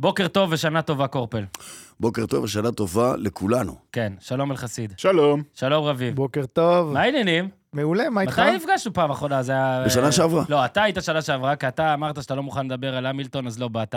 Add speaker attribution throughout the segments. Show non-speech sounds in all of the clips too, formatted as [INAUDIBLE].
Speaker 1: בוקר טוב ושנה טובה, קורפל.
Speaker 2: בוקר טוב ושנה טובה לכולנו.
Speaker 1: כן, שלום אלחסיד.
Speaker 3: שלום.
Speaker 1: שלום, רביב.
Speaker 4: בוקר טוב.
Speaker 1: מה העניינים?
Speaker 4: מעולה, מה איתך?
Speaker 1: מתי נפגשנו פעם אחרונה? זה היה...
Speaker 2: בשנה
Speaker 1: אה,
Speaker 2: שעברה.
Speaker 1: לא, אתה היית שנה שעברה, כי אתה אמרת שאתה לא מוכן לדבר על המילטון, אז לא
Speaker 4: [LAUGHS]
Speaker 1: באת.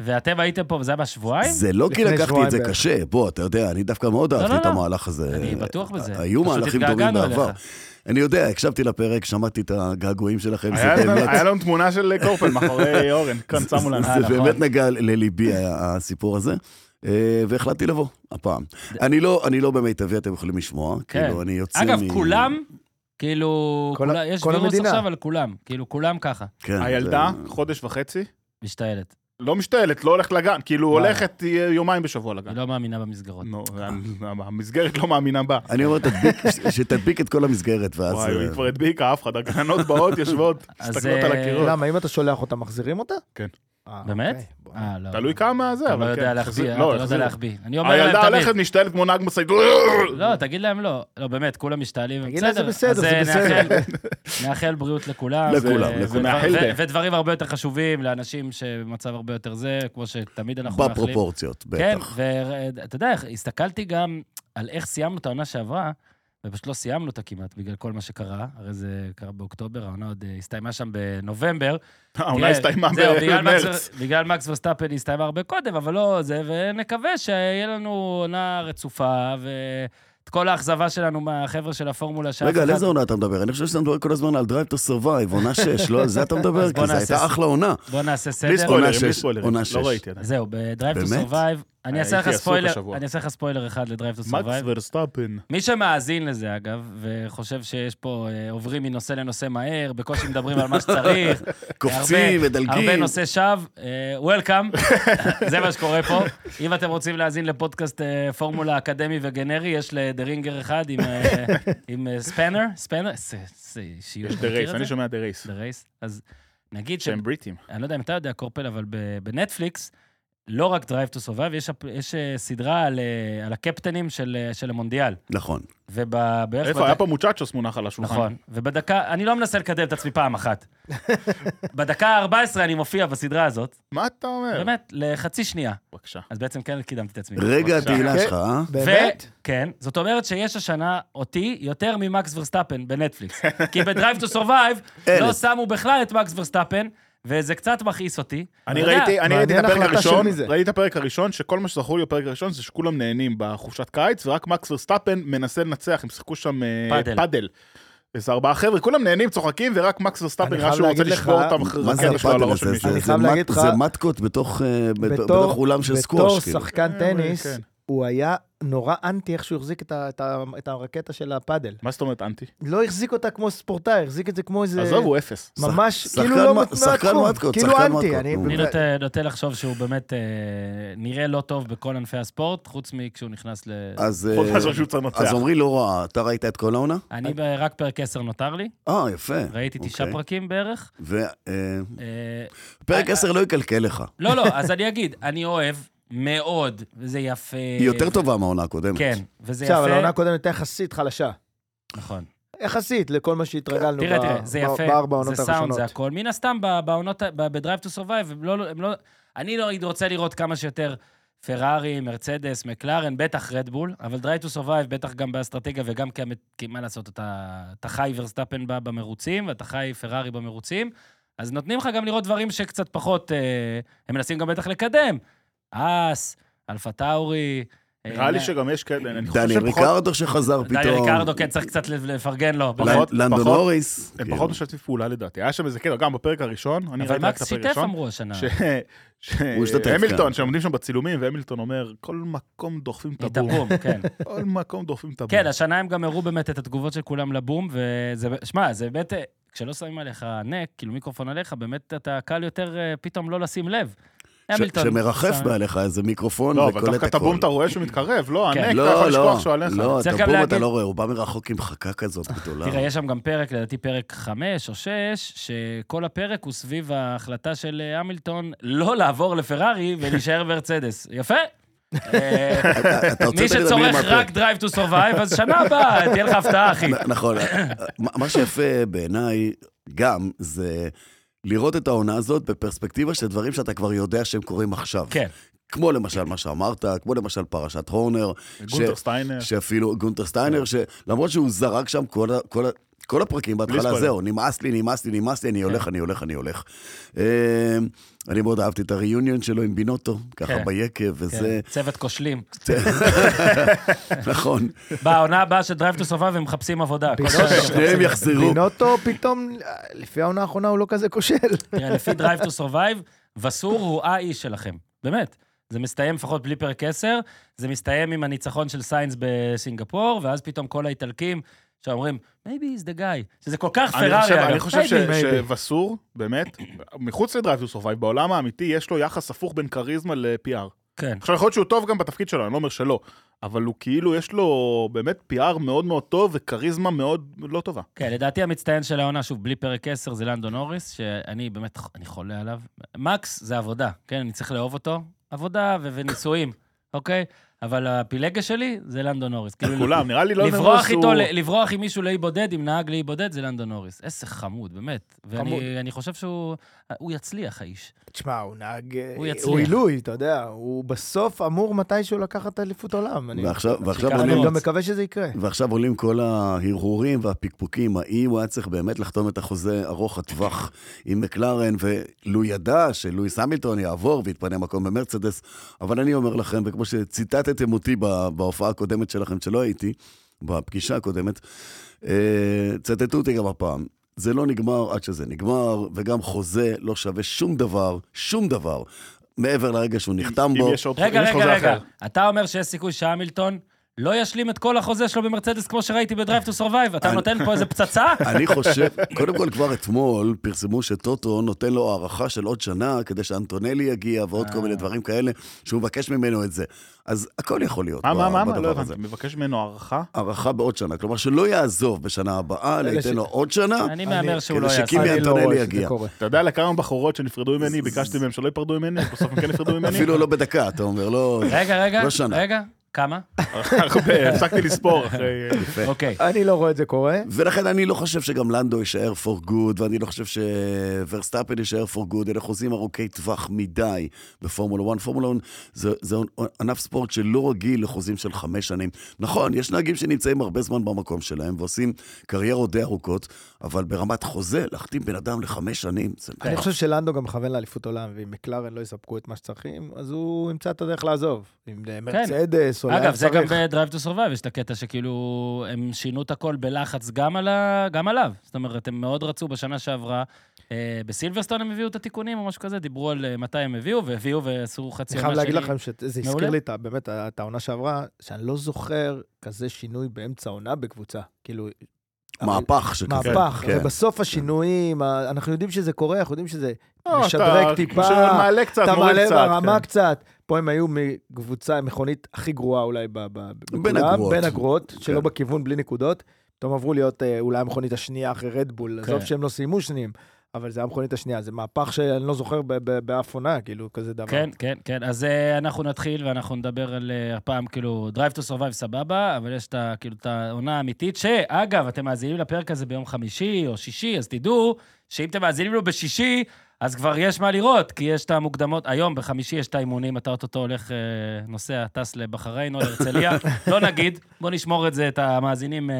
Speaker 1: ואתם הייתם פה, וזה היה בשבועיים?
Speaker 2: זה לא כי
Speaker 4: לפני
Speaker 2: לקחתי
Speaker 4: שבועיים
Speaker 2: את זה
Speaker 4: בערך.
Speaker 2: קשה, בוא, אתה יודע, אני דווקא מאוד
Speaker 1: לא,
Speaker 2: אהבתי את
Speaker 1: לא.
Speaker 2: המהלך הזה.
Speaker 1: אני בטוח בזה.
Speaker 2: אה, היו
Speaker 1: פשוט
Speaker 2: מהלכים דומים
Speaker 1: התגעגענו
Speaker 2: בעבר.
Speaker 1: אליך.
Speaker 2: אני יודע, הקשבתי לפרק, שמעתי את הגעגועים שלכם, זה
Speaker 3: היה לנו-
Speaker 2: באמת...
Speaker 3: היה לנו תמונה של אה, קורפל
Speaker 1: [LAUGHS]
Speaker 3: מאחורי אורן, כאן שמו לנו.
Speaker 2: זה
Speaker 1: נכון.
Speaker 2: באמת נגע לליבי ה- הסיפור הזה, אה, והחלטתי לבוא, הפעם. אני לא, אני לא במיטבי, אתם יכולים לשמוע,
Speaker 1: כן.
Speaker 2: כאילו, אני יוצא מ...
Speaker 1: אגב, כולם, כאילו,
Speaker 4: כל ה-
Speaker 1: כולה- יש
Speaker 4: כל
Speaker 1: וירוס
Speaker 4: המדינה.
Speaker 1: עכשיו על כולם. כאילו, כולם ככה,
Speaker 2: כן,
Speaker 3: הילדה,
Speaker 2: זה-
Speaker 3: חודש וחצי,
Speaker 1: משתעלת.
Speaker 3: לא משתעלת, לא הולכת לגן, כאילו
Speaker 1: וואי.
Speaker 3: הולכת אה, יומיים בשבוע
Speaker 1: היא
Speaker 3: לגן.
Speaker 1: לא מאמינה במסגרות.
Speaker 3: נו, המסגרת לא מאמינה בה.
Speaker 2: אני אומר, תדביק, שתדביק את כל המסגרת, ואז...
Speaker 3: וואי, היא
Speaker 2: אה,
Speaker 3: כבר הדביקה אף אחד, הגננות באות,
Speaker 1: [LAUGHS]
Speaker 3: יושבות,
Speaker 1: אז,
Speaker 3: מסתכלות על
Speaker 1: אה,
Speaker 3: הקירות.
Speaker 4: למה, אם אתה שולח אותה, מחזירים אותה?
Speaker 3: כן.
Speaker 4: אה,
Speaker 1: באמת?
Speaker 4: אוקיי, בוא.
Speaker 1: אה, לא.
Speaker 3: תלוי כמה זה,
Speaker 1: אתה לא
Speaker 3: אבל
Speaker 1: יודע
Speaker 3: כן.
Speaker 1: להחביא,
Speaker 3: החזיר-
Speaker 1: אה, אתה לא יודע
Speaker 3: החזיר.
Speaker 1: להחביא. אני אומר להם
Speaker 3: הילדה
Speaker 1: תמיד.
Speaker 3: הולכת, משתעלת כמו נהג
Speaker 1: [LAUGHS]
Speaker 3: משאית.
Speaker 1: לא, תגיד להם לא. לא, באמת, כולם משתעלים.
Speaker 4: תגיד להם, זה בסדר,
Speaker 1: אז,
Speaker 4: זה
Speaker 1: אה,
Speaker 4: בסדר.
Speaker 1: נאחל-
Speaker 4: [LAUGHS]
Speaker 1: נאחל בריאות לכולם.
Speaker 2: לכולם,
Speaker 1: ו-
Speaker 2: לכולם.
Speaker 1: ודבר-
Speaker 3: נאחל
Speaker 1: ו-
Speaker 3: דה.
Speaker 1: ודברים הרבה יותר חשובים לאנשים שבמצב הרבה יותר זה, כמו שתמיד אנחנו מאחלים.
Speaker 2: בפרופורציות,
Speaker 1: כן,
Speaker 2: בטח.
Speaker 1: ואתה יודע, הסתכלתי גם על איך סיימנו את העונה שעברה, ופשוט לא סיימנו אותה כמעט, בגלל כל מה שקרה. הרי זה קרה באוקטובר, העונה עוד אה, הסתיימה שם בנובמבר.
Speaker 3: העונה
Speaker 1: תראה,
Speaker 3: הסתיימה
Speaker 1: כן, זהו, בגלל
Speaker 3: במרץ.
Speaker 1: מקס- בגלל מקס וסטאפל היא הסתיימה הרבה קודם, אבל לא זה, ונקווה שיהיה לנו עונה רצופה, ואת כל האכזבה שלנו מהחבר'ה של הפורמולה שאף
Speaker 2: רגע, על
Speaker 1: אחד-
Speaker 2: איזה עונה אתה מדבר? אני חושב שאתה מדבר כל הזמן על Drive to Survive, עונה 6, לא על זה אתה מדבר?
Speaker 1: אז בוא
Speaker 2: כי זו
Speaker 1: נעשה
Speaker 2: הייתה
Speaker 1: ס-
Speaker 2: אחלה עונה.
Speaker 1: בוא נעשה
Speaker 3: בלי
Speaker 1: סדר.
Speaker 3: ספוילרים,
Speaker 2: עונה
Speaker 3: בלי
Speaker 2: שש,
Speaker 3: ספוילרים.
Speaker 2: עונה
Speaker 3: לא
Speaker 2: שש.
Speaker 3: ראיתי עדיין.
Speaker 1: זהו, ב-Drive to
Speaker 2: באמת?
Speaker 1: Survive, אני אעשה לך
Speaker 3: הייתי עסוק
Speaker 1: ספוילר,
Speaker 3: השבוע.
Speaker 1: אני אעשה לך ספוילר אחד ל-Drive to
Speaker 3: מקס
Speaker 1: Survive.
Speaker 3: ורסטאפן.
Speaker 1: מי שמאזין לזה, אגב, וחושב שיש פה, אה, עוברים מנושא לנושא מהר, בקושי מדברים על מה שצריך,
Speaker 2: קופצים,
Speaker 1: הרבה-
Speaker 2: מדלגים.
Speaker 1: הרבה נושא שווא, אה, Welcome, [LAUGHS] זה מה שקורה פה. אם אתם רוצים להאזין לפודקאסט אה, פורמולה אקדמי וגנרי, יש לדרינגר אחד עם,
Speaker 3: [LAUGHS]
Speaker 1: אה, עם אה, ספאנר, ספאנר, זה- זה שיוש,
Speaker 3: יש
Speaker 1: אתה
Speaker 3: דה
Speaker 1: מכיר
Speaker 3: רייס,
Speaker 1: את
Speaker 3: אני
Speaker 1: זה?
Speaker 3: שומע דה רייס.
Speaker 1: דה רייס. אז נגיד ש...
Speaker 3: שהם בריטים.
Speaker 1: אני לא יודע אם אתה יודע, קורפל, אבל ב- בנטפליקס, לא רק Drive to Survive, יש, הפ- יש אה, סדרה על, אה, על הקפטנים של, אה, של המונדיאל.
Speaker 2: נכון.
Speaker 1: ובערך...
Speaker 3: איפה? היה פה מוצ'צ'וס מונח על השולחן.
Speaker 1: נכון, ובדקה, אני לא מנסה לקדם את עצמי פעם
Speaker 3: [LAUGHS]
Speaker 1: אחת. בדקה ה-14 אני מופיע בסדרה הזאת,
Speaker 3: מה אתה אומר?
Speaker 1: באמת, לחצי שנייה.
Speaker 3: בבקשה.
Speaker 1: אז בעצם כן קידמתי את עצמי.
Speaker 2: רגע
Speaker 3: בבקשה.
Speaker 2: התהילה
Speaker 4: כן.
Speaker 2: שלך, אה?
Speaker 4: באמת?
Speaker 1: כן, זאת אומרת שיש השנה אותי יותר ממקס ורסטאפן בנטפליקס. כי ב-Drive to Survive לא
Speaker 2: אלף.
Speaker 1: שמו בכלל את מקס ורסטאפן, וזה קצת מכעיס אותי.
Speaker 3: אני
Speaker 1: אתה יודע,
Speaker 3: ראיתי, אני ראיתי את
Speaker 4: מעניין
Speaker 3: הפרק
Speaker 4: החלטה של
Speaker 3: הראשון,
Speaker 4: מי זה.
Speaker 3: ראיתי את הפרק הראשון, שכל מה שזכור לי בפרק הראשון זה שכולם נהנים בחופשת קיץ, ורק מקס ורסטאפן מנסה לנצח, הם שיחקו שם אה,
Speaker 1: פאדל.
Speaker 3: פאדל. איזה ארבעה חבר'ה, כולם נהנים, צוחקים, ורק מקס ורסטאפן
Speaker 4: אני
Speaker 3: נראה
Speaker 4: חייב
Speaker 3: שהוא רוצה
Speaker 4: להגיד לך-
Speaker 3: לשבור אותם אחרי
Speaker 2: מה זה
Speaker 3: רקטה שלו על
Speaker 2: הפאדל
Speaker 3: הראש של
Speaker 2: הזה?
Speaker 3: מישהו.
Speaker 2: זה-
Speaker 4: אני
Speaker 2: זה
Speaker 4: חייב
Speaker 2: מט-
Speaker 4: להגיד לך-
Speaker 2: זה מתקות בתוך אה, בת-
Speaker 4: בתור-
Speaker 2: בתוך אולם של
Speaker 4: בתור
Speaker 2: סקווש, כאילו.
Speaker 1: אה,
Speaker 4: שחקן
Speaker 3: כן,
Speaker 4: טניס,
Speaker 3: כן.
Speaker 4: הוא היה נורא אנטי איך שהוא החזיק את ה- את ה- את הרקטה של הפאדל.
Speaker 3: מה זאת אומרת אנטי?
Speaker 4: לא החזיק אותה כמו ספורטאי, החזיק את זה כמו איזה...
Speaker 3: עזוב, הוא אפס.
Speaker 4: ממש,
Speaker 2: שחקן
Speaker 4: כאילו
Speaker 2: מ-
Speaker 4: לא
Speaker 2: שחקן
Speaker 4: מהתחום,
Speaker 2: מתקות,
Speaker 4: כאילו
Speaker 2: שחקן
Speaker 4: אנטי.
Speaker 2: מתקות,
Speaker 4: אני
Speaker 2: נו.
Speaker 1: אני לא-
Speaker 4: באמת-
Speaker 1: נוטה- נוטה לחשוב שהוא באמת אה, נראה לא טוב בכל ענפי הספורט, חוץ מכשהוא נכנס ל...
Speaker 2: אז
Speaker 3: חוץ
Speaker 2: אה,
Speaker 3: מזה שהוא צריך לנצח.
Speaker 2: אז עמרי לא ראה, אתה ראית את כל העונה?
Speaker 1: אני ב- רק פרק 10 נותר לי,
Speaker 2: אה, יפה.
Speaker 1: ראיתי תשעה
Speaker 2: אוקיי.
Speaker 1: פרקים בערך.
Speaker 2: ו- אה,
Speaker 1: אה,
Speaker 2: פרק
Speaker 1: אה,
Speaker 2: 10 לא יקלקל לך.
Speaker 1: לא, לא, אז אני אגיד, אני אוהב מאוד, וזה יפה.
Speaker 2: היא יותר טובה מהעונה הקודמת.
Speaker 1: אה, כן, וזה יפה.
Speaker 4: עכשיו, אבל העונה הקודמת הייתה יחסית חלשה.
Speaker 1: נכון.
Speaker 4: יחסית לכל מה שהתרגלנו
Speaker 1: תראה,
Speaker 4: כאילו ב-
Speaker 1: תראה, זה
Speaker 4: ב-
Speaker 1: יפה, זה
Speaker 4: בארבע העונות
Speaker 1: סאונד,
Speaker 4: הראשונות.
Speaker 1: זה הכל. מן הסתם, ב- בעונות, ה- ב- ב-Drive to Survive, הם לא- הם לא- אני לא הייתי רוצה לראות כמה שיותר פרארי, מרצדס, מקלרן, בטח רדבול, אבל Drive to Survive, בטח גם באסטרטגיה וגם כי, המת- כי מה לעשות, אתה, אתה חי ורסטאפן ב- במרוצים, ואתה חי פרארי במרוצים, אז נותנים לך גם לראות דברים שקצת פחות, אה, הם מנסים גם בטח לקדם. אס, אלפה טאורי. אה,
Speaker 3: נראה לי שגם יש כאלה, אני חושב
Speaker 2: דניאל
Speaker 3: שפחות...
Speaker 2: ריקרדו שחזר פתאום.
Speaker 1: דניאל ריקרדו, כן, צריך קצת לפרגן לו.
Speaker 2: לנ-
Speaker 1: באמת.
Speaker 3: פחות-
Speaker 2: לנדון
Speaker 3: פחות-
Speaker 2: הוריס.
Speaker 3: הם
Speaker 2: כאילו.
Speaker 3: פחות משתפים פעולה לדעתי, היה שם איזה קטע, גם בפרק הראשון, אני
Speaker 1: אבל
Speaker 3: ראיתי רק את
Speaker 1: מקס
Speaker 3: הפרק
Speaker 1: שיתף
Speaker 3: הראשון,
Speaker 1: אמרו השנה.
Speaker 3: ש- ש-
Speaker 2: הוא השתתף,
Speaker 3: המילטון,
Speaker 2: כן.
Speaker 3: שעומדים שם בצילומים, והמילטון אומר, כל מקום דוחפים את
Speaker 1: את
Speaker 3: הבום,
Speaker 1: הבום, כן.
Speaker 3: [LAUGHS] כל מקום דוחפים את הבום.
Speaker 2: אוקיי.
Speaker 1: כן, השנה הם גם הראו באמת את התגובות של כולם לבום, וזה, שמע, זה באמת, אה, כשלא שמים עליך נק, כאילו מיקרופון עליך, באמת אתה קל יותר אה, פתאום לא לשים לב.
Speaker 2: ש-
Speaker 1: המילטון,
Speaker 2: שמרחף
Speaker 1: שם-
Speaker 2: מעליך איזה מיקרופון
Speaker 3: לא,
Speaker 2: נכון, וקולט
Speaker 3: אבל
Speaker 2: הכול.
Speaker 3: דווקא את הבום אתה רואה שהוא מתקרב, לא,
Speaker 1: כן.
Speaker 3: הנק, אתה
Speaker 2: לא,
Speaker 3: יכול לשכוח שהוא
Speaker 2: לא,
Speaker 3: עליך.
Speaker 2: לא, את
Speaker 1: צריך גם
Speaker 2: הבום אתה
Speaker 1: להגיד-
Speaker 2: לא רואה, הוא בא מרחוק עם חכה כזאת גדולה.
Speaker 1: תראה, יש שם גם פרק, לדעתי פרק חמש או שש, שכל הפרק הוא סביב ההחלטה של אה, המילטון לא לעבור לפרארי ולהישאר מרצדס.
Speaker 2: [LAUGHS]
Speaker 1: יפה. אה,
Speaker 2: אתה- אתה הוצאת
Speaker 1: מי
Speaker 2: את המילים
Speaker 1: שצורך
Speaker 2: מהפה.
Speaker 1: רק Drive to Survive, אז שנה הבאה, תהיה
Speaker 2: [LAUGHS] אה,
Speaker 1: לך הפתעה, אחי.
Speaker 2: נ- נכון. מה מה שיפה בעיניי גם זה לראות את העונה הזאת בפרספקטיבה של דברים שאתה כבר יודע שהם קורים עכשיו.
Speaker 1: כן.
Speaker 2: כמו למשל מה שאמרת, כמו למשל פרשת הורנר.
Speaker 3: גונטר סטיינר.
Speaker 2: שאפילו גונטר סטיינר, שלמרות שהוא זרק שם כל, ה- כל, ה- כל הפרקים בהתחלה,
Speaker 3: ספוילר.
Speaker 2: זהו, נמאס לי, נמאס לי, נמאס לי, אני הולך, אני הולך, אני הולך. אה, אני מאוד אהבתי את הריוניון שלו עם בינוטו, ככה
Speaker 1: כן.
Speaker 2: ביקב וזה,
Speaker 1: כן, צוות כושלים.
Speaker 2: נכון.
Speaker 1: בעונה הבאה של Drive to Survive הם מחפשים עבודה. כל
Speaker 4: פתאום-
Speaker 1: הזמן.
Speaker 2: שניהם יחזרו.
Speaker 4: בינוטו פתאום, לפי העונה האחרונה הוא לא כזה כושל.
Speaker 1: תראה, לפי Drive to Survive, וסור הוא האיש שלכם. באמת. זה מסתיים לפחות בלי פרק 10, זה מסתיים עם הניצחון של סיינס בסינגפור, ואז פתאום כל האיטלקים שאומרים, maybe he's the guy, שזה כל כך
Speaker 3: אני חושב-
Speaker 1: פרארי, אגב.
Speaker 3: אני חושב ש-
Speaker 4: maybe, maybe.
Speaker 3: שווסור, באמת, מחוץ לדרייב טו סורווייב, בעולם האמיתי יש לו יחס הפוך בין כריזמה ל-PR.
Speaker 1: כן.
Speaker 3: עכשיו, יכול להיות שהוא טוב גם בתפקיד שלו, אני לא אומר שלא, אבל הוא כאילו, יש לו באמת PR מאוד מאוד טוב וכריזמה מאוד לא טובה.
Speaker 1: כן, לדעתי המצטיין של העונה, שוב, בלי פרק 10, זה לנדון נוריס, שאני באמת, אני חולה עליו. מקס זה עבודה, כן? אני צריך לאהוב אותו. עבודה ו- ונישואים, אוקיי? אבל הפילגה שלי זה לנדון נוריס. כאילו,
Speaker 3: כולם, נראה לי לא
Speaker 1: לברוח
Speaker 3: נורס הוא-
Speaker 1: איתו, ל- לברוח עם מישהו לאי בודד, עם נהג לאי בודד, זה לנדון נוריס. איזה חמוד, באמת.
Speaker 3: חמוד.
Speaker 1: ואני אני חושב שהוא הוא יצליח, האיש.
Speaker 4: תשמע, הוא נהג... אה,
Speaker 1: הוא יצליח.
Speaker 4: הוא עילוי, אתה יודע. הוא בסוף אמור מתישהו לקחת אליפות עולם. אני-
Speaker 2: ועכשיו, ועכשיו
Speaker 1: שיקח
Speaker 2: עולים
Speaker 4: אני
Speaker 1: לרוץ.
Speaker 4: גם מקווה שזה יקרה.
Speaker 2: ועכשיו עולים כל ההרהורים והפקפוקים, האם הוא היה צריך באמת לחתום את החוזה ארוך הטווח עם מקלרן, ולו ידע שלואיס המילטון יעבור ויתפנה מקום במרצדס, אבל אני אומר לכם, וכמו שציטטתם אותי ב- בהופעה הקודמת שלכם, שלא הייתי, בפגישה הקודמת, אה, צטטו אותי גם הפעם. זה לא נגמר עד שזה נגמר, וגם חוזה לא שווה שום דבר, שום דבר, מעבר לרגע שהוא נחתם בו.
Speaker 3: אם יש אופציה,
Speaker 1: רגע,
Speaker 3: אם יש
Speaker 1: רגע,
Speaker 3: חוזה
Speaker 1: רגע.
Speaker 3: אחר.
Speaker 1: אתה אומר שיש סיכוי שהמילטון לא ישלים את כל החוזה שלו במרצדס, כמו שראיתי ב-Drive to Survive. אתה
Speaker 2: אני-
Speaker 1: נותן פה איזה פצצה?
Speaker 2: אני חושב, קודם כל כבר אתמול פרסמו שטוטו נותן לו הארכה של עוד שנה כדי שאנטונלי יגיע ועוד כל
Speaker 3: אה.
Speaker 2: מיני דברים כאלה, שהוא מבקש ממנו את זה. אז הכל יכול להיות
Speaker 3: מה,
Speaker 2: ב-
Speaker 3: מה, מה, מה,
Speaker 2: בדבר
Speaker 3: לא
Speaker 2: הזה.
Speaker 3: הבנתי, מבקש ממנו הערכה?
Speaker 2: הארכה בעוד שנה, כלומר שלא יעזוב בשנה הבאה, אלא
Speaker 4: אלה
Speaker 2: ייתן
Speaker 4: ש-
Speaker 2: לו עוד שנה.
Speaker 1: אני מהמר שהוא
Speaker 2: כדי
Speaker 1: לא
Speaker 2: שקימי
Speaker 1: יעשה.
Speaker 2: אני
Speaker 4: אני לא
Speaker 2: אנטונלי
Speaker 4: רואה שזה
Speaker 2: יגיע.
Speaker 4: קורה.
Speaker 3: אתה יודע לכמה בחורות שנפרדו ממני, ביקשתי מהם שלא ייפרדו ממני, בסוף הם כן נפרדו ממני?
Speaker 2: אפילו לא בדקה, אתה אומר, לא...
Speaker 1: רגע, רגע,
Speaker 2: לא שנה.
Speaker 1: רגע, כמה?
Speaker 3: הרבה, הפסקתי לספור
Speaker 4: [LAUGHS]
Speaker 3: אחרי...
Speaker 1: אוקיי.
Speaker 4: אני לא רואה את זה קורה.
Speaker 2: ולכן אני לא חושב שגם לנדו יישאר for good, ואני לא חושב שוורסטאפל יישאר for good, אלה חוזים ארוכי טווח מדי בפורמולה 1. פורמולה 1 זה, זה ענף ספורט שלא רגיל לחוזים של חמש שנים. נכון, יש נהגים שנמצאים הרבה זמן במקום שלהם ועושים קריירות די ארוכות, אבל ברמת חוזה, להחתים בן אדם לחמש שנים, זה...
Speaker 1: כן.
Speaker 4: אני חושב שלנדו גם מכוון לאליפות עולם, ואם מקלרן לא יספקו את מה שצריכים, אז הוא ימצא את הדרך לעזוב. עם אה, מרצדס או לאן
Speaker 1: כן. אגב, זה גם
Speaker 4: צריך.
Speaker 1: ב-Drive to Survive, יש את הקטע שכאילו, הם שינו את הכל בלחץ גם, על ה... גם עליו. זאת אומרת, הם מאוד רצו בשנה שעברה. אה, בסילברסטון הם הביאו את התיקונים או משהו כזה, דיברו על אה, מתי הם הביאו, והביאו ועשו חצי
Speaker 4: אני
Speaker 1: עונה
Speaker 4: חייב
Speaker 1: שלי.
Speaker 4: להגיד לכם שזה
Speaker 1: מעולה.
Speaker 4: הזכיר לי את ה- באמת את העונה שעברה, שאני לא זוכר כזה שינוי באמצע העונה בקבוצה. כאילו...
Speaker 2: מהפך שכזה.
Speaker 4: מהפך,
Speaker 2: כן.
Speaker 4: ובסוף השינויים, ה- אנחנו יודעים שזה קורה, אנחנו יודעים שזה
Speaker 3: לא, אתה-
Speaker 4: משדרג טיפה,
Speaker 3: שמעלה קצת,
Speaker 4: אתה
Speaker 3: מוריד
Speaker 4: מעלה
Speaker 3: קצת,
Speaker 4: ברמה
Speaker 3: כן.
Speaker 4: קצת. פה הם היו מקבוצה, מכונית הכי גרועה אולי ב- ב- בכולם,
Speaker 2: הגרועות.
Speaker 4: בין הגרועות, שלא
Speaker 2: כן.
Speaker 4: בכיוון, בלי נקודות. פתאום עברו להיות אה, אולי המכונית השנייה אחרי רדבול,
Speaker 1: כן.
Speaker 4: עזוב שהם לא סיימו שניים, אבל זה המכונית השנייה, זה מהפך שאני לא זוכר ב- ב- באף עונה, כאילו, כזה דבר.
Speaker 1: כן, כן, כן. אז אה, אנחנו נתחיל ואנחנו נדבר על אה, הפעם, כאילו, Drive to Survive סבבה, אבל יש את ה- כאילו, את העונה האמיתית, שאגב, אתם מאזינים לפרק הזה ביום חמישי או שישי, אז תדעו שאם אתם מאזינים לו בשישי, אז כבר יש מה לראות, כי יש את המוקדמות, היום בחמישי יש את האימונים, אתה אוטוטו הולך, אה, נוסע, טס לבחריין או להרצליה, לא נגיד, בוא נשמור את זה, את המאזינים אה,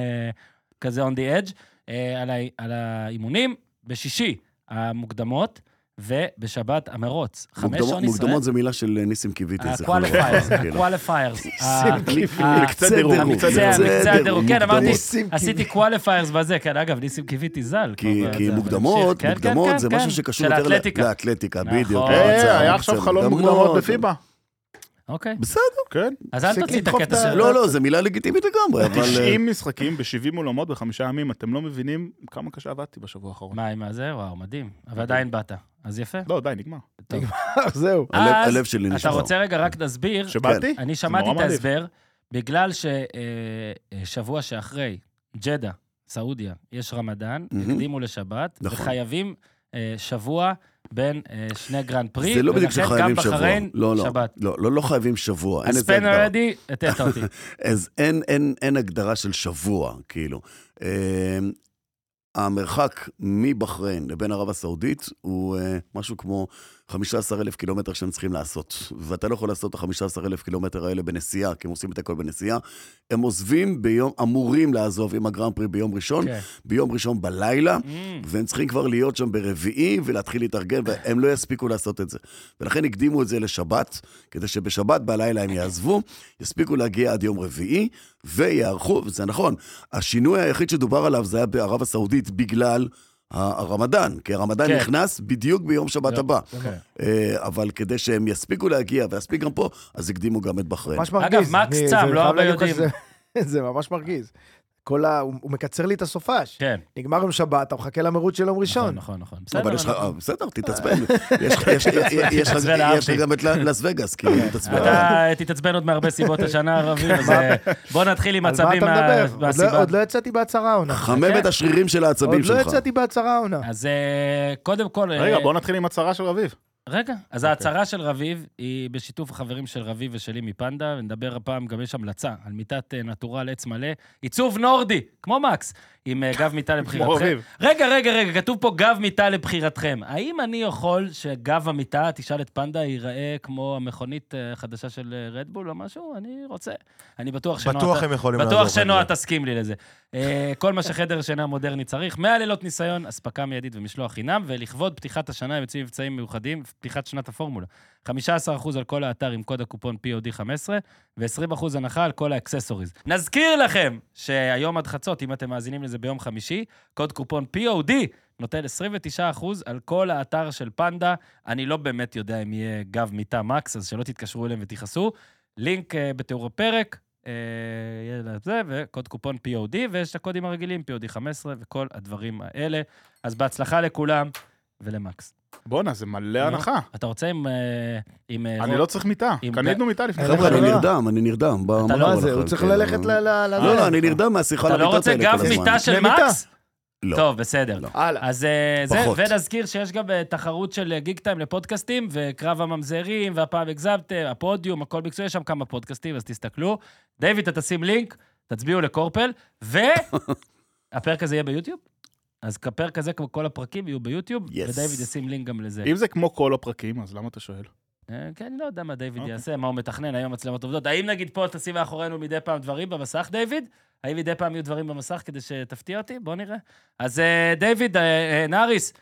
Speaker 1: כזה on the edge, אה, על, ה, על האימונים, בשישי המוקדמות. ובשבת המרוץ, חמש
Speaker 2: מוקדמות,
Speaker 1: שעון ישראל. אה,
Speaker 2: מוקדמות זו מילה של ניסים קיוויתי, זיכרונו
Speaker 1: הקואליפיירס,
Speaker 2: לברכה, [LAUGHS] כאילו.
Speaker 1: הקואליפיירס. אה,
Speaker 3: מקצה דירוג, מקצה
Speaker 1: המקצה,
Speaker 3: דירוג.
Speaker 1: המקצה הדירוג, כן, אמרתי,
Speaker 4: ניסים
Speaker 1: עשיתי קואליפיירס בזה, כן, אגב, ניסים קיוויתי ז"ל.
Speaker 2: כי,
Speaker 1: כבר
Speaker 2: כי
Speaker 1: בזה,
Speaker 2: מוקדמות,
Speaker 1: אבל המשיך,
Speaker 2: מוקדמות
Speaker 1: כן,
Speaker 2: זה
Speaker 1: כן,
Speaker 2: משהו
Speaker 1: כן,
Speaker 2: שקשור
Speaker 1: של
Speaker 2: יותר ל-
Speaker 1: האתלטיקה.
Speaker 2: לאתלטיקה,
Speaker 1: נכון.
Speaker 2: בדיוק.
Speaker 1: אה,
Speaker 2: ההצעה,
Speaker 3: היה
Speaker 2: מקצה
Speaker 3: עכשיו חלום
Speaker 2: מוקדמות.
Speaker 3: מוקדמות בפיבה,
Speaker 1: אוקיי,
Speaker 2: בסדר,
Speaker 3: כן?
Speaker 1: אז אל
Speaker 4: תפסיק
Speaker 1: תוציא את
Speaker 4: לדחוף
Speaker 1: הקטע
Speaker 4: את ה-
Speaker 1: שלו.
Speaker 2: לא, לא, זו מילה לגיטימית לגמרי, אבל... אה,
Speaker 3: 90 [LAUGHS] משחקים ב-70 אולמות בחמישה ימים, אתם לא מבינים כמה קשה עבדתי בשבוע האחרון.
Speaker 1: מה עם הזה? וואו, מדהים. אבל עדיין באת. אז יפה.
Speaker 3: לא, די, נגמר.
Speaker 4: [LAUGHS] זהו.
Speaker 2: אה, הלב-
Speaker 1: אז
Speaker 2: הלב שלי
Speaker 1: אתה
Speaker 2: נשבר.
Speaker 1: רוצה רגע רק נסביר,
Speaker 3: שבאתי?
Speaker 4: כן.
Speaker 1: אני
Speaker 3: זה
Speaker 1: שמעתי
Speaker 3: נורא
Speaker 1: את
Speaker 3: מעליב.
Speaker 1: ההסבר, בגלל ששבוע שאחרי, ג'דה, סעודיה, יש רמדאן,
Speaker 2: מהמם.
Speaker 1: הקדימו לשבת,
Speaker 2: נכון.
Speaker 1: וחייבים אה, שבוע בין אה, שני גרנד פרי,
Speaker 2: זה לא בדיוק
Speaker 1: ולכן
Speaker 2: שחייבים
Speaker 1: גם
Speaker 2: שבוע.
Speaker 1: בחריין,
Speaker 2: לא, לא,
Speaker 1: שבת.
Speaker 2: לא, לא, לא חייבים שבוע, אין
Speaker 1: אז
Speaker 2: איזה
Speaker 1: פן
Speaker 2: הגדרה.
Speaker 1: ארדי, הטעת
Speaker 2: [LAUGHS]
Speaker 1: אותי. כן.
Speaker 2: אז אין, אין, אין הגדרה של שבוע, כאילו. אה, המרחק מבחריין לבין ערב הסעודית הוא אה, משהו כמו 15,000 קילומטר שהם צריכים לעשות. ואתה לא יכול לעשות את ה-15,000 קילומטר האלה בנסיעה, כי הם עושים את הכל בנסיעה. הם עוזבים ביום, אמורים לעזוב עם הגרנד פרי ביום ראשון,
Speaker 1: כן.
Speaker 2: ביום ראשון בלילה,
Speaker 1: Mm.
Speaker 2: והם צריכים כבר להיות שם ברביעי ולהתחיל להתארגן, והם לא יספיקו לעשות את זה. ולכן הקדימו את זה לשבת, כדי שבשבת בלילה הם יעזבו, יספיקו להגיע עד יום רביעי, ויערכו, וזה נכון, השינוי היחיד שדובר עליו זה היה בערב הסעודית בגלל ה- הרמדאן, כי הרמדאן
Speaker 1: כן.
Speaker 2: נכנס בדיוק ביום שבת
Speaker 1: יום,
Speaker 2: הבא.
Speaker 4: אוקיי.
Speaker 1: כן.
Speaker 2: אה, אבל כדי שהם יספיקו להגיע, ויספיק גם פה, אז הקדימו גם את בחריין.
Speaker 4: ממש מרגיז.
Speaker 1: אגב, מקס
Speaker 4: אני-
Speaker 1: צם, לא
Speaker 4: זה- חייב
Speaker 1: הרבה
Speaker 4: להגיד לך
Speaker 1: יודעים.
Speaker 4: שזה- [LAUGHS] זה ממש מרגיז. כל ה... הוא הוא מקצר לי את הסופש.
Speaker 1: כן.
Speaker 4: נגמר יום שבת, אתה מחכה למרוץ של יום
Speaker 1: נכון,
Speaker 4: ראשון.
Speaker 1: נכון, נכון.
Speaker 4: לא,
Speaker 1: בסדר.
Speaker 2: אבל יש לך,
Speaker 1: אנחנו-
Speaker 2: אה, בסדר, תתעצבן. יש לך- יש- יש לך-
Speaker 1: תתעצבן,
Speaker 2: יש לך
Speaker 1: אהבתי.
Speaker 2: גם את ל- לאס וגאס, כאילו,
Speaker 4: כן.
Speaker 2: תתעצבן.
Speaker 1: אתה אה, תתעצבן עוד מהרבה סיבות
Speaker 2: [LAUGHS]
Speaker 1: השנה, רביב, אז אה, בוא נתחיל עם
Speaker 4: על מה
Speaker 1: עצבים
Speaker 4: אתה מדבר?
Speaker 1: מה-
Speaker 4: עוד לא-
Speaker 1: מהסיבה.
Speaker 4: עוד לא יצאתי בהצהרה העונה.
Speaker 2: חמם את השרירים של העצבים
Speaker 4: עוד
Speaker 2: שלך.
Speaker 4: לא יצאתי בהצהרה העונה.
Speaker 1: אז אה, קודם כל... אה,
Speaker 3: רגע, בואו נתחיל עם הצהרה של רביב.
Speaker 1: רגע, אז ההצהרה של רביב היא בשיתוף החברים של רביב ושלי מפנדה, ונדבר הפעם, גם יש המלצה על מיטת אה, נטורל עץ מלא, עיצוב נורדי, כמו מקס, עם אה, גב מיטה לבחירתכם.
Speaker 3: רביב.
Speaker 1: רגע, רגע, רגע, כתוב פה גב מיטה לבחירתכם. האם אני יכול שגב המיטה, תשאל את פנדה, ייראה כמו המכונית אה, החדשה של אה, רדבול או משהו? אני רוצה. אני בטוח שנועה...
Speaker 5: בטוח
Speaker 1: ת-
Speaker 5: הם יכולים לעזור.
Speaker 1: בטוח שנועה תסכים לי לזה. אה, כל מה שחדר שינה מודרני צריך, 100 לילות ניסיון, אספקה מיידית ומשלוח חינם, ולכבוד פתיחת השנה הם יוצאים מבצעים מיוחדים, פתיחת שנת הפורמולה. 15% על כל האתר עם קוד הקופון POD15, ו-20% הנחה על כל האקססוריז. נזכיר לכם שהיום עד חצות, אם אתם מאזינים לזה ביום חמישי, קוד קופון POD נותן 29% על כל האתר של פנדה. אני לא באמת יודע אם יהיה גב מיטה מקס, אז שלא תתקשרו אליהם ותכעסו. לינק אה, בתיאור הפרק, אה, יהיה לזה, וקוד קופון POD, ויש את הקודים הרגילים, POD 15 וכל הדברים האלה. אז בהצלחה לכולם ולמקס.
Speaker 3: בואנה, זה מלא
Speaker 1: נו.
Speaker 3: הנחה.
Speaker 1: אתה רוצה עם... אה, עם אה,
Speaker 3: אני
Speaker 1: רוב-
Speaker 3: לא צריך מיטה.
Speaker 1: עם
Speaker 3: קנינו מיטה לפני
Speaker 4: חבר'ה,
Speaker 2: חבר'ה, אני
Speaker 4: לא.
Speaker 2: נרדם, אני נרדם. ב- מה
Speaker 1: לא
Speaker 2: קרה
Speaker 4: מה זה, הוא
Speaker 2: לכם?
Speaker 4: צריך
Speaker 2: כן,
Speaker 4: ללכת ל...
Speaker 2: אה.
Speaker 4: ל- ל-
Speaker 2: לא,
Speaker 4: זה.
Speaker 2: לא, אני נרדם מהשיחה
Speaker 1: אתה
Speaker 2: על
Speaker 1: לא
Speaker 2: המיטות
Speaker 1: רוצה
Speaker 2: האלה
Speaker 1: גב
Speaker 2: כל הזמן.
Speaker 1: מיטה של
Speaker 4: קנה מיטה.
Speaker 1: מקס?
Speaker 2: לא.
Speaker 1: טוב, בסדר.
Speaker 2: לא.
Speaker 4: הלאה.
Speaker 1: אז אה, זה,
Speaker 2: פחות.
Speaker 1: ונזכיר שיש גם אה, תחרות של אה, גיק טיים לפודקאסטים, וקרב הממזרים, והפעם הגזמתם, הפודיום, הכל מקצועי, יש שם כמה פודקאסטים, אז תסתכלו. דיוויד, אתה תשים לינק, תצביעו לקורפל,
Speaker 2: [LAUGHS]
Speaker 1: והפרק הזה יהיה ביוטיוב? אז הפרק הזה, כמו כל הפרקים, יהיו ביוטיוב,
Speaker 2: Yes.
Speaker 1: ודיוויד ישים לינק גם לזה.
Speaker 3: אם זה כמו כל הפרקים, אז למה אתה שואל?
Speaker 1: אה, כן, אני לא יודע מה דיוויד
Speaker 3: אוקיי.
Speaker 1: יעשה, מה הוא מתכנן, היום מצלמות עובדות. האם נגיד פה תשים מאחורינו מדי פעם דברים במסך, דיוויד? האם מדי פעם יהיו דברים במסך כדי שתפתיע אותי? בוא נראה. אז אה, דיוויד, אה, אה, נאריס,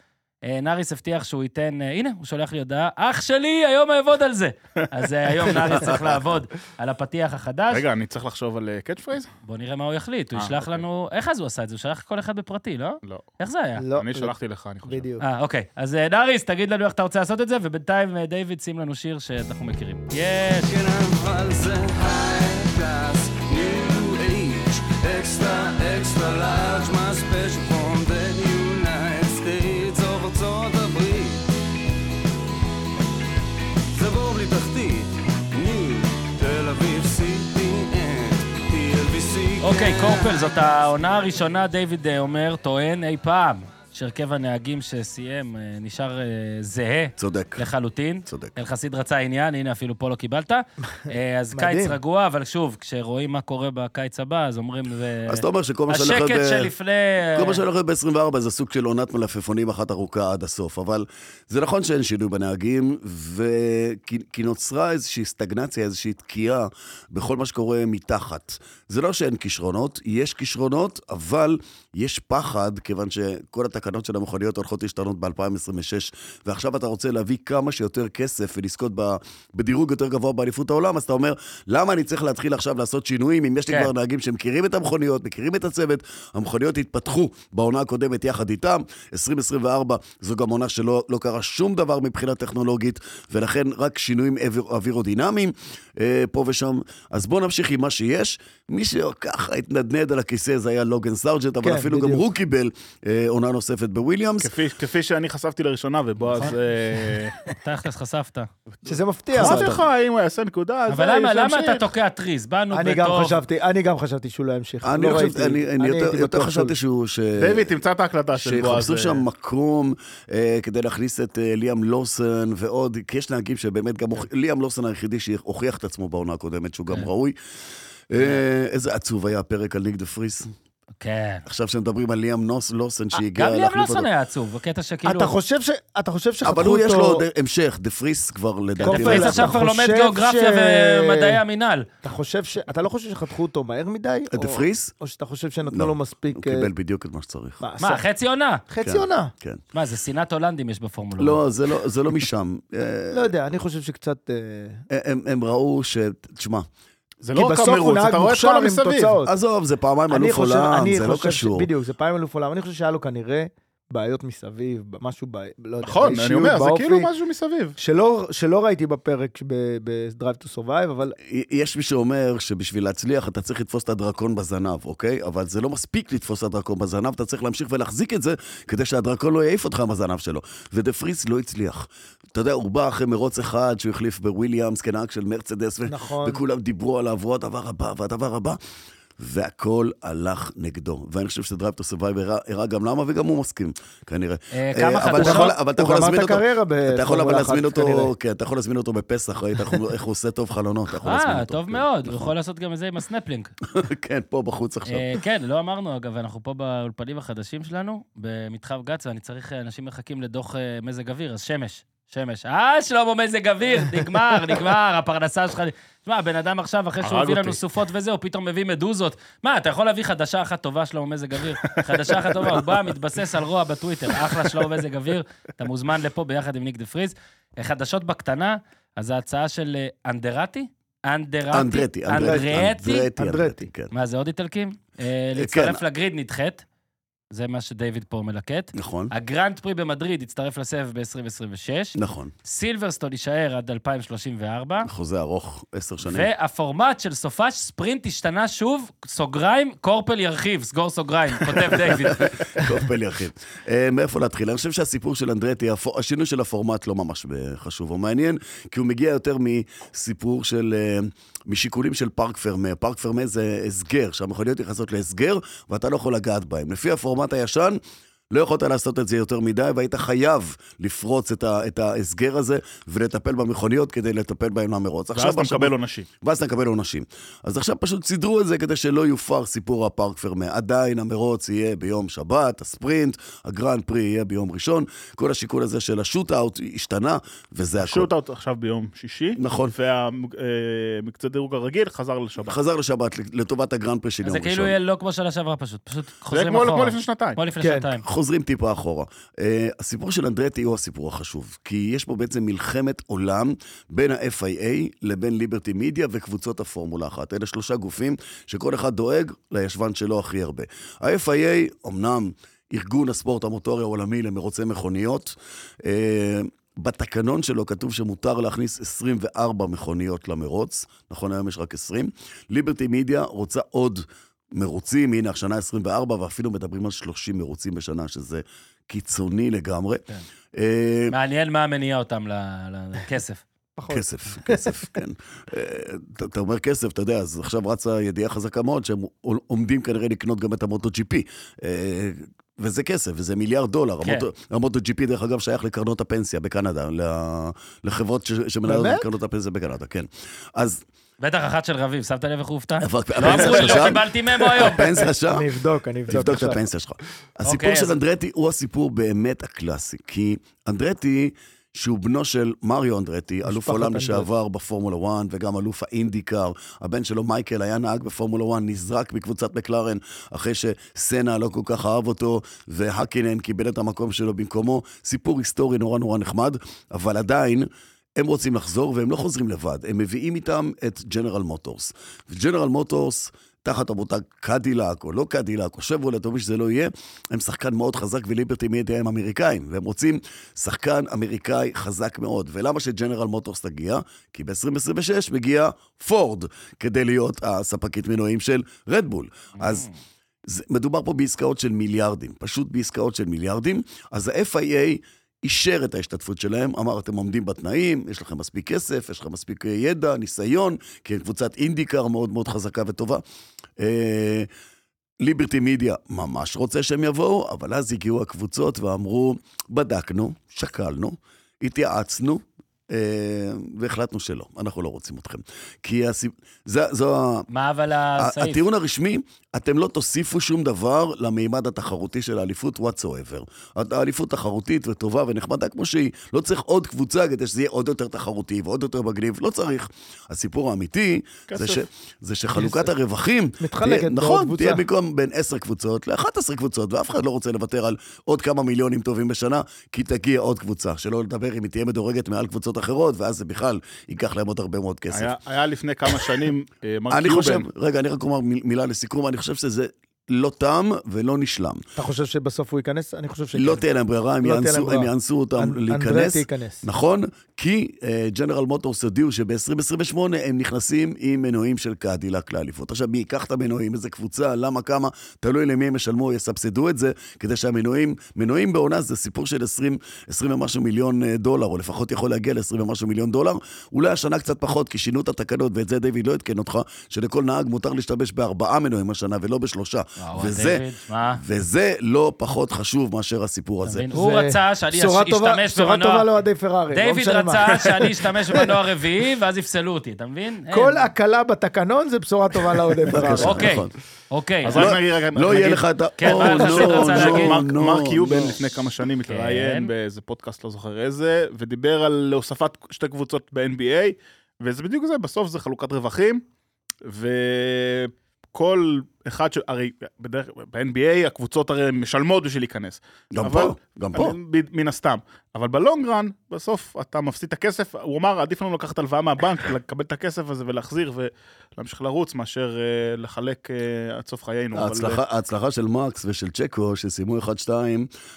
Speaker 1: אה, נאריס הבטיח שהוא ייתן, אה, הנה, הוא שולח לי הודעה, אח שלי, היום אעבוד על זה. [LAUGHS] אז אה, היום נאריס צריך לעבוד על הפתיח החדש.
Speaker 3: רגע, אני צריך לחשוב על אה, קאץ' פרייז?
Speaker 1: בוא נראה מה הוא יחליט, הוא
Speaker 3: אה,
Speaker 1: ישלח
Speaker 3: אוקיי.
Speaker 1: לנו... איך אז הוא עשה את זה? הוא שלח כל אחד בפרטי, לא?
Speaker 3: לא.
Speaker 1: איך זה היה?
Speaker 4: לא,
Speaker 3: אני
Speaker 4: לא.
Speaker 3: שלחתי לך, אני חושב.
Speaker 4: בדיוק.
Speaker 1: אה, אוקיי. אז אה, נאריס, תגיד לנו איך אתה רוצה לעשות את זה, ובינתיים, אה, דיוויד, שים לנו שיר שאנחנו מכירים. יש!
Speaker 6: כן, אבל זה high class, new age, extra, extra large, my special from the United States of ארצות הברית. זה בור בלי תחתית, ניו, תל אביב, CTN, TLBC.
Speaker 1: אוקיי, קורפל, זאת העונה הראשונה, דיוויד אה, אומר, טוען אי פעם, שהרכב הנהגים שסיים אה, נשאר אה, זהה
Speaker 2: צודק.
Speaker 1: לחלוטין.
Speaker 2: צודק.
Speaker 1: אל חסיד רצה עניין, הנה אפילו פה לא קיבלת.
Speaker 2: [LAUGHS]
Speaker 1: אה, אז
Speaker 4: מדהים.
Speaker 1: קיץ רגוע, אבל שוב, כשרואים מה קורה בקיץ הבא, אז אומרים, זה...
Speaker 2: אז אתה אומר שכל מה שהולך
Speaker 1: השקט
Speaker 2: להיות... ב-
Speaker 1: שלפני...
Speaker 2: כל מה שהולך להיות ב-24 זה סוג של עונת מלפפונים אחת ארוכה עד הסוף, אבל זה נכון שאין שינוי בנהגים, וכי כי נוצרה איזושהי סטגנציה, איזושהי תקיעה בכל מה שקורה מתחת. זה לא שאין כישרונות, יש כישרונות, אבל יש פחד, כיוון שכל התקנות של המכוניות הולכות להשתנות ב-2026, ועכשיו אתה רוצה להביא כמה שיותר כסף ולזכות ב- בדירוג יותר גבוה באליפות העולם, אז אתה אומר, למה אני צריך להתחיל עכשיו לעשות שינויים אם יש לי
Speaker 1: כן.
Speaker 2: כבר נהגים שמכירים את המכוניות, מכירים את הצוות, המכוניות התפתחו בעונה הקודמת יחד איתם. 2024 זו גם עונה שלא לא קרה שום דבר מבחינה טכנולוגית, ולכן רק שינויים אוויר, אווירודינמיים אה, פה ושם. אז בואו נמשיך עם מה שיש. מי שככה התנדנד על הכיסא זה היה לוגן סארג'ט, אבל
Speaker 4: כן,
Speaker 2: אפילו גם
Speaker 4: בדיוק.
Speaker 2: הוא קיבל אה, עונה נוספת בוויליאמס.
Speaker 3: כפי- כפי שאני חשפתי לראשונה, ובועז...
Speaker 1: נכון.
Speaker 2: [LAUGHS]
Speaker 3: אה,
Speaker 1: אתה איך חשפת.
Speaker 4: שזה מפתיע.
Speaker 3: אמרתי לך, אם הוא יעשה נקודה, אז...
Speaker 1: אבל
Speaker 3: אה,
Speaker 1: למה- למה
Speaker 3: שימשיך.
Speaker 1: אתה תוקע טריז? באנו
Speaker 4: אני גם
Speaker 1: בטוב.
Speaker 4: חשבתי, אני גם חשבתי שהוא לא ימשיך.
Speaker 2: אני,
Speaker 4: לא
Speaker 2: חושב,
Speaker 4: ראיתי.
Speaker 2: אני, אני יותר,
Speaker 4: הייתי
Speaker 2: יותר
Speaker 4: בטוח
Speaker 2: חשבתי שהוא... ש...
Speaker 3: דיוויד, תמצא את ההקלטה של בועז.
Speaker 2: שיחפשו
Speaker 3: אה,
Speaker 2: שם מקום אה, כדי להכניס את אה, ליאם לוסן ועוד, כי יש נהגים שבאמת גם... הוכ- ליאם לוסן היחידי שהוכיח את עצמו בעונה הקודמת, שהוא גם
Speaker 1: כן.
Speaker 2: ראוי. אה, איזה עצוב היה הפרק על ליג דה פריס.
Speaker 1: כן.
Speaker 2: עכשיו שמדברים על ליאם נוס, לוסן שהגיע
Speaker 1: גם ליאם
Speaker 2: להחליף
Speaker 1: לוסון
Speaker 2: אותו.
Speaker 1: היה עצוב, בקטע שכאילו...
Speaker 4: אתה חושב ש... אתה חושב שחתכו אותו...
Speaker 2: כאילו- אבל הוא יש לו עוד המשך, דה פריס כבר לדעתי.
Speaker 4: דה
Speaker 1: דופייס
Speaker 4: אתה
Speaker 1: עכשיו כבר לומד
Speaker 4: חושב
Speaker 1: גיאוגרפיה
Speaker 4: ש-
Speaker 1: ומדעי המינהל.
Speaker 4: אתה חושב ש... אתה לא חושב שחתכו אותו מהר מדי?
Speaker 2: אה, דה
Speaker 4: או-
Speaker 2: פריס?
Speaker 4: או שאתה חושב שנתנו
Speaker 2: לא,
Speaker 4: לו מספיק...
Speaker 2: הוא
Speaker 4: אה,
Speaker 2: קיבל בדיוק את מה שצריך.
Speaker 1: מה,
Speaker 4: עשה-
Speaker 1: חצי עונה?
Speaker 4: חצי
Speaker 2: כן.
Speaker 4: עונה.
Speaker 2: כן.
Speaker 1: מה, זה שנאת הולנדים יש בפורמולה.
Speaker 2: לא, זה לא- זה לא משם. אה,
Speaker 4: לא יודע, אני חושב שקצת... אה,
Speaker 2: הם הם ראו ש... תשמע,
Speaker 3: זה
Speaker 4: כי
Speaker 3: לא רק
Speaker 4: בסוף הוא
Speaker 3: המרוץ,
Speaker 4: נהג
Speaker 3: אתה רואה את
Speaker 4: מוכשר
Speaker 3: כל
Speaker 4: עם
Speaker 3: המסביב.
Speaker 4: תוצאות.
Speaker 2: עזוב, זה פעמיים
Speaker 4: אני
Speaker 2: אלוף
Speaker 4: חושב-
Speaker 2: עולם,
Speaker 4: אני
Speaker 2: זה לא
Speaker 4: חושב ש-
Speaker 2: קשור.
Speaker 4: בדיוק, זה פעם אלוף עולם. אני חושב שהיה לו כנראה בעיות מסביב, ב- משהו ב... לא יודע,
Speaker 3: נכון, אני
Speaker 4: באישיות,
Speaker 3: אומר, זה
Speaker 4: באופי,
Speaker 3: כאילו משהו מסביב.
Speaker 4: שלא- שלא ראיתי בפרק ב- ב-Drive to Survive, אבל
Speaker 2: יש מי שאומר שבשביל להצליח אתה צריך לתפוס את הדרקון בזנב, אוקיי? אבל זה לא מספיק לתפוס את הדרקון בזנב, אתה צריך להמשיך ולהחזיק את זה כדי שהדרקון לא יעיף אותך מהזנב שלו. ודה פריס לא הצליח. אתה יודע, הוא בא אחרי מרוץ אחד שהוא החליף בוויליאמס כנהג של מרצדס, ו-
Speaker 4: נכון.
Speaker 2: וכולם דיברו עליו, והוא הדבר הבא, והדבר הבא. והכל הלך נגדו. ואני חושב שדרייב טו סורווייב הראה גם למה, וגם הוא מסכים, כנראה.
Speaker 1: אה, כמה
Speaker 2: אה, אבל אתה
Speaker 1: חתונות?
Speaker 2: יכול- אבל אתה
Speaker 4: הוא
Speaker 2: יכול
Speaker 4: גמר את
Speaker 2: להזמין אותו.
Speaker 4: הקריירה
Speaker 2: אתה יכול אבל
Speaker 4: בפורמולה
Speaker 2: להזמין
Speaker 4: אחת,
Speaker 2: אותו,
Speaker 4: כנראה.
Speaker 2: כן, אתה יכול להזמין אותו בפסח, ראית איך הוא- איך הוא עושה טוב חלונות, אתה יכול להזמין
Speaker 1: אה,
Speaker 2: אותו.
Speaker 1: טוב
Speaker 2: כן,
Speaker 1: מאוד, הוא
Speaker 2: נכון.
Speaker 1: יכול לעשות גם את זה עם הסנפלינג.
Speaker 2: [LAUGHS] כן, פה בחוץ עכשיו.
Speaker 1: אה, כן, לא אמרנו, אגב, אנחנו פה באולפנים החדשים שלנו, במתחם גץ, ואני צריך, אה, אנשים מחכים לדוח אה, מזג אוויר, אז שמש, שמש. אה, שלמה מזג אוויר,
Speaker 2: [LAUGHS]
Speaker 1: נגמר, נגמר, הפרנסה שלך... תשמע, הבן אדם עכשיו, אחרי שהוא
Speaker 3: הרג
Speaker 1: הביא לנו
Speaker 3: אותי.
Speaker 1: סופות וזה, הוא פתאום מביא מדוזות. מה, אתה יכול להביא חדשה אחת טובה, שלמה מזג אוויר? חדשה אחת טובה, הוא בא, מתבסס על רוע בטוויטר. אחלה, שלמה מזג אוויר, אתה מוזמן לפה ביחד עם ניק דה פריז. אה, חדשות בקטנה, אז ההצעה של אה, אנדרטי? אנדרטי?
Speaker 2: אנדרטי, אנדרטי,
Speaker 1: אה, אנדרטי?
Speaker 2: אנדרטי, כן.
Speaker 1: מה, זה עוד איטלקים? אה, להצטרף
Speaker 2: כן.
Speaker 1: לגריד נדחית, זה מה שדייוויד פה מלקט.
Speaker 2: נכון,
Speaker 1: הגרנד פרי במדריד יצטרף לסבב ב-2026,
Speaker 2: נכון.
Speaker 1: סילברסטון יישאר עד 2034,
Speaker 2: חוזה ארוך, עשר שנים.
Speaker 1: והפורמט של סופש ספרינט השתנה שוב, סוגריים, קורפל ירחיב, סגור סוגריים, כותב
Speaker 3: [LAUGHS]
Speaker 1: דיוויד.
Speaker 2: טוב, פלא יחיד. אה, מאיפה להתחיל? אני חושב שהסיפור של אנדרטי, הפו- השינוי של הפורמט לא ממש אה, חשוב או מעניין, כי הוא מגיע יותר מסיפור של... אה, משיקולים של פארק פרמה. פארק פרמה זה הסגר, שהמכוניות נכנסות להסגר, ואתה לא יכול לגעת בהם. לפי הפורמט הישן, לא יכולת לעשות את זה יותר מדי, והיית חייב לפרוץ את, ה, את ההסגר הזה ולטפל במכוניות כדי לטפל בהם למרוץ.
Speaker 3: ואז אתה
Speaker 2: עכשיו-
Speaker 3: מקבל עונשים.
Speaker 2: ואז אתה מקבל עונשים. אז עכשיו פשוט סידרו את זה כדי שלא יופר סיפור הפארק פרמה. עדיין המרוץ יהיה ביום שבת, הספרינט, הגרנד פרי יהיה ביום ראשון. כל השיקול הזה של השוט-אאוט השתנה, וזה הכול.
Speaker 3: שוט אאוט עכשיו ביום שישי.
Speaker 2: נכון.
Speaker 3: והמקצה דירוג הרגיל חזר לשבת.
Speaker 2: חזר לשבת לטובת הגרנד פרי של
Speaker 1: אז
Speaker 2: יום
Speaker 1: זה
Speaker 2: ראשון.
Speaker 1: כאילו יהיה לא כמו שנה שעברה פשוט, פשוט
Speaker 3: זה
Speaker 1: חוזרים
Speaker 3: כמו
Speaker 1: אחורה.
Speaker 3: כמו לפני שנתיים.
Speaker 1: כמו לפני
Speaker 4: כן.
Speaker 1: שנתיים.
Speaker 2: חוזרים טיפה אחורה. Uh, הסיפור של אנדרטי הוא הסיפור החשוב, כי יש פה בעצם מלחמת עולם בין ה-FIA לבין ליברטי מידיה וקבוצות הפורמולה אחת. אלה שלושה גופים שכל אחד דואג לישבן שלו הכי הרבה. ה-FIA, אמנם ארגון הספורט המוטורי העולמי למרוצי מכוניות, uh, בתקנון שלו כתוב שמותר להכניס 24 מכוניות למרוץ, נכון היום יש רק 20. ליברטי מידיה רוצה עוד מרוצים, הנה השנה 24, ואפילו מדברים על 30 מרוצים בשנה, שזה קיצוני לגמרי.
Speaker 1: כן.
Speaker 2: אה,
Speaker 1: מעניין מה מניע אותם ל- ל- לכסף.
Speaker 4: פחות.
Speaker 2: כסף,
Speaker 1: [LAUGHS]
Speaker 2: כסף, כן. אה, אתה- אתה אומר כסף, אתה יודע, אז עכשיו רצה ידיעה חזקה מאוד שהם עול- עומדים כנראה לקנות גם את המוטו GP. אה, וזה כסף, וזה מיליארד דולר.
Speaker 1: כן.
Speaker 2: המוטו- המוטו GP, דרך אגב, שייך לקרנות הפנסיה בקנדה, ל- לחברות ש- שמנהלות
Speaker 4: באמת?
Speaker 2: את קרנות הפנסיה בקנדה, כן. אז
Speaker 1: בטח אחת של רביב, שמת לב איך הוא הופתע?
Speaker 2: איפה
Speaker 1: לא אמרו לי,
Speaker 2: שלך
Speaker 1: לא
Speaker 2: שם?
Speaker 1: קיבלתי ממו היום. [LAUGHS]
Speaker 2: הפנסיה שם?
Speaker 4: אני אבדוק, אני אבדוק.
Speaker 2: תבדוק לא. את
Speaker 4: עכשיו.
Speaker 2: הפנסיה שלך.
Speaker 1: אוקיי,
Speaker 2: הסיפור
Speaker 1: אז-
Speaker 2: של אנדרטי הוא הסיפור באמת הקלאסי, כי אנדרטי, שהוא בנו של מריו אנדרטי, אלוף
Speaker 4: משפחת
Speaker 2: העולם
Speaker 4: אנדרטי.
Speaker 2: לשעבר בפורמולה 1, וגם אלוף האינדיקר, הבן שלו מייקל היה נהג בפורמולה 1, נזרק מקבוצת מקלרן, אחרי שסנה לא כל כך אהב אותו, והקינן קיבל את המקום שלו במקומו. סיפור היסטורי נורא נורא נחמד, אבל עדיין... הם רוצים לחזור והם לא חוזרים לבד, הם מביאים איתם את ג'נרל מוטורס. וג'נרל מוטורס, תחת המותג קדילק או לא קדילק או שברולט או מי שזה לא יהיה, הם שחקן מאוד חזק וליברטי מדיה הם אמריקאים, והם רוצים שחקן אמריקאי חזק מאוד. ולמה שג'נרל מוטורס תגיע? כי ב-2026 מגיע פורד כדי להיות הספקית מנועים של רדבול. אז... זה, מדובר פה בעסקאות של מיליארדים, פשוט בעסקאות של מיליארדים. אז ה-FIA אישר את ההשתתפות שלהם, אמר, אתם עומדים בתנאים, יש לכם מספיק כסף, יש לכם מספיק אה, ידע, ניסיון, כי הם קבוצת אינדיקר מאוד מאוד חזקה וטובה. אה, ליברטי מידיה ממש רוצה שהם יבואו, אבל אז הגיעו הקבוצות ואמרו, בדקנו, שקלנו, התייעצנו, אה, והחלטנו שלא, אנחנו לא רוצים אתכם. כי הסיב... זה, זו ה...
Speaker 1: מה אבל
Speaker 3: אה,
Speaker 2: ה-
Speaker 1: הסעיף?
Speaker 2: הטיעון הרשמי, אתם לא תוסיפו שום דבר למימד התחרותי של האליפות whatsoever. הת- האליפות תחרותית וטובה ונחמדה כמו שהיא. לא צריך עוד קבוצה כדי שזה יהיה עוד יותר תחרותי ועוד יותר מגניב, לא צריך. הסיפור האמיתי זה, ש,
Speaker 3: כסף.
Speaker 2: זה שחלוקת הרווחים...
Speaker 4: מתחלקת
Speaker 2: תהיה,
Speaker 4: בעוד
Speaker 2: נכון,
Speaker 4: קבוצה.
Speaker 2: תהיה במקום בין 10 קבוצות ל-11 קבוצות, ואף אחד לא רוצה לוותר על עוד כמה מיליונים טובים בשנה, כי תגיע עוד קבוצה. שלא לדבר אם היא תהיה מדורגת מעל קבוצות אחרות, ואז זה בכלל ייקח להם עוד הרבה מאוד כסף.
Speaker 3: היה- היה לפני כמה שנים, אה, מרק
Speaker 2: אני חושב,
Speaker 3: קיובן,
Speaker 2: רגע, אני רק אומר מיל- מילה לסיכום, אני חושב שזה לא תם ולא נשלם.
Speaker 4: אתה חושב שבסוף הוא ייכנס? אני חושב שכן.
Speaker 2: לא תהיה להם ברירה, הם
Speaker 4: לא תהיה להם
Speaker 2: יאנסו- הם
Speaker 4: ברירה.
Speaker 2: יאנסו אותם
Speaker 4: אנ-
Speaker 2: להיכנס.
Speaker 4: אנדרטי ייכנס.
Speaker 2: נכון? כי ג'נרל מוטורס הודיעו שב-2028 הם נכנסים עם מנועים של קדילק לאליפות. עכשיו, מי ייקח את המנועים, איזה קבוצה, למה, כמה, תלוי למי הם ישלמו, יסבסדו את זה, כדי שהמנועים, מנועים בעונה זה סיפור של 20, 20 ומשהו מיליון אה, דולר, או לפחות יכול להגיע ל-20 ומשהו מיליון דולר. אולי השנה קצת פחות, כי שינו את התקנות, ואת זה דיוויד לא עדכן אותך, שלכל נהג מותר להשתמש בארבעה מנועים השנה ולא בשלושה.
Speaker 1: וואו,
Speaker 2: וזה,
Speaker 1: דיוויד, מה?
Speaker 2: וזה לא פחות חשוב מאשר הסיפור הזה.
Speaker 1: אתה מבין? הוא
Speaker 4: זה
Speaker 1: רצה שאני
Speaker 4: בשורה
Speaker 1: אש-
Speaker 4: טובה-
Speaker 1: אשתמש
Speaker 4: בשורה טובה
Speaker 1: במנוע...
Speaker 4: לאוהדי פרארי. לא
Speaker 1: דיוויד
Speaker 4: משנה מה.
Speaker 1: רצה שאני אשתמש במנוע רביעי, ואז יפסלו אותי, אתה מבין? אין.
Speaker 4: [LAUGHS] כל הקלה בתקנון זה בשורה טובה לאוהדי
Speaker 2: בבקשה.
Speaker 4: פרארי.
Speaker 1: אוקיי,
Speaker 2: נכון.
Speaker 1: אוקיי.
Speaker 3: אז
Speaker 1: אז-
Speaker 3: רק נגיד, רגע,
Speaker 2: לא
Speaker 3: נגיד-
Speaker 2: יהיה לך את ה...
Speaker 1: כן,
Speaker 2: Oh,
Speaker 1: מה אתה
Speaker 2: no,
Speaker 1: רצה
Speaker 2: no,
Speaker 1: להגיד?
Speaker 2: no,
Speaker 3: מרק- מרק
Speaker 2: no.
Speaker 3: קיובן לפני כמה שנים התראיין
Speaker 1: כן.
Speaker 3: באיזה פודקאסט, לא זוכר איזה, ודיבר על הוספת שתי קבוצות ב-NBA, וזה בדיוק זה, בסוף זה חלוקת רווחים, וכל אחד, ש- הרי בדרך כלל ב-NBA הקבוצות הרי משלמות בשביל להיכנס.
Speaker 2: גם
Speaker 3: אבל-
Speaker 2: פה, גם פה.
Speaker 3: אני- לא, ב- מן הסתם. אבל בלונגרן, בסוף אתה מפסיד את הכסף, הוא אמר, עדיף לנו לקחת הלוואה מהבנק, [LAUGHS] לקבל את הכסף הזה ולהחזיר ולהמשיך לרוץ, מאשר אה, לחלק אה, עד סוף חיינו. אבל-
Speaker 2: ההצלחה, ההצלחה של מקס ושל צ'קו, שסיימו 1-2,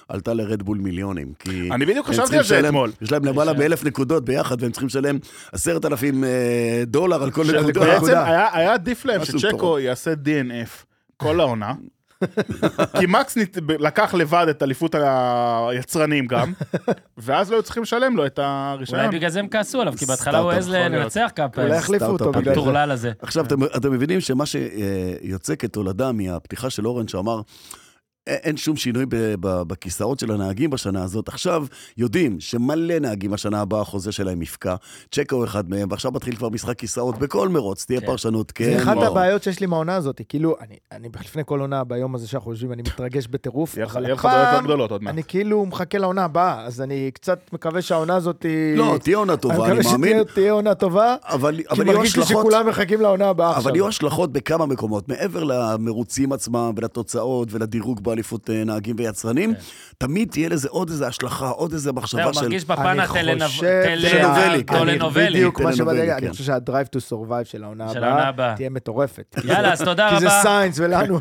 Speaker 2: עלתה לרדבול מיליונים. כי
Speaker 3: אה, אני בדיוק
Speaker 2: הם
Speaker 3: חשבתי
Speaker 2: צריכים
Speaker 3: על זה
Speaker 2: לשלם-
Speaker 3: אתמול.
Speaker 2: יש להם למעלה מאלף נקודות ביחד, והם צריכים לשלם עשרת אלפים אה, דולר על כל נקודה.
Speaker 3: בעצם
Speaker 2: נקודה.
Speaker 3: היה היה עדיף להם
Speaker 2: משהו
Speaker 3: שצ'קו
Speaker 2: מטורף.
Speaker 3: יעשה DNF כל העונה. כי מקס נת- ב- לקח לבד את אליפות היצרנים
Speaker 4: [LAUGHS]
Speaker 3: גם, ואז לא היו צריכים לשלם לו את
Speaker 1: אולי
Speaker 3: הרישיון.
Speaker 1: בגלל זה הם כעסו עליו, כי בהתחלה
Speaker 2: סטארט-אפ,
Speaker 1: הוא העז
Speaker 3: יכול להיות.
Speaker 1: לנצח כמה פעמים.
Speaker 4: אולי יחליפו אותו
Speaker 2: כן, סטארט-אפ.
Speaker 4: בגלל זה.
Speaker 1: הטורלל הזה.
Speaker 2: עכשיו,
Speaker 4: כן.
Speaker 2: אתם, אתם מבינים שמה שיוצא כתולדה מהפתיחה של אורן, שאמר, "א- אין שום שינוי ב- ב- בכיסאות של הנהגים בשנה הזאת. עכשיו יודעים שמלא נהגים השנה הבאה החוזה שלהם יפקע, צ'קו הוא אחד מהם, ועכשיו מתחיל כבר משחק כיסאות בכל מרוץ, תהיה
Speaker 1: כן.
Speaker 2: פרשנות, כן,
Speaker 4: זה אחת
Speaker 2: לא.
Speaker 4: הבעיות שיש לי מהעונה הזאת, כאילו, אני- אני לפני כל עונה, ביום הזה שאנחנו יושבים, אני מתרגש בטירוף,
Speaker 3: יהיה לך-
Speaker 4: אבל
Speaker 3: יהיה לך בעיות יותר
Speaker 4: הפעם
Speaker 3: גדולות עוד מעט.
Speaker 4: אני כאילו מחכה לעונה הבאה, אז אני קצת מקווה שהעונה הזאת היא...
Speaker 2: לא, תהיה עונה טובה, אני
Speaker 4: אני
Speaker 2: מאמין.
Speaker 4: מקווה שתהיה עונה טובה,
Speaker 2: אבל,
Speaker 4: כי
Speaker 2: אבל יהיו
Speaker 4: מרגיש לי
Speaker 2: השלכות,
Speaker 4: שכולם מחכים לעונה הבאה עכשיו.
Speaker 2: אבל יהיו השלכות בכמה מקומות, מעבר למרוצים עצמם ולתוצאות ולדירוג באליפות אה, נהגים ויצרנים,
Speaker 4: כן.
Speaker 2: תמיד תהיה לזה עוד איזה השלכה, עוד איזה
Speaker 1: זהו,
Speaker 2: מחשבה של...
Speaker 1: מרגיש בפן
Speaker 4: אני חושב-
Speaker 2: טלנובלי,
Speaker 1: הטלנובלי.
Speaker 2: כן.
Speaker 1: טלנובלי.
Speaker 4: בדיוק מה
Speaker 2: טלנובלי,
Speaker 4: שבדרך,
Speaker 2: כן.
Speaker 4: אני חושב שה-Drive to Survive של העונה
Speaker 1: של העונה
Speaker 4: הבאה
Speaker 1: הבאה.
Speaker 4: תהיה מטורפת.
Speaker 1: [LAUGHS] יאללה, אז תודה
Speaker 4: כי זה
Speaker 1: רבה.
Speaker 4: סיינס [LAUGHS] ולנו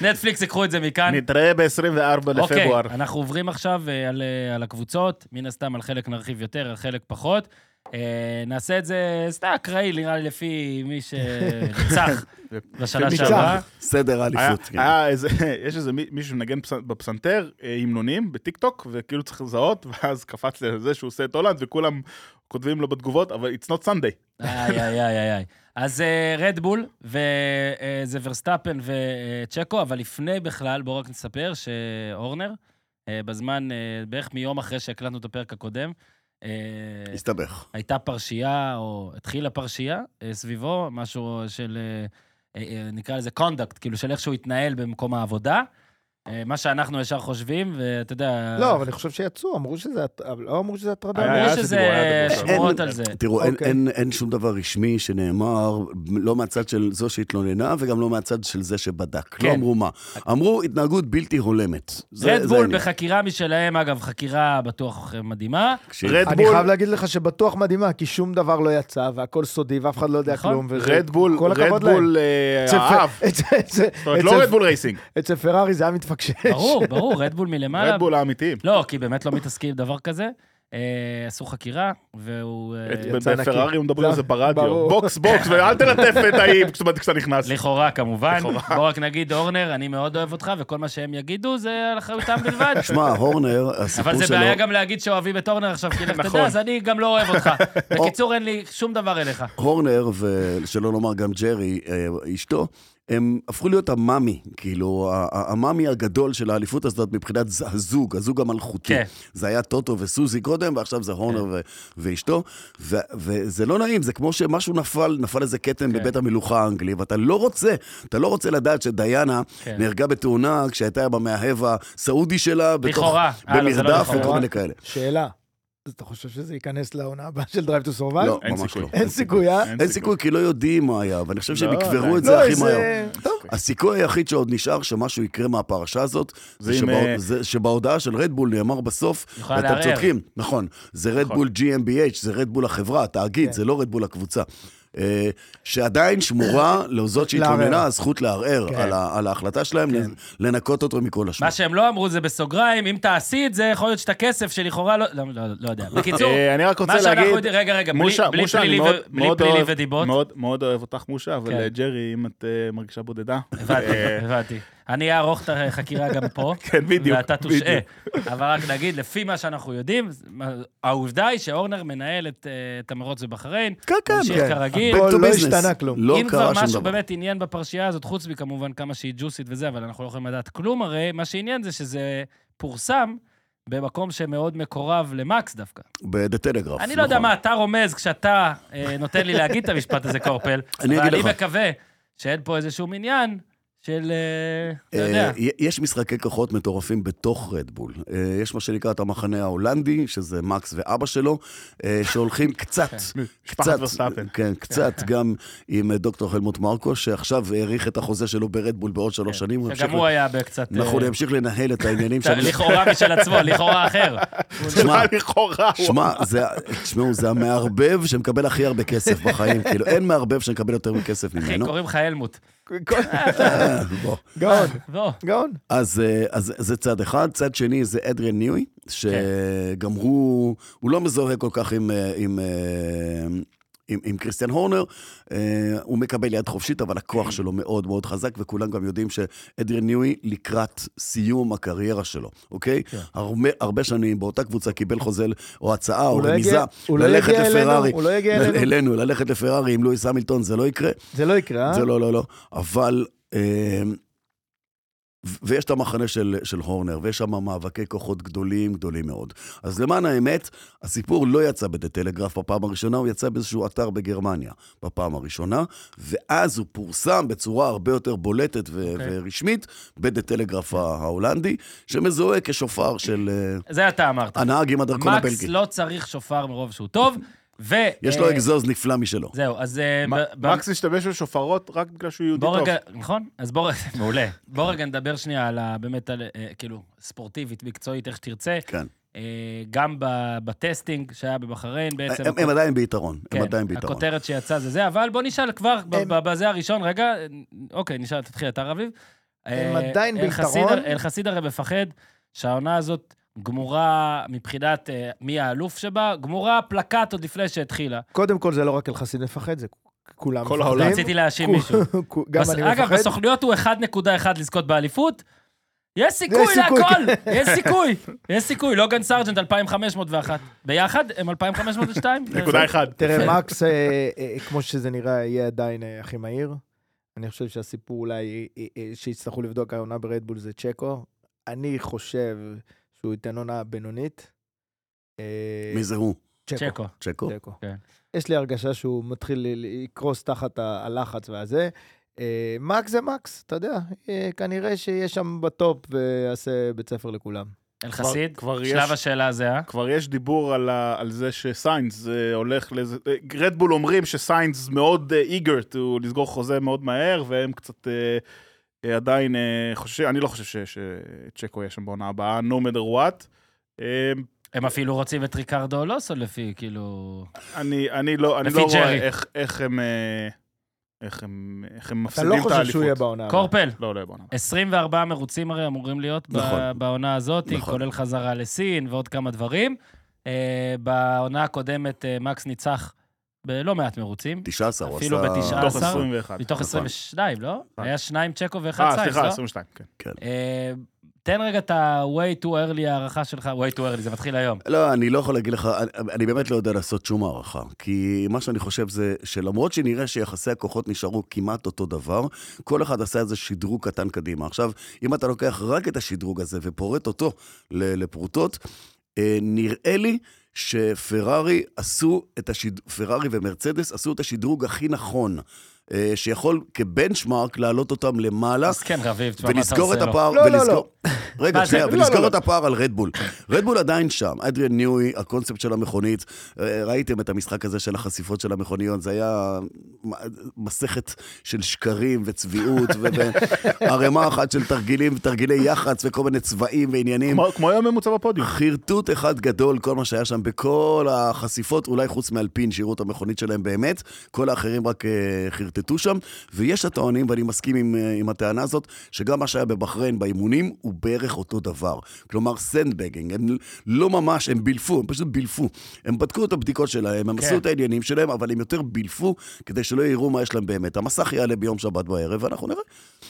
Speaker 1: נטפליקס יקחו את זה מכאן.
Speaker 3: נתראה ב-24
Speaker 1: אוקיי,
Speaker 3: לפברואר.
Speaker 1: אנחנו עוברים עכשיו אה, על, אה, על הקבוצות. מן הסתם, על חלק נרחיב יותר, על חלק פחות. אה, נעשה את זה סתם אקראי, נראה לי, לפי מי שניצח
Speaker 4: [LAUGHS]
Speaker 1: בשנה
Speaker 4: מי
Speaker 1: שעברה.
Speaker 2: סדר האליפות,
Speaker 3: היה-
Speaker 2: כן.
Speaker 3: היה איזה, [LAUGHS] יש איזה מי- מישהו שמנגן פס- בפסנתר, אה, המנונים, בטיקטוק, וכאילו צריך לזהות, ואז קפץ לזה שהוא עושה את הולנד, וכולם כותבים לו בתגובות, אבל it's not Sunday.
Speaker 1: איי, איי, איי, איי, איי. אז אה, רדבול, וזה ורסטאפן וצ'קו, אה, אבל לפני בכלל, בואו רק נספר שהורנר, אה, בזמן, אה, בערך מיום אחרי שהקלטנו את הפרק הקודם, אה,
Speaker 2: הסתבך.
Speaker 1: הייתה פרשייה, או התחילה פרשייה אה, סביבו, משהו של, אה, אה, אה, נקרא לזה קונדקט, כאילו של איך שהוא התנהל במקום העבודה. אה, מה שאנחנו ישר חושבים, ואתה יודע...
Speaker 4: לא, אבל אני חושב שיצאו, אמרו שזה, הט- אבל לא אמרו שזה הטרדה.
Speaker 3: היה-
Speaker 1: אמרו
Speaker 3: היה סיפור,
Speaker 1: שזה
Speaker 3: היה סיפור.
Speaker 1: שמועות
Speaker 2: אין-
Speaker 1: על זה.
Speaker 2: תראו, אין,
Speaker 4: אוקיי.
Speaker 2: אין, אין שום דבר רשמי שנאמר, לא מהצד של זו שהתלוננה וגם לא מהצד של זה שבדק.
Speaker 1: כן.
Speaker 2: לא אמרו מה. אמרו התנהגות בלתי הולמת. זה- זה
Speaker 1: רדבול
Speaker 2: העניין.
Speaker 1: בחקירה משלהם, אגב, חקירה בטוח אה, מדהימה.
Speaker 2: תקשיב,
Speaker 3: רד-
Speaker 4: אני
Speaker 3: בול.
Speaker 4: חייב להגיד לך שבטוח מדהימה, כי שום דבר לא יצא, והכל סודי, ואף אחד לא יודע
Speaker 1: נכון.
Speaker 4: כלום. וזה-
Speaker 3: רדבול,
Speaker 4: כל הכבוד להם.
Speaker 3: רדבול אה,
Speaker 4: אצל פ-
Speaker 3: האב.
Speaker 4: [LAUGHS] אצל- אצל-
Speaker 3: זאת אומרת,
Speaker 4: אצל-
Speaker 3: לא רדבול רייסינג,
Speaker 4: אצל פרארי זה היה מתפקשש.
Speaker 3: [LAUGHS]
Speaker 1: ברור, ברור, רדבול מלמעלה.
Speaker 3: רדבול האמיתיים.
Speaker 1: לא, כי באמת לא מתעסקים עם דבר כזה. אה, עשו חקירה, והוא... אה,
Speaker 3: את-
Speaker 4: יצא נקי.
Speaker 3: בפרארי מדברים על זה
Speaker 4: זה-
Speaker 3: ברדיו.
Speaker 4: ברור.
Speaker 3: בוקס, בוקס, ואל תלטף את האי כשאתה נכנס.
Speaker 1: לכאורה, כמובן. בוא רק נגיד, אורנר, אני מאוד אוהב אותך, וכל מה שהם יגידו זה על אחריותם
Speaker 3: [LAUGHS]
Speaker 1: בלבד.
Speaker 2: שמע, הורנר,
Speaker 1: אבל
Speaker 2: הסיפור
Speaker 1: זה
Speaker 2: שלו...
Speaker 1: בעיה גם להגיד שאוהבים את אורנר
Speaker 3: [LAUGHS]
Speaker 1: עכשיו, כי לך
Speaker 3: נכון.
Speaker 1: תדע, אז אני גם לא אוהב
Speaker 3: [LAUGHS]
Speaker 1: אותך.
Speaker 3: כן.
Speaker 1: בקיצור, אין לי שום דבר אליך.
Speaker 2: הורנר, ושלא לומר גם ג'רי, אה, אשתו, הם הפכו להיות המאמי, כאילו, ה- ה- המאמי הגדול של האליפות הזאת מבחינת ז- הזוג, הזוג המלכותי.
Speaker 1: כן.
Speaker 2: זה היה טוטו וסוזי קודם, ועכשיו זה הונר ו- ואשתו, ו- וזה לא נעים, זה כמו שמשהו נפל, נפל איזה כתם
Speaker 1: כן.
Speaker 2: בבית המלוכה האנגלי, ואתה לא רוצה, אתה לא רוצה לדעת שדיאנה
Speaker 1: כן.
Speaker 2: נהרגה בתאונה כשהייתה עם המאהב הסעודי שלה, בתוך-
Speaker 1: לכאורה. אה, לא, זה לא
Speaker 2: במרדף
Speaker 1: לכאורה.
Speaker 2: וכל מיני כאלה.
Speaker 4: [LAUGHS] שאלה, אז אתה חושב שזה ייכנס לעונה הבאה של Drive to Survive?
Speaker 2: לא,
Speaker 3: אין
Speaker 2: ממש
Speaker 3: סיכוי.
Speaker 2: לא.
Speaker 4: אין סיכוי, אה?
Speaker 1: כן.
Speaker 2: אין סיכוי, כי לא יודעים מה היה, ואני חושב שהם
Speaker 3: לא,
Speaker 2: יקברו
Speaker 3: לא,
Speaker 2: את זה הכי
Speaker 4: איזה-
Speaker 2: מהר.
Speaker 1: אה,
Speaker 4: טוב,
Speaker 2: הסיכוי היחיד שעוד נשאר שמשהו יקרה מהפרשה הזאת,
Speaker 3: זה
Speaker 2: זה
Speaker 3: אם,
Speaker 2: שבא-
Speaker 3: אה,
Speaker 2: זה שבהודעה של רדבול נאמר בסוף,
Speaker 1: יכולה
Speaker 2: ואתם
Speaker 1: לערער.
Speaker 2: צודקים, נכון, זה רדבול GmbH, זה רדבול החברה, התאגיד,
Speaker 4: כן.
Speaker 2: זה לא רדבול הקבוצה. אה, שעדיין
Speaker 1: [LAUGHS]
Speaker 2: שמורה לזאת שהתלוננה
Speaker 4: לערער.
Speaker 2: הזכות לערער
Speaker 4: כן.
Speaker 2: על ה- על ההחלטה שלהם לנ- לנקות אותו מכל אשמה.
Speaker 1: כן. מה שהם לא אמרו זה בסוגריים, אם תעשי את זה, יכול להיות שאת הכסף שלכאורה לא... לא, לא, לא יודע. בקיצור,
Speaker 3: אה, אני רק רוצה
Speaker 1: מה שאנחנו
Speaker 3: להגיד-
Speaker 1: יודעים... רגע, רגע, בלי-
Speaker 3: מושה,
Speaker 1: בלי
Speaker 3: מושה, אני
Speaker 1: פלילי ו-
Speaker 3: מאוד-
Speaker 1: בלי
Speaker 3: מאוד
Speaker 1: פלילי
Speaker 3: אוהב-
Speaker 1: ודיבות.
Speaker 3: מאוד- מאוד אוהב אותך, מושה, אבל
Speaker 1: כן.
Speaker 3: אה, ג'רי, אם את אה, מרגישה בודדה...
Speaker 2: אה,
Speaker 1: הבנתי, הבנתי. אני אערוך את החקירה גם
Speaker 2: [LAUGHS]
Speaker 1: פה.
Speaker 3: כן, בדיוק,
Speaker 1: ואתה תושעה.
Speaker 3: בדיוק.
Speaker 1: אבל רק נגיד, לפי מה שאנחנו יודעים, מה- העובדה היא שאורנר מנהל את, אה, את המרוץ בבחריין.
Speaker 2: כן, כן,
Speaker 1: ממשיך
Speaker 2: כן.
Speaker 1: כרגיל.
Speaker 2: Back to
Speaker 4: לא
Speaker 2: business.
Speaker 4: השתנה כלום.
Speaker 2: לא
Speaker 1: אם כבר
Speaker 2: קרה שום
Speaker 1: משהו
Speaker 2: דבר.
Speaker 1: באמת עניין בפרשייה הזאת, חוץ מכמובן כמה שהיא ג'וסית וזה, אבל אנחנו לא יכולים לדעת כלום הרי, מה שעניין זה שזה פורסם במקום שמאוד מקורב למקס דווקא.
Speaker 2: בדה טלגרף.
Speaker 1: אני לא יודע
Speaker 2: נכון.
Speaker 1: מה אתה רומז כשאתה אה, נותן לי להגיד את המשפט הזה, קורפל,
Speaker 2: [LAUGHS] אני אגיד
Speaker 1: אבל אני
Speaker 2: לך.
Speaker 1: מקווה שאין פה איזשהו עניין של, אה, אתה יודע.
Speaker 2: אה, יש משחקי כוחות מטורפים בתוך רדבול. אה, יש מה שנקרא את המחנה ההולנדי, שזה מקס ואבא שלו, אה,
Speaker 1: [LAUGHS]
Speaker 2: שהולכים קצת,
Speaker 1: כן,
Speaker 3: משפחת
Speaker 2: קצת,
Speaker 3: ורסטאפן.
Speaker 2: כן, קצת גם עם אה, דוקטור חלמוט מרקו, שעכשיו האריך את החוזה שלו ברדבול בעוד
Speaker 3: כן.
Speaker 2: שלוש לא שנים. הוא
Speaker 1: כן. שגם
Speaker 2: ימשיך-
Speaker 1: הוא היה בקצת... אה,
Speaker 2: נכון, הוא ימשיך לנהל
Speaker 1: [LAUGHS]
Speaker 2: את העניינים
Speaker 1: אתה-
Speaker 2: שם.
Speaker 1: לכאורה משל
Speaker 2: [LAUGHS]
Speaker 1: עצמו, לכאורה אחר.
Speaker 2: שמע,
Speaker 3: לכאורה, הוא-
Speaker 2: שמע, זה ה- תשמעו, זה המערבב שמקבל הכי הרבה כסף
Speaker 1: [LAUGHS]
Speaker 2: בחיים, כאילו, אין מערבב שמקבל יותר מכסף
Speaker 1: אחי,
Speaker 2: ממנו. אה,
Speaker 1: קוראים לך אלמוט.
Speaker 2: בוא.
Speaker 4: גאון,
Speaker 3: לא.
Speaker 1: בוא.
Speaker 4: גאון.
Speaker 2: אז, אה, אז זה צד אחד. צד שני זה אדריאן ניוי, שגם
Speaker 4: כן.
Speaker 2: הוא, הוא לא מזוהה כל כך עם, אה, עם, אה, עם, עם קריסטיאן הורנר. אה, הוא מקבל יד חופשית, אבל הכוח שלו מאוד מאוד חזק, וכולם גם יודעים שאדריאן ניוי לקראת סיום הקריירה שלו, אוקיי?
Speaker 4: כן.
Speaker 2: הרבה, הרבה שנים באותה קבוצה קיבל חוזה או הצעה או
Speaker 4: הוא לא
Speaker 2: רמיזה
Speaker 4: יגיע- הוא לא
Speaker 2: ללכת
Speaker 4: יגיע אלינו,
Speaker 2: לפרארי.
Speaker 4: הוא לא יגיע אלינו.
Speaker 2: אלינו, ללכת לפרארי עם לואיס המילטון, זה לא יקרה.
Speaker 4: זה לא יקרה, אה?
Speaker 2: זה לא, לא, לא. אבל... אמ, ו- ויש את המחנה של, של הורנר, ויש שם מאבקי כוחות גדולים, גדולים מאוד. אז למען האמת, הסיפור לא יצא בדה טלגרף בפעם הראשונה, הוא יצא באיזשהו אתר בגרמניה בפעם הראשונה, ואז הוא פורסם בצורה הרבה יותר בולטת ו- okay.
Speaker 1: אוקיי.
Speaker 2: ורשמית בדה טלגרף
Speaker 1: כן.
Speaker 2: ההולנדי, שמזוהה כשופר של
Speaker 1: זה אתה אמרת.
Speaker 2: uh, הנהג עם הדרכון
Speaker 1: מקס
Speaker 2: הבלגי. לא...
Speaker 1: לא צריך שופר מרוב שהוא טוב, ו...
Speaker 2: יש לו
Speaker 1: אה,
Speaker 2: אגזוז נפלא משלו.
Speaker 1: זהו, אז... אה, ב- ב-
Speaker 3: מקס השתמש בשופרות רק בגלל שהוא יהודי
Speaker 1: בוא
Speaker 3: טוב.
Speaker 1: רגע, נכון? אז בוא, מעולה. בוא רגע [LAUGHS] נדבר שנייה על ה... באמת, על, אה, כאילו, ספורטיבית, מקצועית, איך שתרצה.
Speaker 2: כן.
Speaker 1: אה, גם ב- בטסטינג שהיה בבחריין, בעצם...
Speaker 2: הם, הם עדיין ביתרון,
Speaker 1: כן,
Speaker 2: הם עדיין ביתרון.
Speaker 1: הכותרת שיצאה זה זה, אבל בוא נשאל כבר, ב-
Speaker 4: הם-
Speaker 1: ב- בזה הראשון, רגע, אוקיי, נשאל, תתחיל אתה, רביב.
Speaker 4: הם
Speaker 1: אה,
Speaker 4: עדיין
Speaker 1: אל חסיד-
Speaker 4: ביתרון.
Speaker 1: אל חסיד הרי מפחד שהעונה הזאת גמורה מבחינת אה, מי האלוף שבה, גמורה פלקט עוד לפני שהתחילה. לא
Speaker 4: קודם כל, זה לא רק אלחסיד מפחד, זה כולם
Speaker 3: כל
Speaker 4: מפחדים.
Speaker 3: העולם.
Speaker 1: רציתי להאשים מישהו.
Speaker 4: כו- [LAUGHS] גם
Speaker 1: בס-
Speaker 4: אני
Speaker 1: אגב,
Speaker 4: מפחד.
Speaker 1: בסוכנויות הוא 1.1 לזכות באליפות. יש סיכוי
Speaker 4: יש סיכוי, כן.
Speaker 1: להכל, [LAUGHS] יש סיכוי, יש סיכוי. לוגן סרג'נט 2,501. ביחד הם 2,502?
Speaker 3: נקודה אחד.
Speaker 4: תראה, מקס, אה, אה, כמו שזה נראה, יהיה עדיין אה, הכי מהיר. אני חושב שהסיפור אולי אה, אה, שיצטרכו לבדוק העונה ברדבול זה צ'קו. אני חושב שהוא ייתן עונה בינונית. אה,
Speaker 2: מי זה הוא?
Speaker 1: צ'קו.
Speaker 2: צ'קו?
Speaker 4: תיקו.
Speaker 1: כן.
Speaker 4: יש לי הרגשה שהוא מתחיל ל- ל- לקרוס תחת ה- הלחץ והזה. אה, מקס זה מקס, אתה יודע, אה, כנראה שיהיה שם בטופ ויעשה בית ספר לכולם.
Speaker 1: אלחסיד,
Speaker 3: כבר יש-
Speaker 1: שלב השאלה זה, אה?
Speaker 3: כבר יש דיבור על, ה, על זה שסיינס אה, הולך לזה, אה, רדבול אומרים שסיינס מאוד איגר uh, לסגור חוזה מאוד מהר, והם קצת אה, אה, עדיין, אה, חושב, אני לא חושב ש- שצ'קו יהיה שם בעונה הבאה, no matter what. אה,
Speaker 1: הם אפילו רוצים את ריקרדו אולוסו לפי, כאילו...
Speaker 3: אני, אני לא, אני
Speaker 1: לפי
Speaker 3: לא רואה
Speaker 1: ג'רי.
Speaker 3: איך, איך הם... אה, איך הם, איך הם
Speaker 4: אתה
Speaker 3: מפסידים
Speaker 4: לא
Speaker 3: את האליפות.
Speaker 4: חושב שהוא יהיה בעונה. הבאה.
Speaker 1: קורפל,
Speaker 3: לא, לא יהיה בעונה.
Speaker 1: 24 מרוצים הרי אמורים להיות ב-
Speaker 2: נכון.
Speaker 1: בעונה הזאת,
Speaker 2: נכון.
Speaker 1: כולל חזרה לסין ועוד כמה דברים. אה, בעונה הקודמת אה, מקס ניצח בלא מעט מרוצים.
Speaker 2: 19, הוא עשה...
Speaker 1: אפילו לא, בתשעה
Speaker 3: מתוך
Speaker 1: עשר?
Speaker 3: 21.
Speaker 1: מתוך
Speaker 2: נכון.
Speaker 1: 22, לא?
Speaker 3: אה.
Speaker 1: היה שניים צ'קו ואחד
Speaker 3: אה,
Speaker 1: סיינס,
Speaker 3: סליחה,
Speaker 1: לא?
Speaker 3: 22, כן.
Speaker 1: אה, תן רגע את ה-way too early הערכה שלך, way too early, זה מתחיל היום.
Speaker 2: לא, אני לא יכול להגיד לך, אני, אני באמת לא יודע לעשות שום הערכה. כי מה שאני חושב זה שלמרות שנראה שיחסי הכוחות נשארו כמעט אותו דבר, כל אחד עשה איזה שדרוג קטן קדימה. עכשיו, אם אתה לוקח רק את השדרוג הזה ופורט אותו ל- לפרוטות, אה, נראה לי שפרארי עשו את השד... פרארי ומרצדס עשו את השדרוג הכי נכון. אה, שיכול כבנצ'מארק להעלות אותם למעלה.
Speaker 1: אז כן, רביב, תשמע, מה אתה
Speaker 2: ולסגור את
Speaker 1: עושה לו?
Speaker 2: הפער,
Speaker 4: לא, לא,
Speaker 2: ולסגור...
Speaker 4: לא.
Speaker 1: מה
Speaker 2: רגע,
Speaker 1: זה?
Speaker 2: שנייה,
Speaker 1: לא,
Speaker 2: ולסגור
Speaker 1: לא,
Speaker 2: את הפער על רדבול. רדבול עדיין שם, אדריאן ניואי, הקונספט של המכונית, אה, ראיתם את המשחק הזה של החשיפות של המכוניות, זה היה מ- מסכת של שקרים וצביעות, וערימה אחת של תרגילים ותרגילי יח"צ וכל מיני צבעים ועניינים.
Speaker 3: כמו- כמו היום ממוצע בפודיום.
Speaker 2: חרטוט אחד גדול, כל מה שהיה שם בכל החשיפות, אולי חוץ מאלפין, שיראו את המכונית שלהם באמת, כל האחרים רק אה, חרטטו שם. ויש הטוענים, ואני מסכים עם, אה, עם הטענה הזאת, שגם מה שהיה בבחריין באימונים הוא בערך אותו דבר. כלומר, סנדבגינג, הם לא ממש, הם בילפו, הם פשוט בילפו. הם בדקו את הבדיקות שלהם, הם
Speaker 1: כן.
Speaker 2: עשו את העניינים שלהם, אבל הם יותר בילפו, כדי שלא יראו מה יש להם באמת. המסך יעלה ביום שבת בערב, ואנחנו נראה.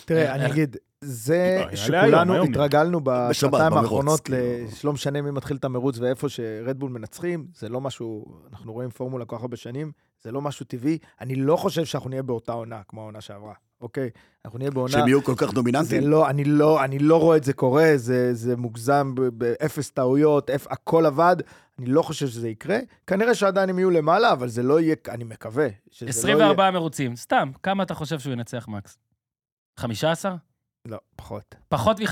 Speaker 4: תראה, אני אגיד, זה
Speaker 3: לא, אה, יעלה היום,
Speaker 4: שכולנו
Speaker 3: היום.
Speaker 4: התרגלנו בשנתיים
Speaker 2: במרוץ,
Speaker 4: האחרונות,
Speaker 2: כאילו.
Speaker 4: ל- שלא משנה מי מתחיל את המרוץ ואיפה שרדבול מנצחים, זה לא משהו, אנחנו רואים פורמולה כל כך הרבה שנים, זה לא משהו טבעי. אני לא חושב שאנחנו נהיה באותה עונה כמו העונה שעברה, אוקיי? אנחנו נהיה בעונה...
Speaker 2: שהם יהיו כל כך
Speaker 4: זה
Speaker 2: דומיננטיים.
Speaker 4: לא, אני לא, אני לא רואה את זה קורה, זה, זה מוגזם ב- באפס טעויות, אפ, הכל עבד, אני לא חושב שזה יקרה. כנראה שעדיין הם יהיו למעלה, אבל זה לא יהיה, אני מקווה. שזה לא יהיה...
Speaker 1: 24 מרוצים, סתם, כמה אתה חושב שהוא ינצח, מקס? 15?
Speaker 4: לא, פחות.
Speaker 1: פחות מ-15.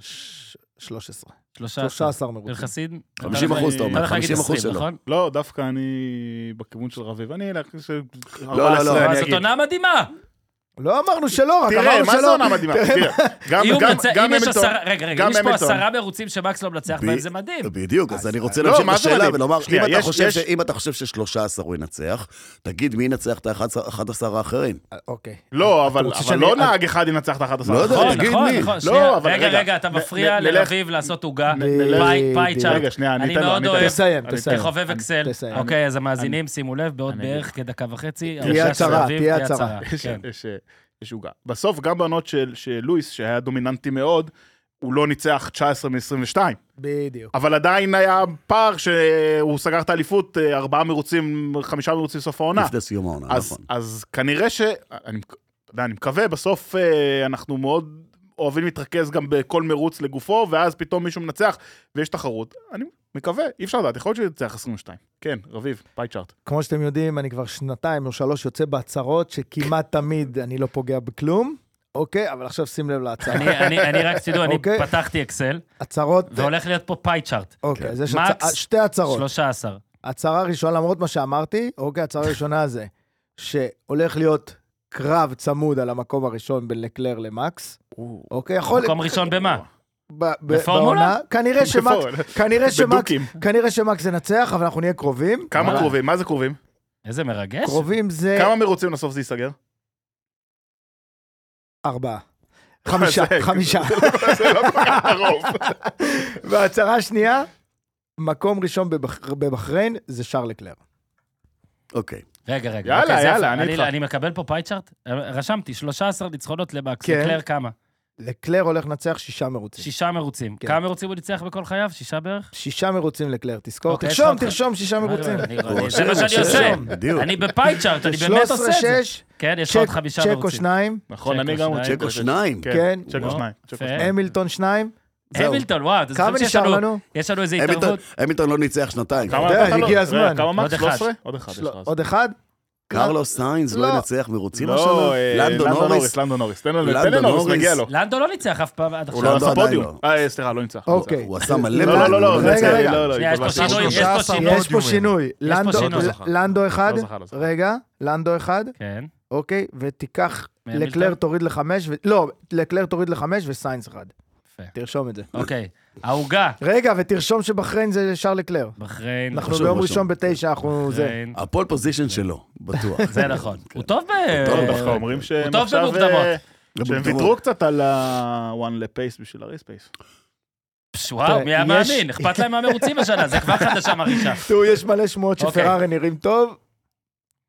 Speaker 4: ש- 13.
Speaker 1: 13.
Speaker 4: 13 מרוצים.
Speaker 1: אלחסיד?
Speaker 2: 50
Speaker 3: אחוז, אתה אומר,
Speaker 1: אתה הולך להגיד
Speaker 2: 50 אחוז
Speaker 1: 20,
Speaker 2: שלו.
Speaker 1: נכון?
Speaker 3: לא, דווקא אני בכיוון של רביב. אני אלך... ש-
Speaker 2: לא, לא,
Speaker 3: 14 אני
Speaker 1: אבל זאת
Speaker 3: אגיד.
Speaker 1: עונה מדהימה!
Speaker 4: לא אמרנו שלא, רק
Speaker 3: תראה,
Speaker 4: אמרנו
Speaker 3: מה זה
Speaker 4: שלא.
Speaker 3: עונה
Speaker 1: [LAUGHS]
Speaker 3: מדהימה? תראה, גם-
Speaker 1: אם הוא
Speaker 3: גם-
Speaker 1: מנצח-
Speaker 3: גם
Speaker 1: אם יש
Speaker 3: המילטון-
Speaker 1: עשרה- רגע, רגע,
Speaker 3: גם
Speaker 1: אם יש פה
Speaker 3: המילטון.
Speaker 1: עשרה מרוצים שמקס לא מנצח
Speaker 2: ב-
Speaker 1: בהם, זה מדהים.
Speaker 2: בדיוק, אז אני רוצה
Speaker 3: לא,
Speaker 2: להמשיך
Speaker 3: מה זה
Speaker 2: בשאלה
Speaker 3: מדהים?
Speaker 2: ולומר,
Speaker 3: שנייה,
Speaker 2: אם אתה
Speaker 3: יש-
Speaker 2: חושב
Speaker 3: יש-
Speaker 2: ש- אם אתה חושב ש-13 ינצח, תגיד מי ינצח את ה-11 האחרים.
Speaker 4: אוקיי.
Speaker 3: לא, אבל
Speaker 4: רוצה
Speaker 3: אבל
Speaker 4: שאני- אה,
Speaker 3: לא נהג אחד ינצח את ה-11.
Speaker 2: לא יודע,
Speaker 1: נכון,
Speaker 2: תגיד
Speaker 1: נכון,
Speaker 2: מי.
Speaker 1: נכון,
Speaker 3: לא,
Speaker 1: שנייה.
Speaker 3: אבל
Speaker 1: רגע,
Speaker 3: רגע,
Speaker 1: רגע, אתה
Speaker 3: נ-
Speaker 1: מפריע
Speaker 3: נ- נלך-
Speaker 1: לרביב לעשות עוגה,
Speaker 4: נלך-
Speaker 1: פאי- פאי צ'ארט.
Speaker 3: רגע, שנייה, אני
Speaker 1: אני
Speaker 3: אתן לו,
Speaker 1: מאוד
Speaker 3: אני אתן לו.
Speaker 1: אוהב-
Speaker 4: תסיים,
Speaker 3: אני-
Speaker 4: תסיים.
Speaker 1: לחובב אקסל.
Speaker 4: תסיים.
Speaker 1: אוקיי, אז המאזינים, שימו לב, בעוד בערך כדקה וחצי.
Speaker 4: תהיה
Speaker 1: הרשת
Speaker 4: הצהרה,
Speaker 1: רביב,
Speaker 4: תהיה הצהרה.
Speaker 3: [LAUGHS] יש-
Speaker 1: כן.
Speaker 3: יש- יש עוגה. בסוף, גם בעונות של של לואיס, שהיה דומיננטי מאוד, הוא לא ניצח 19 מ-22,
Speaker 4: בדיוק.
Speaker 3: אבל עדיין היה פער שהוא סגר את האליפות, אה, ארבעה מרוצים, חמישה מרוצים סוף העונה.
Speaker 2: לפני סיום העונה,
Speaker 3: אז,
Speaker 2: נכון.
Speaker 3: אז כנראה ש... אני, מק- אתה יודע, אני מקווה, בסוף אה, אנחנו מאוד אוהבים להתרכז גם בכל מרוץ לגופו, ואז פתאום מישהו מנצח ויש תחרות. אני מקווה, אי אפשר לדעת, יכול להיות שינצח 22. כן, רביב, פאי צ'ארט.
Speaker 4: כמו שאתם יודעים, אני כבר שנתיים או שלוש יוצא בהצהרות, שכמעט תמיד אני לא פוגע בכלום. אוקיי, אבל עכשיו שים לב להצהרה.
Speaker 1: אני- אני- אני רק שתדעו, אני
Speaker 4: אוקיי.
Speaker 1: פתחתי אקסל,
Speaker 4: הצהרות,
Speaker 1: והולך להיות פה פאי צ'ארט.
Speaker 4: אוקיי, אז יש
Speaker 1: מקס,
Speaker 4: הצ- שתי הצהרות.
Speaker 1: 13.
Speaker 4: הצהרה ראשונה, למרות מה שאמרתי, אוקיי, הצהרה ראשונה זה שהולך להיות קרב צמוד על המקום הראשון בין לקלר למקס. אוקיי, יכול...
Speaker 1: מקום ראשון במה?
Speaker 4: ב- ב-
Speaker 1: בפורמולה?
Speaker 4: בעונה, כנראה שמקס...
Speaker 3: בפורמולה.
Speaker 4: כנראה שמקס...
Speaker 3: בדוקים.
Speaker 4: כנראה שמקס ינצח, אבל אנחנו נהיה קרובים. אה,
Speaker 1: וואלה.
Speaker 3: כמה קרובים? מה זה קרובים?
Speaker 1: איזה מרגש.
Speaker 4: קרובים זה...
Speaker 3: כמה מרוצים לסוף זה ייסגר? [LAUGHS]
Speaker 4: ארבעה.
Speaker 1: אה,
Speaker 4: חמישה,
Speaker 3: זה-
Speaker 4: חמישה.
Speaker 3: זה לא כל כך קרוב.
Speaker 4: וההצהרה השנייה, מקום ראשון בבח- בבחריין זה שרל לקלר.
Speaker 2: אוקיי.
Speaker 1: רגע, רגע.
Speaker 3: יאללה,
Speaker 1: אוקיי, זה
Speaker 3: יאללה,
Speaker 1: יפה.
Speaker 3: אני איתך.
Speaker 1: אני מקבל פה פאי צ'ארט? רשמתי, 13 ניצחונות למקס.
Speaker 4: כן.
Speaker 1: לקלר כמה?
Speaker 4: לקלר הולך לנצח שישה מרוצים.
Speaker 1: שישה מרוצים.
Speaker 4: כן.
Speaker 1: כמה מרוצים הוא ניצח בכל חייו? שישה בערך?
Speaker 4: שישה מרוצים לקלר, תזכור.
Speaker 1: אוקיי,
Speaker 4: תרשום,
Speaker 1: הבנתי.
Speaker 4: תרשום שישה מרוצים.
Speaker 1: אני- אני-
Speaker 2: הוא
Speaker 1: זה מה שאני
Speaker 2: רושם,
Speaker 1: עושה.
Speaker 2: רושם, אוקיי. בדיוק.
Speaker 1: אני בפאי צ'ארט, אני באמת עושה את זה.
Speaker 4: 13-6,
Speaker 1: כן, יש לך עוד חמישה
Speaker 4: צ'קו
Speaker 1: מרוצים.
Speaker 4: שניים,
Speaker 3: נכון, אני
Speaker 1: צ'קו
Speaker 3: גם... לא,
Speaker 1: שניים.
Speaker 2: צ'קו שניים.
Speaker 4: כן.
Speaker 3: צ'קו
Speaker 1: וואו,
Speaker 3: שניים. צ'קו
Speaker 1: יפה.
Speaker 3: שניים.
Speaker 4: המילטון שניים.
Speaker 2: זהו.
Speaker 1: המילטון, וואו, אתה
Speaker 4: כמה
Speaker 1: זוכר שיש
Speaker 4: נשאר
Speaker 1: לנו...
Speaker 4: לנו?
Speaker 1: יש לנו איזו
Speaker 2: המילטון-
Speaker 1: התערבות?
Speaker 2: המילטון לא ניצח שנתיים.
Speaker 3: כמה
Speaker 4: יודע,
Speaker 3: נתת לו?
Speaker 4: הגיע
Speaker 3: רגע,
Speaker 4: הזמן.
Speaker 3: כמה
Speaker 1: עוד
Speaker 3: אמרת?
Speaker 1: אחד.
Speaker 3: 13? לא- עוד אחד. יש לך אז.
Speaker 4: לא, עוד אחד?
Speaker 2: קרלוס סיינס לא
Speaker 4: לא.
Speaker 2: ינצח מרוצים
Speaker 3: לא,
Speaker 2: השנה?
Speaker 3: אה,
Speaker 2: לנדו נוריס?
Speaker 3: לנדו נוריס. תן לו-
Speaker 2: לנדו
Speaker 3: תן לנוריס,
Speaker 2: נוריס.
Speaker 3: מגיע לו.
Speaker 1: לנדו לא ניצח אף פעם עד
Speaker 3: הוא
Speaker 1: עכשיו.
Speaker 3: לא
Speaker 2: לנדו
Speaker 3: עשה
Speaker 2: עדיין
Speaker 3: פודיום. אה, סליחה, לא ניצח. לא ניצח.
Speaker 4: אוקיי.
Speaker 2: הוא עשה מלא...
Speaker 3: לא, לא, לא, לא,
Speaker 4: רגע,
Speaker 3: זה-
Speaker 4: רגע.
Speaker 3: לא, לא,
Speaker 1: שנייה, יש פה
Speaker 3: התבלבלתי.
Speaker 1: שינוי, יש פה
Speaker 5: 13
Speaker 1: שינוי.
Speaker 5: מאוד
Speaker 4: יש פה שינוי. לנדו-
Speaker 1: שינוי.
Speaker 4: ל-
Speaker 5: לא זכה.
Speaker 4: לנדו אחד,
Speaker 3: לא זכה, לא זכה.
Speaker 4: רגע, לנדו אחד,
Speaker 1: כן.
Speaker 4: אוקיי, ותיקח,
Speaker 1: מהמילטון?
Speaker 4: לקלר תוריד לחמש, ו- לא, לקלר תוריד לחמש וסיינס אחד.
Speaker 1: יפה.
Speaker 4: תרשום את זה.
Speaker 1: אוקיי. העוגה.
Speaker 4: רגע, ותרשום שבחריין זה שר לקלר.
Speaker 1: בחריין. אה,
Speaker 4: אנחנו
Speaker 2: חשוב,
Speaker 4: ביום
Speaker 2: רשום.
Speaker 4: ראשון בתשע, אנחנו זה.
Speaker 1: בחריין.
Speaker 2: הפול פוזיישן שלו, בטוח.
Speaker 1: [LAUGHS]
Speaker 2: כן.
Speaker 1: זה נכון. הוא טוב ב...
Speaker 3: כן. טוב, דווקא אומרים שהם
Speaker 1: טוב
Speaker 3: עכשיו...
Speaker 1: במוקדמות.
Speaker 3: אה, שהם
Speaker 2: במוקדמות.
Speaker 3: ויתרו קצת על ה-one לפייס בשביל הרייס פייס.
Speaker 1: פש, וואו, מי היה
Speaker 4: יש-
Speaker 1: מאמין? אכפת להם מהמרוצים השנה, זה כבר חדשה מרעישה.
Speaker 4: תראו, יש מלא שמועות
Speaker 1: אוקיי.
Speaker 4: שפרארי נראים טוב.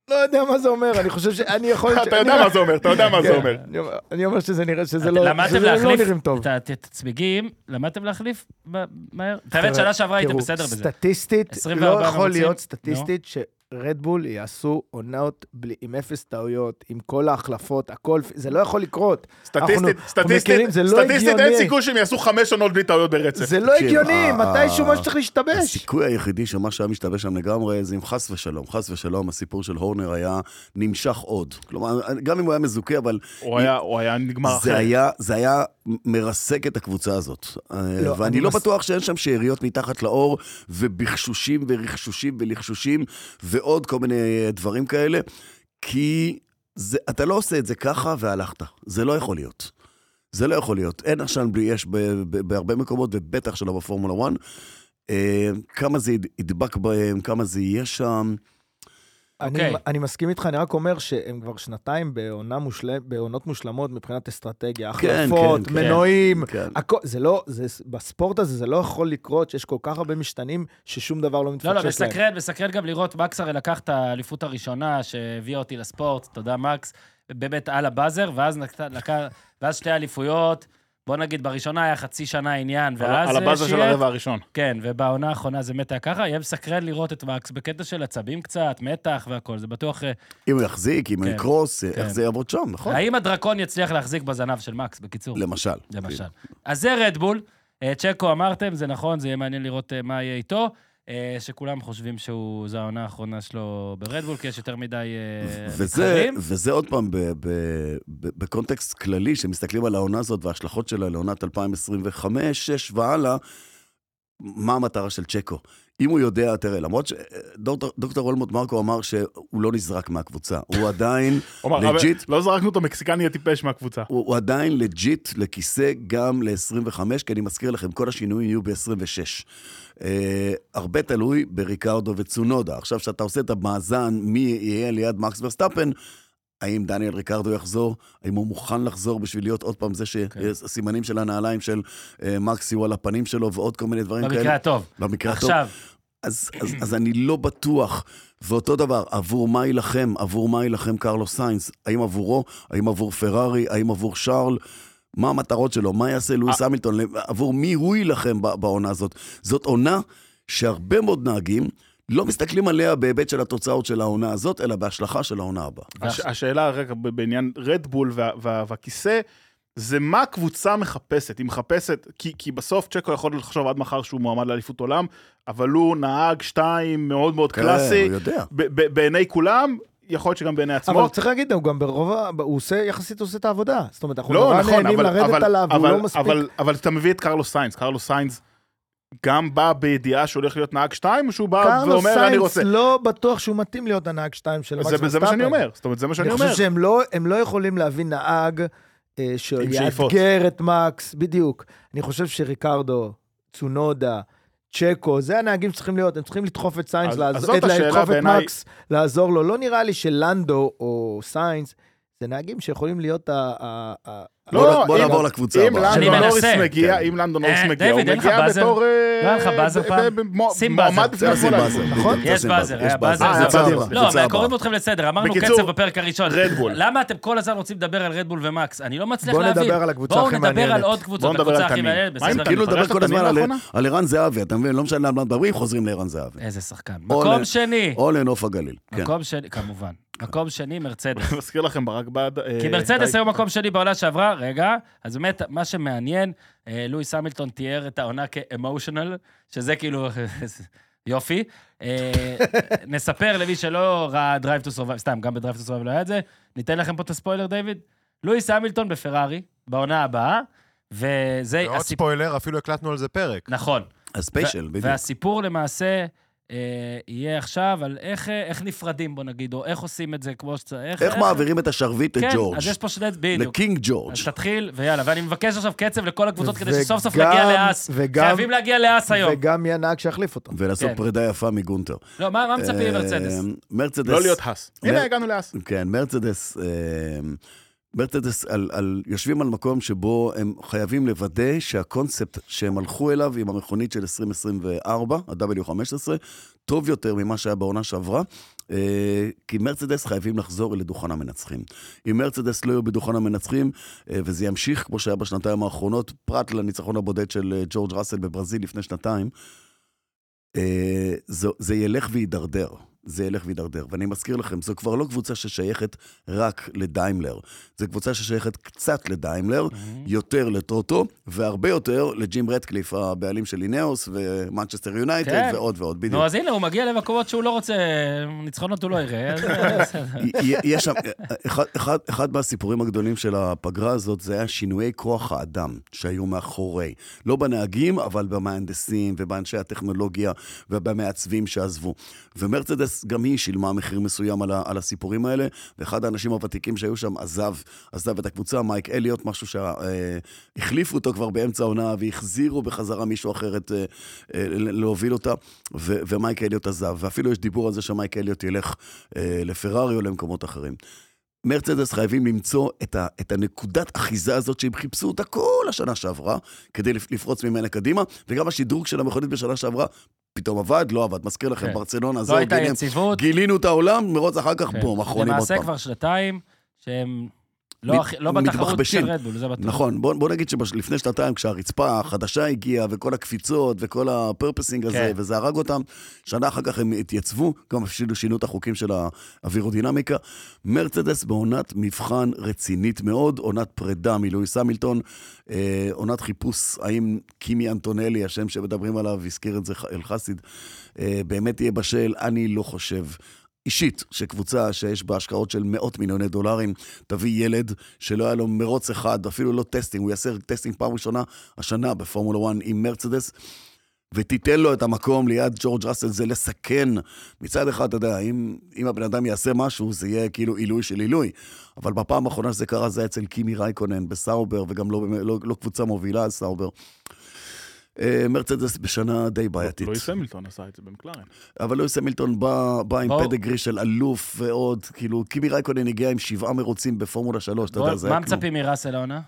Speaker 4: לא יודע מה זה אומר, אני חושב שאני יכול...
Speaker 3: [LAUGHS] [LAUGHS] אתה יודע מה זה אומר, אתה יודע מה זה
Speaker 4: כן,
Speaker 3: אומר.
Speaker 4: אני אומר. אני אומר שזה נראה, שזה לא,
Speaker 1: למדתם
Speaker 4: שזה לא
Speaker 1: להחליף
Speaker 4: נראים טוב.
Speaker 1: את ה- את הצמיגים, למדתם להחליף ב- מהר? את האמת,
Speaker 4: חבר'ה,
Speaker 1: שנה שעברה הייתם
Speaker 4: תראו,
Speaker 1: בסדר בזה.
Speaker 4: סטטיסטית,
Speaker 1: 24
Speaker 4: לא יכול
Speaker 1: מרוצים.
Speaker 4: להיות סטטיסטית שרדבול יעשו עונות בלי- עם אפס טעויות, עם כל ההחלפות, הכל, זה לא יכול לקרות.
Speaker 3: סטטיסטית,
Speaker 4: אנחנו
Speaker 3: סטטיסטית,
Speaker 4: מכירים, זה לא
Speaker 3: סטטיסטית אין
Speaker 4: הגיוני.
Speaker 3: סיכוי שהם יעשו חמש עונות בלי טעויות ברצף.
Speaker 4: זה לא
Speaker 2: תקשיב, אה,
Speaker 4: הגיוני,
Speaker 2: ה-
Speaker 4: מתישהו
Speaker 2: ה-
Speaker 4: משהו צריך להשתבש.
Speaker 2: הסיכוי היחידי שמה שהיה משתבש שם לגמרי זה אם חס ושלום, חס ושלום, הסיפור של הורנר היה נמשך עוד. כלומר, גם אם הוא היה מזוכה, אבל
Speaker 3: הוא היה- הוא היה נגמר
Speaker 2: זה
Speaker 3: אחרת.
Speaker 2: היה, זה היה מרסק את הקבוצה הזאת. לא,
Speaker 4: לא, אני
Speaker 2: ואני לא
Speaker 4: מס-
Speaker 2: מס... בטוח שאין שם שאריות מתחת לאור, ובחשושים ורכשושים ולחשושים, ועוד כל מיני אה, דברים כאלה, כי זה, אתה לא עושה את זה ככה והלכת. זה לא יכול להיות. זה לא יכול להיות. אין עשן בלי אש ב- ב- בהרבה מקומות, ובטח שלא בפורמולה 1. אה, כמה זה יד- ידבק בהם, כמה זה יהיה שם.
Speaker 4: אני,
Speaker 1: אוקיי.
Speaker 4: אני מסכים איתך, אני רק אומר שהם כבר שנתיים בעונה מושל... בעונות מושלמות מבחינת אסטרטגיה,
Speaker 2: כן,
Speaker 4: החלפות,
Speaker 2: כן, כן.
Speaker 4: מנועים,
Speaker 2: כן.
Speaker 4: הכל, זה לא, זה, בספורט הזה זה לא יכול לקרות שיש כל כך הרבה משתנים ששום דבר לא מתפקשש
Speaker 1: לא,
Speaker 4: להם.
Speaker 1: לא, מסקרן, מסקרן גם לראות, מקס הרי לקח את האליפות הראשונה שהביאה אותי לספורט, תודה מקס, באמת על הבאזר, ואז, נקט, לקח, ואז שתי אליפויות, בוא נגיד, בראשונה היה חצי שנה עניין,
Speaker 3: על-
Speaker 1: ואז... אה,
Speaker 3: על הבאזר של
Speaker 1: שיהיה-
Speaker 3: הרבע הראשון.
Speaker 1: כן, ובעונה האחרונה זה מת היה ככה, יהיה מסקרן לראות את מקס בקטע של עצבים קצת, מתח והכול, זה בטוח... אה,
Speaker 2: אם הוא יחזיק, אם הוא
Speaker 1: כן,
Speaker 2: יקרוס, אה,
Speaker 1: כן.
Speaker 2: איך זה יעבוד שם, נכון?
Speaker 1: האם הדרקון יצליח להחזיק בזנב של מקס, בקיצור?
Speaker 2: למשל.
Speaker 1: למשל.
Speaker 2: כן.
Speaker 1: אז זה רדבול. אה, צ'קו אמרתם, זה נכון, זה יהיה מעניין לראות אה, מה יהיה איתו. אה, שכולם חושבים שהוא, זו העונה האחרונה שלו ברדבול, כי יש יותר מדי אה,
Speaker 2: וזה,
Speaker 1: מתחרים.
Speaker 2: וזה עוד פעם ב, ב, ב, בקונטקסט כללי, שמסתכלים על העונה הזאת וההשלכות שלה לעונת 2025, 6 והלאה, מה המטרה של צ'קו? אם הוא יודע, תראה, למרות שדוקטור אולמוט מרקו אמר שהוא לא נזרק מהקבוצה, הוא עדיין
Speaker 3: הוא אמר,
Speaker 2: לג'יט,
Speaker 3: "אבל לא זרקנו את המקסיקני הטיפש מהקבוצה.
Speaker 2: הוא, הוא עדיין לג'יט לכיסא גם ל-25, כי אני מזכיר לכם, כל השינויים יהיו ב-26. Uh, הרבה תלוי בריקרדו וצונודה. עכשיו, כשאתה עושה את המאזן מי יהיה ליד מקס ורסטאפן, האם דניאל ריקרדו יחזור? האם הוא מוכן לחזור בשביל להיות עוד פעם זה
Speaker 1: כן.
Speaker 2: שהסימנים של הנעליים של uh, מקס יהיו על הפנים שלו ועוד כל מיני דברים
Speaker 1: במקרה
Speaker 2: כאלה?
Speaker 1: הטוב.
Speaker 2: במקרה כן. הטוב.
Speaker 1: עכשיו,
Speaker 2: אז, אז, אז אני לא בטוח. ואותו דבר, עבור מה יילחם? עבור מה יילחם קרלוס סיינס? האם עבורו? האם עבור פרארי? האם עבור שרל? מה המטרות שלו? מה יעשה לואיס המילטון? עבור מי הוא יילחם ב- בעונה הזאת? זאת עונה שהרבה מאוד נהגים לא מסתכלים עליה בהיבט של התוצאות של העונה הזאת, אלא בהשלכה של העונה הבאה.
Speaker 3: הש- השאלה רגע ב- בעניין רדבול וה- וה- והכיסא, זה מה הקבוצה מחפשת. היא מחפשת, כי, כי בסוף צ'קו יכול לחשוב עד מחר שהוא מועמד לאליפות עולם, אבל הוא נהג שתיים מאוד מאוד
Speaker 2: כן,
Speaker 3: קלאסי,
Speaker 2: הוא יודע.
Speaker 3: ב- ב- בעיני כולם, יכול להיות שגם בעיני עצמו.
Speaker 4: אבל צריך להגיד, הוא גם ברוב, ה- הוא עושה, יחסית עושה את העבודה. זאת אומרת, אנחנו
Speaker 3: לא,
Speaker 4: נורא
Speaker 3: נכון,
Speaker 4: נהנים
Speaker 3: אבל,
Speaker 4: לרדת
Speaker 3: אבל,
Speaker 4: עליו, הוא
Speaker 3: אבל,
Speaker 4: לא מספיק.
Speaker 3: אבל, אבל אתה מביא את קרלוס סיינס, קרלוס סיינס גם בא בידיעה שהוא הולך להיות נהג שתיים, או שהוא בא
Speaker 4: קרלוס
Speaker 3: ואומר, אני
Speaker 4: סיינס
Speaker 3: רוצה.
Speaker 4: לא בטוח שהוא מתאים להיות הנהג 2 של מקס
Speaker 3: זה, זה מה שאני אומר, זאת אומרת, זה מה שאני
Speaker 4: אני
Speaker 3: אומר.
Speaker 4: חושב שהם לא, הם לא יכולים להביא נהג אה,
Speaker 3: שאיפות.
Speaker 4: שיאתגר את מקס, בדיוק. אני חושב שריקרדו, צונודה, צ'קו, זה הנהגים שצריכים להיות, הם צריכים לדחוף את סיינס,
Speaker 3: אז-
Speaker 4: לעז...
Speaker 3: אז זאת
Speaker 4: את,
Speaker 3: השאלה
Speaker 4: לדחוף את
Speaker 3: בעיניי.
Speaker 4: מקס, לעזור לו. לא נראה לי שלנדו או סיינס, זה נהגים שיכולים להיות ה... ה, ה
Speaker 3: לא,
Speaker 2: בוא- בוא נעבור לקבוצה
Speaker 3: אם
Speaker 2: הבאה.
Speaker 1: אני
Speaker 3: לנדון נוריס
Speaker 1: מנסה.
Speaker 3: מגיע,
Speaker 2: כן.
Speaker 3: אם לנדון נוריס
Speaker 1: אה,
Speaker 3: מגיע, הוא
Speaker 1: דיוויד, אין לך
Speaker 3: מגיע
Speaker 1: באזר?
Speaker 3: בתור... אה,
Speaker 1: לא היה לך באזר פעם? שים באזר.
Speaker 2: זה עושים באזר.
Speaker 4: נכון?
Speaker 2: בדיוק,
Speaker 1: יש אה,
Speaker 2: זה
Speaker 1: באזר, היה
Speaker 2: יש
Speaker 1: באזר.
Speaker 3: זה
Speaker 2: זה
Speaker 3: באזר.
Speaker 2: קבוצה
Speaker 1: לא,
Speaker 2: הבאה.
Speaker 1: אבל קוראים אתכם לסדר, אמרנו
Speaker 3: בקיצור,
Speaker 1: קצב בפרק הראשון.
Speaker 3: רדבול.
Speaker 1: למה אתם כל הזמן רוצים לדבר על רדבול ומקס? אני לא מצליח
Speaker 4: בואו
Speaker 1: להבין.
Speaker 4: נדבר על הקבוצה הכי
Speaker 1: בואו נדבר
Speaker 4: מעניינת.
Speaker 1: על עוד קבוצות,
Speaker 3: בואו נדבר
Speaker 1: הקבוצה
Speaker 3: על
Speaker 1: הכי
Speaker 3: תמיר.
Speaker 1: מעניינת,
Speaker 3: מה עם
Speaker 1: בסדר.
Speaker 2: כאילו לדבר
Speaker 3: פגשת
Speaker 2: כל
Speaker 3: את
Speaker 2: הזמן
Speaker 3: תמיר
Speaker 2: על-
Speaker 3: לאחרונה?
Speaker 2: על ערן זהבי, אתה מבין? לא משנה על מה מדברים, חוזרים לערן זהבי.
Speaker 1: איזה שחקן.
Speaker 2: או
Speaker 1: מקום
Speaker 2: ל-
Speaker 1: שני.
Speaker 2: או לנוף הגליל, כן.
Speaker 1: מקום שני, כמובן. מקום שני, מרצדס.
Speaker 3: אני מזכיר לכם, ברק בעד... אה,
Speaker 1: כי מרצדס
Speaker 3: די.
Speaker 1: היו מקום שני בעונה שעברה, רגע, אז באמת, מה שמעניין, אה, לואיס המילטון תיאר את העונה כ-emotional, שזה כאילו, [LAUGHS] יופי.
Speaker 5: [LAUGHS]
Speaker 1: אה, נספר למי שלא ראה Drive to Survive, סתם, גם ב-Drive to Survive לא היה את זה, ניתן לכם פה את הספוילר, דיוויד. לואיס המילטון בפרארי, בעונה הבאה, וזה
Speaker 5: ועוד
Speaker 1: הסיפור...
Speaker 5: ספוילר, אפילו הקלטנו על זה פרק.
Speaker 1: נכון.
Speaker 2: הספיישל, בדיוק.
Speaker 1: והסיפור למעשה... אה, יהיה עכשיו על איך, אה, איך נפרדים, בוא נגיד, או איך עושים את זה כמו שצריך. אה,
Speaker 2: איך מעבירים את השרביט
Speaker 1: כן,
Speaker 2: לג'ורג'?
Speaker 1: אז יש פה שני... בדיוק.
Speaker 2: לקינג ג'ורג'.
Speaker 1: אז תתחיל, ויאללה. ואני מבקש עכשיו קצב לכל הקבוצות כדי
Speaker 4: וגם-
Speaker 1: שסוף סוף נגיע לאס.
Speaker 4: וגם-
Speaker 1: חייבים להגיע לאס היום.
Speaker 4: וגם יהיה נהג שיחליף אותו.
Speaker 2: ולעשות
Speaker 1: כן.
Speaker 2: פרידה יפה מגונטר.
Speaker 1: לא, מה מה מצפים מרצדס?
Speaker 2: אה, מרצדס.
Speaker 3: לא להיות האס. הנה,
Speaker 2: מר-
Speaker 3: הגענו לאס.
Speaker 2: כן, מרצדס, אה, מרצדס על, על, יושבים על מקום שבו הם חייבים לוודא שהקונספט שהם הלכו אליו עם המכונית של 2024, ה-W15, טוב יותר ממה שהיה בעונה שעברה, אה, כי מרצדס חייבים לחזור לדוכן המנצחים. אם מרצדס לא יהיו בדוכן המנצחים, אה, וזה ימשיך כמו שהיה בשנתיים האחרונות, פרט לניצחון הבודד של אה, ג'ורג' ראסל בברזיל לפני שנתיים, אה, זו- זה ילך וידרדר. זה ילך וידרדר. ואני מזכיר לכם, זו כבר לא קבוצה ששייכת רק לדיימלר. זו קבוצה ששייכת קצת לדיימלר, יותר לטוטו, והרבה יותר לג'ים רטקליף, הבעלים של אינאוס ומנצ'סטר יונייטד
Speaker 1: כן.
Speaker 2: ועוד ועוד, בדיוק.
Speaker 1: נו, אז הנה, הוא מגיע למקומות שהוא לא רוצה, ניצחונות הוא לא יראה,
Speaker 2: [LAUGHS]
Speaker 1: אז בסדר.
Speaker 2: י- י- יש שם, אחד, אחד, אחד מהסיפורים הגדולים של הפגרה הזאת זה היה שינויי כוח האדם שהיו מאחורי. לא בנהגים, אבל במהנדסים ובאנשי הטכנולוגיה ובמעצבים שעזבו. ומרצדס, גם היא שילמה מחיר מסוים על, ה, על הסיפורים האלה, ואחד האנשים הוותיקים שהיו שם עזב, עזב את הקבוצה, מייק אליוט, משהו שהחליפו אותו כבר באמצע העונה והחזירו בחזרה מישהו אחרת אה, אה, להוביל אותה, ו, ומייק אליוט עזב. ואפילו יש דיבור על זה שמייק אליוט ילך אה, לפרארי או למקומות אחרים. מרצדס חייבים למצוא את, ה, את הנקודת אחיזה הזאת שהם חיפשו אותה כל השנה שעברה, כדי לפ- לפרוץ ממנה קדימה, וגם השדרוג של המכונית בשנה שעברה פתאום עבד, לא עבד. מזכיר לכם,
Speaker 1: כן.
Speaker 2: ברצלונה,
Speaker 1: לא
Speaker 2: זהו,
Speaker 1: הייתה
Speaker 2: גילינו-
Speaker 1: יציבות.
Speaker 2: גילינו את העולם, מרוץ אחר כך,
Speaker 1: כן.
Speaker 2: בום, אחרונים עוד
Speaker 1: למעשה
Speaker 2: פעם.
Speaker 1: כבר שנתיים שהם
Speaker 2: מת-
Speaker 1: לא הכי- לא בתחרות
Speaker 2: מתבחבשים.
Speaker 1: של רדבול, זה בטוח.
Speaker 2: נכון, בוא, בוא נגיד שלפני שנתיים, כשהרצפה החדשה הגיעה, וכל הקפיצות, וכל הפרפסינג הזה,
Speaker 1: כן.
Speaker 2: וזה הרג אותם, שנה אחר כך הם התייצבו, גם אפילו שינו את החוקים של האווירודינמיקה. מרצדס בעונת מבחן רצינית מאוד, עונת פרידה מלואיס המילטון, אה, עונת חיפוש, האם קימי אנטונלי, השם שמדברים עליו, הזכיר את זה ח- אלחסיד, אה, באמת יהיה בשל, אני לא חושב. אישית, שקבוצה שיש בה השקעות של מאות מיליוני דולרים, תביא ילד שלא היה לו מרוץ אחד, אפילו לא טסטינג, הוא יעשה טסטינג פעם ראשונה השנה בפורמולה 1 עם מרצדס, ותיתן לו את המקום ליד ג'ורג' ראסל, זה לסכן. מצד אחד, אתה יודע, אם, אם הבן אדם יעשה משהו, זה יהיה כאילו עילוי של עילוי. אבל בפעם האחרונה שזה קרה זה היה אצל קימי רייקונן בסאובר, וגם לא, לא, לא קבוצה מובילה על סאובר. אה, מרצדס בשנה
Speaker 1: לא,
Speaker 2: די בעייתית.
Speaker 3: לואיס המילטון עשה את זה במקלרן.
Speaker 2: אבל לואיס המילטון בא, בא עם
Speaker 1: בואו.
Speaker 2: פדגרי של אלוף ועוד, כאילו, קימי רייקונן הגיע עם שבעה מרוצים בפורמולה 3, אתה
Speaker 1: בוא,
Speaker 2: יודע, זה
Speaker 1: מה
Speaker 2: היה כלום.
Speaker 1: מצפים מראסל העונה?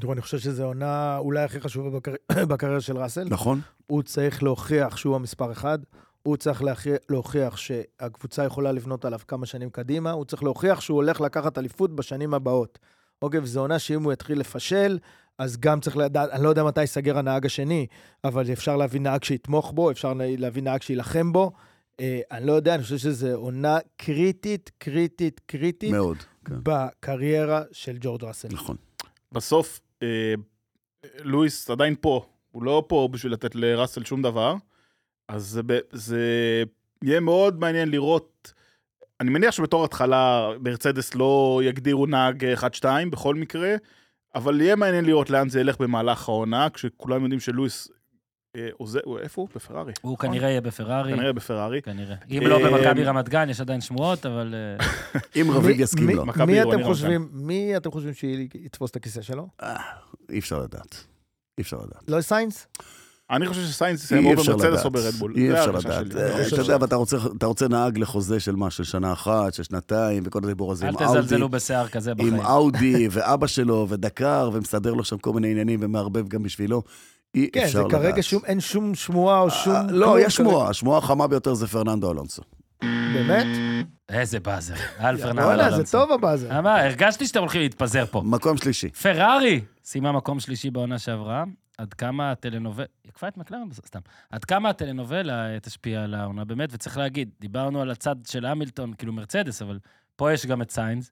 Speaker 4: תראו, אני חושב שזו עונה אולי הכי חשובה בקר- [COUGHS] בקריירה של ראסל.
Speaker 2: נכון.
Speaker 4: הוא צריך להוכיח שהוא המספר אחד, הוא צריך להכריע- להוכיח שהקבוצה יכולה לבנות עליו כמה שנים קדימה, הוא צריך להוכיח שהוא הולך לקחת אליפות בשנים הבאות. אוקיי, וזו עונה שאם הוא יתחיל לפשל, אז גם צריך לדעת, אני לא יודע מתי ייסגר הנהג השני, אבל אפשר להביא נהג שיתמוך בו, אפשר להביא נהג שיילחם בו. אה, אני לא יודע, אני חושב שזו עונה קריטית, קריטית, קריטית,
Speaker 2: מאוד, כן.
Speaker 4: בקריירה של ג'ורג' ראסל.
Speaker 2: נכון.
Speaker 3: בסוף, אה, לואיס עדיין פה, הוא לא פה בשביל לתת לראסל שום דבר, אז זה, ב- זה יהיה מאוד מעניין לראות. אני מניח שבתור התחלה מרצדס לא יגדירו נהג 1-2 בכל מקרה, אבל יהיה מעניין לראות לאן זה ילך במהלך העונה, כשכולם יודעים שלואיס אה, עוזב, הוא- איפה הוא? בפרארי.
Speaker 1: הוא
Speaker 3: נכון?
Speaker 1: כנראה יהיה בפרארי.
Speaker 3: כנראה בפרארי.
Speaker 1: כנראה. אם לא
Speaker 3: אה,
Speaker 1: במכבי רמת גן, יש עדיין שמועות, אבל... אה,
Speaker 2: אם רביב יסכים
Speaker 4: מי-
Speaker 2: לו,
Speaker 3: מכבי
Speaker 4: מי
Speaker 3: עירוני
Speaker 4: אתם
Speaker 3: רמת
Speaker 4: חושבים, מי אתם חושבים שיתפוס את הכיסא שלו?
Speaker 2: אי אפשר לדעת. אי אפשר לדעת.
Speaker 4: לא סיינס?
Speaker 3: אני חושב שסיינס יסיים או
Speaker 2: אי אפשר
Speaker 3: במרצדס או
Speaker 2: לדעת.
Speaker 3: ברדבול.
Speaker 2: אי
Speaker 3: זה
Speaker 2: אפשר
Speaker 3: ההרגשה
Speaker 2: לדעת.
Speaker 3: שלי. אני
Speaker 2: אה,
Speaker 3: חושב
Speaker 2: אתה
Speaker 3: ש-
Speaker 2: יודע, ואתה רוצה- אתה רוצה נהג לחוזה של מה, של שנה אחת, של שנתיים, וכל הדיבור
Speaker 1: אל
Speaker 2: הזה עם אאודי.
Speaker 1: תזלזלו בשיער כזה בחיים.
Speaker 2: עם אאודי [LAUGHS] ואבא שלו ודקר, ומסדר לו שם כל מיני עניינים ומערבב גם בשבילו. אי
Speaker 4: כן,
Speaker 2: אפשר
Speaker 4: זה
Speaker 2: לדעת.
Speaker 4: כרגע שום, אין שום שמועה או שום...
Speaker 2: אה, לא,
Speaker 4: כלום
Speaker 2: יש שמועה. השמועה החמה ביותר זה פרננדו אלונסו.
Speaker 4: כרגע. באמת?
Speaker 2: אה,
Speaker 1: איזה באזר. אל פרננדו
Speaker 2: לא,
Speaker 4: וואלה, זה
Speaker 1: אלונסו.
Speaker 4: טוב הבאזר.
Speaker 1: אה, מה, הרגשתי שאתם הולכים להתפזר פה.
Speaker 2: מקום שלישי.
Speaker 1: פרארי סיימה מקום שלישי בעונה שעברה. עד כמה הטלנובלה, היא עקפה את מקלרן בס- סתם, עד כמה הטלנובלה אה, תשפיע על העונה באמת, וצריך להגיד, דיברנו על הצד של המילטון, כאילו מרצדס, אבל פה יש גם את סיינס,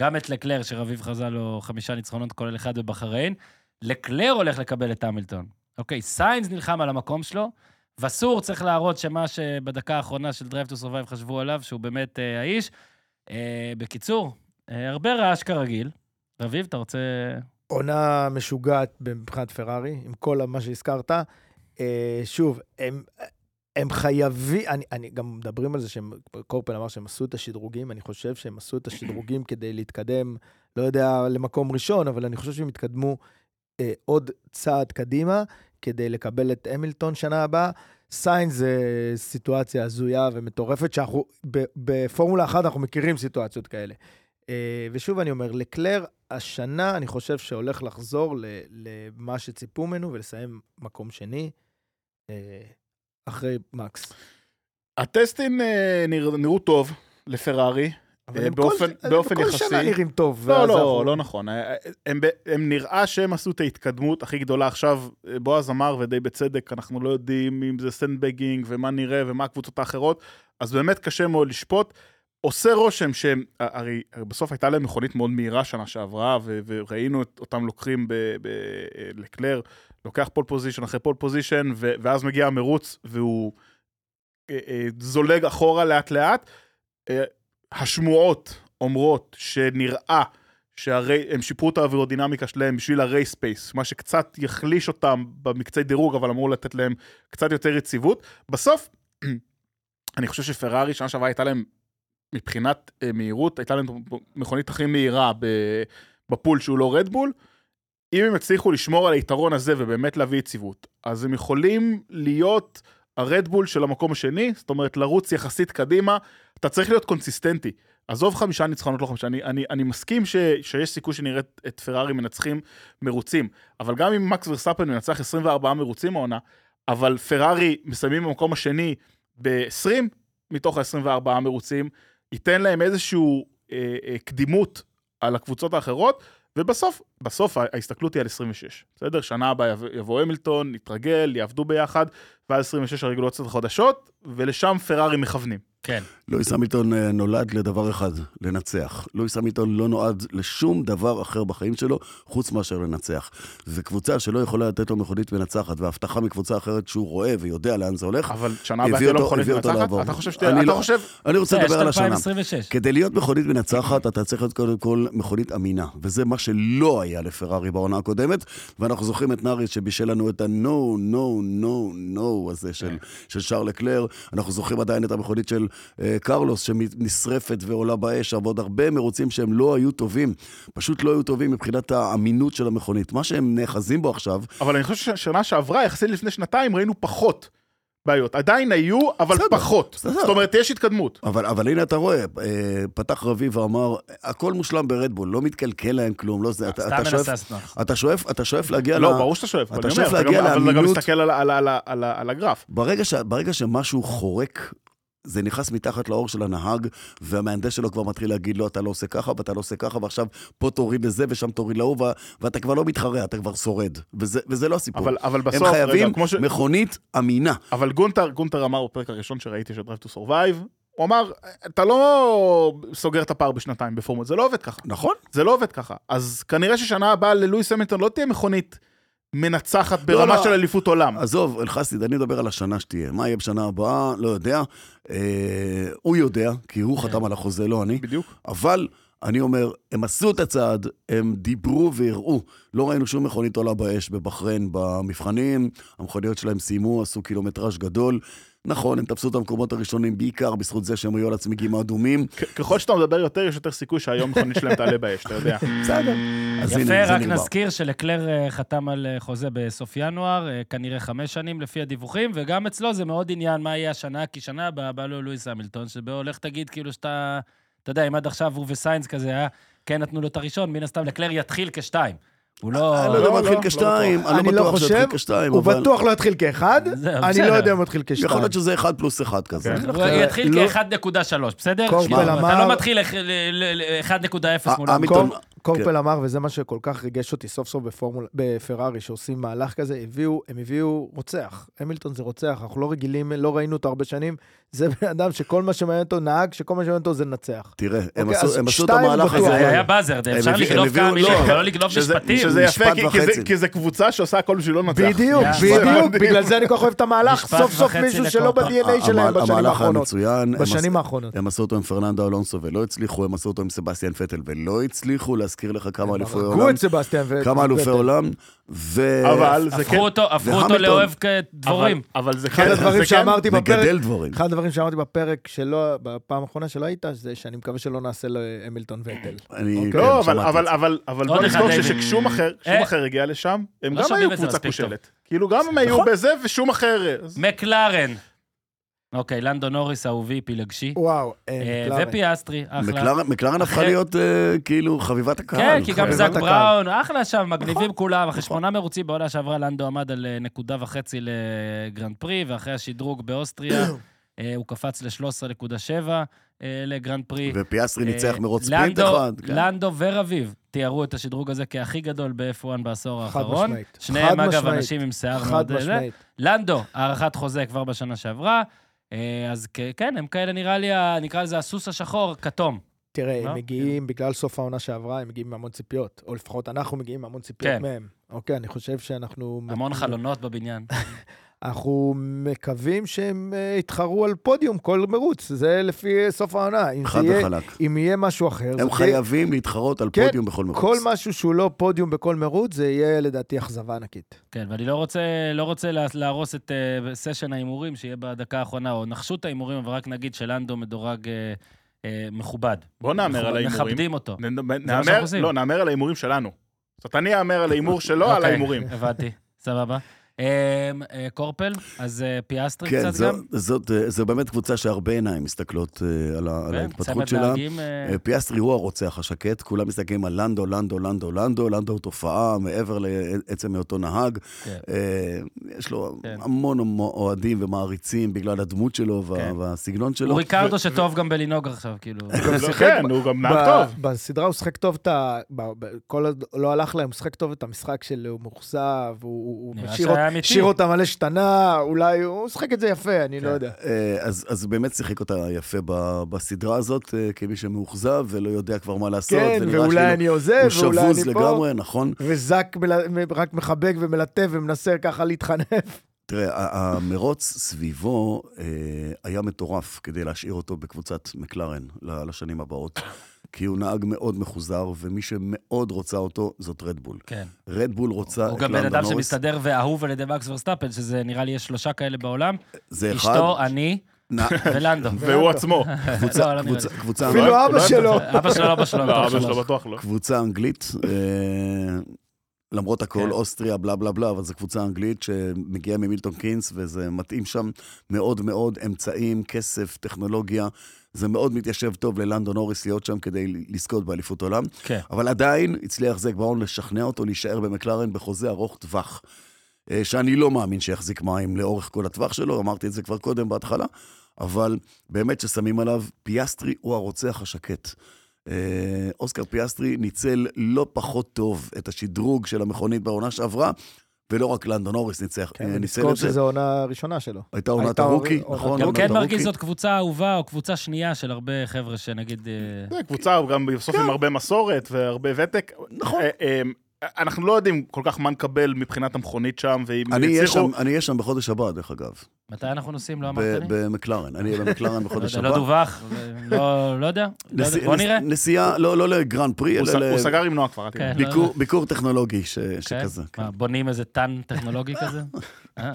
Speaker 1: גם את לקלר, שרביב חזה לו חמישה ניצחונות, כולל אחד בבחריין, לקלר הולך לקבל את המילטון. אוקיי, סיינס נלחם על המקום שלו, וסור צריך להראות שמה שבדקה האחרונה של Drive to Survive חשבו עליו, שהוא באמת אה, האיש. אה, בקיצור, אה, הרבה רעש כרגיל. רביב, אתה רוצה...
Speaker 4: עונה משוגעת מבחינת פרארי, עם כל מה שהזכרת. אה, שוב, הם, הם חייבים, אני, אני גם מדברים על זה שהם, קורפל אמר שהם עשו את השדרוגים, אני חושב שהם עשו את השדרוגים [COUGHS] כדי להתקדם, לא יודע, למקום ראשון, אבל אני חושב שהם התקדמו אה, עוד צעד קדימה כדי לקבל את המילטון שנה הבאה. סיין זה סיטואציה הזויה ומטורפת, שאנחנו, ב- בפורמולה אחת אנחנו מכירים סיטואציות כאלה. אה, ושוב אני אומר, לקלר השנה אני חושב שהולך לחזור ל- למה שציפו ממנו ולסיים מקום שני אה, אחרי מקס.
Speaker 3: הטסטים אה, נרא- נראו טוב לפרארי,
Speaker 4: אבל
Speaker 3: אה,
Speaker 4: הם כל-
Speaker 3: באופן-
Speaker 4: הם
Speaker 3: באופן
Speaker 4: כל שנה
Speaker 3: יחסי.
Speaker 4: נראים טוב.
Speaker 3: לא,
Speaker 4: ואז
Speaker 3: לא,
Speaker 4: אנחנו-
Speaker 3: לא נכון. הם, ב- הם נראה שהם עשו את ההתקדמות הכי גדולה עכשיו. אה, בועז אמר, ודי בצדק, אנחנו לא יודעים אם זה סנדבגינג ומה נראה ומה הקבוצות האחרות, אז באמת קשה מאוד לשפוט. עושה רושם שהם, הרי בסוף הייתה להם מכונית מאוד מהירה שנה שעברה, ו- וראינו את אותם לוקחים בלקלר, לוקח פול פוזיישן אחרי פול פוזיישן, ו- ואז מגיע המרוץ, והוא אה, אה, זולג אחורה לאט-לאט. אה, השמועות אומרות שנראה שהרי הם שיפרו את האווירודינמיקה שלהם בשביל הרי ספייס, מה שקצת יחליש אותם במקצי דירוג, אבל אמור לתת להם קצת יותר יציבות. בסוף, [CLEARS THROAT] אני חושב שפרארי שנה שעברה הייתה להם, מבחינת אה, מהירות, הייתה להם מכונית הכי מהירה ב- בפול שהוא לא רדבול. אם הם יצליחו לשמור על היתרון הזה ובאמת להביא יציבות, אז הם יכולים להיות הרדבול של המקום השני, זאת אומרת לרוץ יחסית קדימה, אתה צריך להיות קונסיסטנטי. עזוב חמישה ניצחונות, לא חמישה, אני, אני, אני מסכים ש, שיש סיכוי שנראה את- את פרארי מנצחים מרוצים, אבל גם אם מקס ורסאפן מנצח 24 מרוצים העונה, אבל פרארי מסיימים במקום השני ב-20 מתוך ה-24 מרוצים, ייתן להם איזושהי אה, אה, קדימות על הקבוצות האחרות, ובסוף, בסוף ה- ההסתכלות היא על 26, בסדר? שנה הבאה יבוא- יבוא המילטון, נתרגל, יעבדו ביחד, ואז 26 הרגולציות החדשות, ולשם פרארי מכוונים.
Speaker 1: כן.
Speaker 2: לואיס המילטון אה, נולד לדבר אחד, לנצח. לואיס המילטון לא נועד לשום דבר אחר בחיים שלו, חוץ מאשר לנצח. זו קבוצה שלא יכולה לתת לו מכונית מנצחת, והבטחה מקבוצה אחרת שהוא רואה ויודע לאן זה הולך.
Speaker 3: אבל שנה
Speaker 2: הביא
Speaker 3: הבאה תהיה לו
Speaker 2: אותו-
Speaker 3: מכונית
Speaker 2: הביא אותו
Speaker 3: מנצחת?
Speaker 2: לעבור.
Speaker 3: אתה חושב
Speaker 2: אני
Speaker 3: שאתה... אתה
Speaker 2: לא-
Speaker 3: חושב...
Speaker 2: אני
Speaker 1: אה,
Speaker 2: רוצה לדבר על השנה. כן,
Speaker 1: 2026.
Speaker 2: כדי להיות מכונית מנצחת, אתה צריך להיות קודם כל מכונית אמינה, וזה מה שלא היה לפרארי בעונה הקודמת, ואנחנו זוכרים את נאריס שבישל לנו את ה-no, no, no, no הזה של, של שרל קלר, אנחנו זוכרים עדיין את המכונית של אה, קרלוס שנשרפת ועולה באש, אבל עוד הרבה מרוצים שהם לא היו טובים, פשוט לא היו טובים מבחינת האמינות של המכונית. מה שהם נאחזים בו עכשיו,
Speaker 3: אבל אני חושב ששנה שעברה, יחסית לפני שנתיים, ראינו פחות בעיות. עדיין היו, אבל
Speaker 2: בסדר,
Speaker 3: פחות.
Speaker 2: בסדר.
Speaker 3: זאת אומרת, יש התקדמות.
Speaker 2: אבל, אבל הנה אתה רואה, אה, פתח רביב ואמר, הכל מושלם ברדבול, לא מתקלקל להם כלום, לא זה, אתה,
Speaker 1: סתם
Speaker 2: אתה שואף...
Speaker 1: מנסה לסנוח.
Speaker 2: אתה שואף, אתה שואף להגיע
Speaker 3: לא, ברור שאתה שואף, אבל
Speaker 2: אתה
Speaker 3: אני
Speaker 2: שואף
Speaker 3: אומר, אתה
Speaker 2: להגיע
Speaker 3: גם- אבל אתה גם
Speaker 2: לאמינות.
Speaker 3: מסתכל על ה- על ה- על ה- על ה- על הגרף.
Speaker 2: ברגע, ש... ברגע שמשהו חורק, זה נכנס מתחת לאור של הנהג, והמהנדס שלו כבר מתחיל להגיד, לא, אתה לא עושה ככה, ואתה לא עושה ככה, ועכשיו פה תוריד לזה ושם תוריד להוא, ו... ואתה כבר לא מתחרה, אתה כבר שורד. וזה, וזה לא הסיפור.
Speaker 3: אבל אבל
Speaker 2: הם
Speaker 3: בסוף, רגע,
Speaker 2: חייבים
Speaker 3: כמו ש...
Speaker 2: מכונית אמינה.
Speaker 3: אבל גונטר, גונטר אמר בפרק הראשון שראיתי של Drive to Survive, הוא אמר, אתה לא סוגר את הפער בשנתיים בפורמות, זה לא עובד ככה.
Speaker 2: נכון.
Speaker 3: זה לא עובד ככה. אז כנראה ששנה הבאה ללואיס המילטון לא תהיה מכונית מנצחת ברמה
Speaker 2: לא.
Speaker 3: של אליפות עולם.
Speaker 2: עזוב, אלחסיד, אני מדבר על השנה שתהיה. מה יהיה בשנה הבאה, לא יודע. אה, הוא יודע, כי הוא חתם על החוזה, לא אני.
Speaker 3: בדיוק.
Speaker 2: אבל אני אומר, הם עשו את הצעד, הם דיברו והראו. לא ראינו שום מכונית עולה באש בבחריין במבחנים, המכוניות שלהם סיימו, עשו קילומטראז' גדול. נכון, הם תפסו את המקומות הראשונים בעיקר בזכות זה שהם היו על הצמיגים האדומים.
Speaker 3: כ- ככל שאתה מדבר יותר, יש יותר סיכוי שהיום מכונית שלהם תעלה באש, אתה
Speaker 4: [LAUGHS]
Speaker 3: יודע.
Speaker 2: בסדר. אז הנה,
Speaker 1: יפה,
Speaker 2: זה
Speaker 1: רק
Speaker 2: נגמר.
Speaker 1: נזכיר שלקלר אה, חתם על אה, חוזה בסוף ינואר, אה, כנראה חמש שנים לפי הדיווחים, וגם אצלו זה מאוד עניין מה יהיה השנה, כי שנה הבאה בא לו לואיס המילטון, שבו לך תגיד כאילו שאתה, אתה יודע, אם עד עכשיו הוא וסיינס כזה היה, כן נתנו לו את הראשון, מן הסתם לקלר יתחיל כשתיים. הוא לא...
Speaker 2: אני לא יודע
Speaker 3: לא,
Speaker 2: מה
Speaker 3: לא,
Speaker 2: התחיל
Speaker 3: לא
Speaker 2: כשתיים, אני
Speaker 4: אני
Speaker 2: לא
Speaker 4: לא
Speaker 2: בטוח
Speaker 4: חושב,
Speaker 2: שהתחיל כשתיים,
Speaker 4: הוא
Speaker 2: אבל...
Speaker 4: בטוח לא יתחיל כאחד,
Speaker 3: אה,
Speaker 1: זה,
Speaker 4: אני
Speaker 1: בסדר.
Speaker 4: לא יודע אם הוא יתחיל
Speaker 2: יכול
Speaker 4: כשתיים.
Speaker 2: להיות שזה אחד פלוס אחד כזה.
Speaker 3: כן.
Speaker 1: הוא יתחיל
Speaker 4: לא-
Speaker 1: כ-1.3, בסדר?
Speaker 4: קורפל
Speaker 1: שמע, אתה
Speaker 4: אמר-
Speaker 1: לא מתחיל איך- ל- ל- ל- 1.0 מול...
Speaker 2: ה-
Speaker 1: המקום.
Speaker 2: המילטון-
Speaker 4: קור-
Speaker 3: כן.
Speaker 4: קורפל אמר, וזה מה שכל כך ריגש אותי סוף סוף בפורמולה- בפרארי, שעושים מהלך כזה, הביאו, הם הביאו רוצח. המילטון זה רוצח, אנחנו לא רגילים, לא ראינו אותו הרבה שנים. זה בן אדם שכל מה שמעניין אותו נהג, שכל מה שמעניין אותו זה לנצח.
Speaker 2: תראה, הם
Speaker 4: אוקיי,
Speaker 2: עשו-
Speaker 4: אז
Speaker 2: הם עשו את
Speaker 4: שתיים
Speaker 2: המהלך
Speaker 4: בטוח.
Speaker 2: הזה.
Speaker 1: זה היה באזרד,
Speaker 2: הם
Speaker 1: אפשר
Speaker 2: הביאו-
Speaker 1: לגנוב
Speaker 2: הם
Speaker 1: כמה
Speaker 2: הביאו-
Speaker 1: מילים,
Speaker 2: לא,
Speaker 1: אבל לא לגנוב
Speaker 2: שזה-
Speaker 1: משפטים.
Speaker 3: שזה יפה,
Speaker 2: משפט
Speaker 3: כי- כי זה-
Speaker 2: וחצי.
Speaker 3: כי זה קבוצה שעושה הכל בשביל לא לנצח.
Speaker 4: בדיוק,
Speaker 1: Yeah.
Speaker 4: בדיוק,
Speaker 3: מדהים.
Speaker 4: בגלל זה אני כל כך אוהב את המהלך,
Speaker 1: משפט
Speaker 4: סוף סוף
Speaker 1: וחצי
Speaker 4: מישהו שלא
Speaker 1: לקורפל.
Speaker 4: ב-DNA שלהם
Speaker 2: המהל- המהלך
Speaker 4: בשנים
Speaker 2: היה
Speaker 4: האחרונות.
Speaker 2: מצוין. הם עשו-
Speaker 4: בשנים האחרונות.
Speaker 2: הם עשו אותו עם פרננדו אלונסו ולא הצליחו, הם עשו אותו עם סבסטיאן פטל ולא הצליחו, להזכיר לך כמה אלופי
Speaker 4: הרגו
Speaker 2: עולם.
Speaker 4: את סבסטיאן ו...
Speaker 2: כמה אלופי
Speaker 4: וטל.
Speaker 2: עולם, ו...
Speaker 3: אבל זה כן...
Speaker 1: הפכו אותו- הפכו אותו
Speaker 2: והמילטון.
Speaker 1: לאוהב
Speaker 3: אבל-
Speaker 1: דבורים.
Speaker 3: אבל זה כן...
Speaker 4: אחד
Speaker 3: זה
Speaker 4: הדברים
Speaker 3: כן-
Speaker 4: שאמרתי בפרק,
Speaker 2: וגדל דבורים.
Speaker 4: אחד הדברים שאמרתי בפרק שלא, בפעם האחרונה שלא היית, זה שאני מקווה שלא נעשה להמילטון וטל.
Speaker 2: אני... כן,
Speaker 3: לא, אבל,
Speaker 2: שמעתי את
Speaker 3: אבל,
Speaker 2: זה.
Speaker 3: אבל, אבל
Speaker 1: עוד
Speaker 3: בוא
Speaker 1: אחד
Speaker 3: נזכור
Speaker 1: נגד.
Speaker 3: שכששום אחר, שום
Speaker 1: אה.
Speaker 3: אחר הגיע לשם, הם
Speaker 1: לא
Speaker 3: גם
Speaker 1: שומעים
Speaker 3: היו
Speaker 1: את זה
Speaker 3: קבוצה
Speaker 1: מספיק טוב. נכון,
Speaker 3: כושלת. כאילו, גם הם היו
Speaker 2: נכון.
Speaker 3: בזה ושום אחר. אז-
Speaker 1: מקלרן. אוקיי, לנדון נוריס אהובי פילגשי.
Speaker 4: וואו, אה,
Speaker 1: אה,
Speaker 4: מקלרן.
Speaker 1: ופיאסטרי, אחלה.
Speaker 2: אוקיי, מקלרן- מקלרן הפכה
Speaker 1: אחרי-
Speaker 2: להיות אה, כאילו חביבת הקהל.
Speaker 1: כן, כי גם
Speaker 2: חביבת
Speaker 1: זאק
Speaker 4: הקהל.
Speaker 1: בראון, אחלה
Speaker 2: נכון.
Speaker 1: שם, מגניבים כולם. אחרי שמונה מרוצים
Speaker 2: [CLEARS THROAT]
Speaker 1: בעונה שעברה, לנדו עמד על אה, נקודה וחצי לגרנד פרי, ואחרי השדרוג באוסטריה, אה, הוא קפץ ל-13.7 אה, לגרנד פרי.
Speaker 2: ופיאסטרי ניצח
Speaker 1: אה,
Speaker 2: מרוץ
Speaker 1: לנדו-
Speaker 2: ספרינט אחד. כן.
Speaker 1: לנדו ורביב תיארו את השדרוג הזה כהכי גדול ב-F1 בעשור
Speaker 4: חד
Speaker 1: האחרון.
Speaker 4: משמעית.
Speaker 1: שניהם,
Speaker 4: חד
Speaker 1: אגב,
Speaker 4: משמעית.
Speaker 1: אנשים עם שיער
Speaker 4: חד
Speaker 1: מאוד... אה, זה.
Speaker 4: משמעית.
Speaker 1: לנדו, הארכת חוזה כבר בשנה שעברה. אה, אז כ- כן, הם כאלה, נראה לי, ה- נקרא לזה הסוס השחור, כתום.
Speaker 4: תראה,
Speaker 1: לא?
Speaker 4: הם מגיעים, בגלל סוף העונה שעברה, הם מגיעים עם המון ציפיות, או לפחות אנחנו מגיעים עם המון
Speaker 1: כן.
Speaker 4: ציפיות מהם. אוקיי, אני חושב שאנחנו... [LAUGHS]
Speaker 1: המון חלונות בבניין.
Speaker 4: אנחנו מקווים שהם אה, יתחרו על פודיום כל מרוץ, זה לפי סוף העונה. אם
Speaker 2: חד
Speaker 4: זה יהיה-
Speaker 2: וחלק.
Speaker 4: אם יהיה משהו אחר, זה
Speaker 2: הם
Speaker 4: יהיה-
Speaker 2: חייבים להתחרות על
Speaker 4: כן,
Speaker 2: פודיום בכל מרוץ.
Speaker 4: כל משהו שהוא לא פודיום בכל מרוץ, זה יהיה לדעתי אכזבה ענקית.
Speaker 1: כן, ואני לא רוצה, לא רוצה לה- להרוס את אה, סשן ההימורים שיהיה בדקה האחרונה, או נחשות ההימורים, אבל רק נגיד שלנדו מדורג אה, אה, מכובד.
Speaker 3: בוא נאמר על ההימורים.
Speaker 1: מכבדים אותו.
Speaker 3: נ- נ-
Speaker 1: מה שאנחנו
Speaker 3: נאמר-
Speaker 1: עושים.
Speaker 3: לא, נאמר על ההימורים שלנו. זאת אומרת, אני אאמר על ההימור שלו, לא על
Speaker 1: אוקיי,
Speaker 3: ההימורים.
Speaker 1: הבנתי, סבבה. אה, אה, קורפל, אז אה, פיאסטרי
Speaker 2: כן,
Speaker 1: קצת
Speaker 2: זו,
Speaker 1: גם.
Speaker 2: זאת, אה, זו באמת קבוצה שהרבה עיניים מסתכלות אה, על, ה, על
Speaker 1: כן,
Speaker 2: ההתפתחות
Speaker 1: צמד
Speaker 2: שלה.
Speaker 1: נהגים, אה,
Speaker 2: אה, פיאסטרי הוא הרוצח השקט, כולם מסתכלים על לנדו, לנדו, לנדו, לנדו, לנדו הוא תופעה מעבר לעצם היותו נהג.
Speaker 1: כן.
Speaker 2: אה, יש לו
Speaker 1: כן.
Speaker 2: המון המו- אוהדים ומעריצים בגלל הדמות שלו וה-
Speaker 1: כן.
Speaker 2: והסגנון שלו.
Speaker 1: הוא ריקרדו שטוב גם בלנהוג עכשיו, כאילו.
Speaker 4: גם
Speaker 3: לא,
Speaker 4: שיחק
Speaker 3: כן,
Speaker 4: ב-
Speaker 3: הוא גם
Speaker 4: ב-
Speaker 3: נהג טוב.
Speaker 4: בסדרה הוא שיחק טוב את ה... ב- ב- כל עוד לא הלך להם, הוא שיחק טוב את המשחק של הוא מאוכזב, הוא- הוא הוא
Speaker 1: נראה
Speaker 4: משאיר
Speaker 1: שהיה
Speaker 4: אות-
Speaker 1: אמיתי.
Speaker 4: השאיר אותם על השתנה, אולי הוא שיחק את זה יפה, אני לא יודע.
Speaker 2: אה, אז, אז באמת שיחק אותה יפה ב- בסדרה הזאת, אה, כמי שמאוכזב ולא יודע כבר מה לעשות.
Speaker 4: כן,
Speaker 2: ונראה
Speaker 4: ואולי
Speaker 2: כאילו
Speaker 4: אני עוזב,
Speaker 2: הוא
Speaker 4: ואולי
Speaker 2: שבוז
Speaker 4: אני פה.
Speaker 2: לגמרי, נכון?
Speaker 4: וזק מל- מ- רק מחבק ומלטף ומנסה ככה להתחנף.
Speaker 2: תראה, ה- המרוץ סביבו אה, היה מטורף כדי להשאיר אותו בקבוצת מקלרן ל-
Speaker 1: [LAUGHS]
Speaker 2: לשנים הבאות. כי הוא נהג מאוד מחוזר, ומי שמאוד רוצה אותו זאת רדבול.
Speaker 1: כן.
Speaker 2: רדבול רוצה
Speaker 1: הוא
Speaker 2: את
Speaker 1: גם בן
Speaker 2: לנדון
Speaker 1: אדם
Speaker 2: נוריס,
Speaker 1: שמסתדר ואהוב על ידי מקס ורסטאפל, שזה נראה לי יש שלושה כאלה בעולם.
Speaker 2: זה אחד.
Speaker 1: אשתו, אני [LAUGHS]
Speaker 2: נא-
Speaker 1: ולנדו.
Speaker 3: והוא עצמו.
Speaker 1: לא, לא
Speaker 2: קבוצה-
Speaker 1: נראה
Speaker 2: קבוצה- קבוצה-
Speaker 3: לא
Speaker 4: אפילו
Speaker 3: אוהב-
Speaker 4: אבא
Speaker 3: לא אוהב
Speaker 4: שלו.
Speaker 1: אבא שלו, אבא שלו,
Speaker 3: לא,
Speaker 1: אבא
Speaker 3: אבא שלו
Speaker 1: שלו.
Speaker 3: בטוח לא.
Speaker 2: קבוצה אנגלית, אה, למרות הכל
Speaker 1: כן.
Speaker 2: אוסטריה, בלה בלה בלה, אבל זו קבוצה אנגלית שמגיעה ממילטון קינס, וזה מתאים שם מאוד מאוד אמצעים, כסף, טכנולוגיה. זה מאוד מתיישב טוב ללנדון נוריס להיות שם כדי לזכות באליפות עולם.
Speaker 1: כן.
Speaker 2: אבל עדיין הצליח זק באון לשכנע אותו להישאר במקלרן בחוזה ארוך טווח. אה, שאני לא מאמין שיחזיק מים לאורך כל הטווח שלו, אמרתי את זה כבר קודם בהתחלה, אבל באמת ששמים עליו, פיאסטרי הוא הרוצח השקט. אה, אוסקר פיאסטרי ניצל לא פחות טוב את השדרוג של המכונית בעונה שעברה, ולא רק לנדון הוריס ניצח, אה, ניצל
Speaker 4: נזכור
Speaker 2: את זה.
Speaker 4: כן, שזו עונה ראשונה שלו.
Speaker 2: הייתה עונת
Speaker 4: הייתה
Speaker 2: הרוקי,
Speaker 4: עונת
Speaker 2: נכון?
Speaker 1: גם
Speaker 2: עונת
Speaker 1: כן
Speaker 2: הרוקי.
Speaker 1: מרגיש זאת קבוצה אהובה או קבוצה שנייה של הרבה חבר'ה שנגיד... אה,
Speaker 3: זה קבוצה גם בסוף
Speaker 2: כן.
Speaker 3: עם הרבה מסורת והרבה ותק. נכון. אנחנו לא יודעים כל כך מה נקבל מבחינת המכונית שם, ואם
Speaker 2: אני אהיה
Speaker 3: יצליחו...
Speaker 2: שם- אני אהיה שם בחודש הבא, דרך אגב,
Speaker 1: מתי אנחנו נוסעים? לא
Speaker 2: ב-
Speaker 1: אמרת לי?
Speaker 2: במקלרן. אני אהיה במקלרן
Speaker 1: לא
Speaker 2: בחודש
Speaker 1: יודע,
Speaker 2: הבא.
Speaker 1: לא דווח, לא- לא יודע. לא
Speaker 2: נס-
Speaker 1: יודע, בוא
Speaker 2: נס-
Speaker 1: נראה.
Speaker 2: נסיעה, לא לא לגרנד פרי,
Speaker 3: הוא
Speaker 2: אלא
Speaker 3: ס- הוא
Speaker 2: ל-
Speaker 3: סגר עם נועה כבר, אל תדאג.
Speaker 1: כן, לא
Speaker 2: ביקור-
Speaker 1: יודע.
Speaker 2: ביקור טכנולוגי ש- שכזה.
Speaker 1: כן?
Speaker 2: כן.
Speaker 1: מה, בונים איזה טאן טכנולוגי כזה? אה,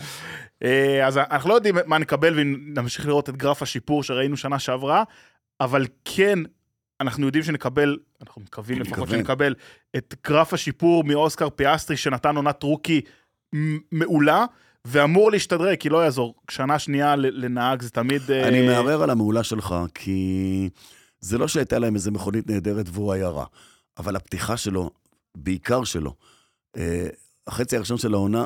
Speaker 3: אה, אז אנחנו לא יודעים מה נקבל ונמשיך לראות את גרף השיפור שראינו שנה שעברה, אבל כן, אנחנו יודעים שנקבל, אנחנו מקווים לפחות
Speaker 2: מקווים.
Speaker 3: שנקבל, את גרף השיפור מאוסקר פיאסטרי שנתן עונת רוקי מ- מעולה, ואמור להשתדרג, כי לא יעזור, שנה שנייה ל- לנהג זה תמיד... אה,
Speaker 2: אני מערער על המעולה שלך, כי זה לא שהייתה להם איזה מכונית נהדרת והוא היה רע, אבל הפתיחה שלו, בעיקר שלו, אה, החצי הראשון של העונה,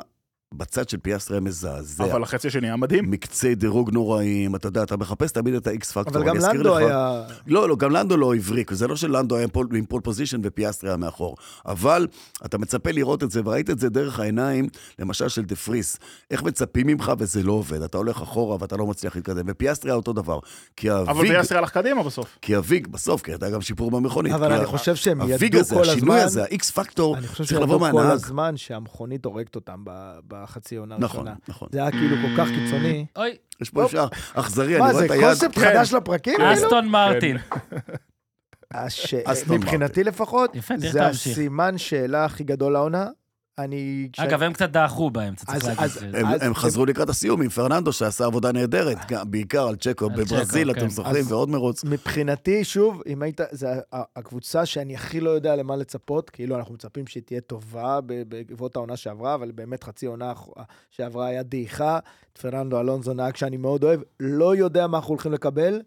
Speaker 2: בצד של פיאסטרי היה מזעזע.
Speaker 3: אבל החצי השני היה מדהים.
Speaker 2: מקצי דירוג נוראים, אתה יודע, אתה מחפש תמיד את ה-X פקטור.
Speaker 4: אבל גם לנדו היה...
Speaker 2: לא, לא, גם לנדו לא הבריק, זה לא שלנדו היה פול, עם פול פוזיישן ופיאסטרי היה מאחור. אבל אתה מצפה לראות את זה, וראית את זה דרך העיניים, למשל של דה פריס. איך מצפים ממך וזה לא עובד, אתה הולך אחורה ואתה לא מצליח להתקדם. ופיאסטרי היה אותו דבר. כי
Speaker 3: אבל
Speaker 2: הוויג,
Speaker 3: פיאסטרי הלך קדימה בסוף.
Speaker 2: כי הוויג בסוף, כי הייתה גם שיפור במכונית.
Speaker 4: אבל
Speaker 2: כי
Speaker 4: אני
Speaker 2: ה-
Speaker 4: חושב שהם
Speaker 2: הוויג
Speaker 4: ידעו
Speaker 2: כאילו, הזה,
Speaker 4: כל
Speaker 2: השינוי
Speaker 4: הזמן...
Speaker 2: הזה, ה-X פקטור,
Speaker 4: אני חושב
Speaker 2: צריך
Speaker 4: שהם
Speaker 2: לבוא
Speaker 4: ידעו כל
Speaker 2: מהנהג.
Speaker 4: הזמן שהמכונית הורגת אותם ב- בחצי עונה
Speaker 2: נכון,
Speaker 4: הראשונה.
Speaker 2: נכון.
Speaker 4: זה היה כאילו כל כך קיצוני.
Speaker 1: אוי,
Speaker 2: יש פה אפשר אכזרי, אני
Speaker 4: מה,
Speaker 2: רואה
Speaker 4: זה
Speaker 2: את היד.
Speaker 4: קונספט
Speaker 3: כן.
Speaker 4: חדש לפרקים? כאילו?
Speaker 1: אסטון מרטין.
Speaker 4: הש-
Speaker 2: אסטון
Speaker 4: מבחינתי לפחות,
Speaker 1: יפה, תראה,
Speaker 4: זה
Speaker 1: תמשיך.
Speaker 4: הסימן שאלה הכי גדול לעונה. אני... כש-
Speaker 1: אגב, הם קצת דעכו באמצע, צריך
Speaker 4: אז-
Speaker 1: להגיד.
Speaker 4: אז-
Speaker 1: את זה.
Speaker 2: הם,
Speaker 4: אז-
Speaker 2: הם חזרו לקראת הסיום עם פרננדו, שעשה עבודה נהדרת, גם- בעיקר על צ'קו
Speaker 1: על צ'קו,
Speaker 2: בברזיל,
Speaker 1: כן.
Speaker 2: אתם זוכרים,
Speaker 4: אוקיי. אז-
Speaker 2: ועוד מרוץ.
Speaker 4: מבחינתי, שוב, אם היית, זו הקבוצה שאני הכי לא יודע למה לצפות, כאילו אנחנו מצפים שהיא תהיה טובה ב- בעקבות העונה שעברה, אבל באמת חצי עונה האח- שעברה היה דעיכה. את פרננדו אלונזו נהג שאני מאוד אוהב, לא יודע מה אנחנו הולכים לקבל.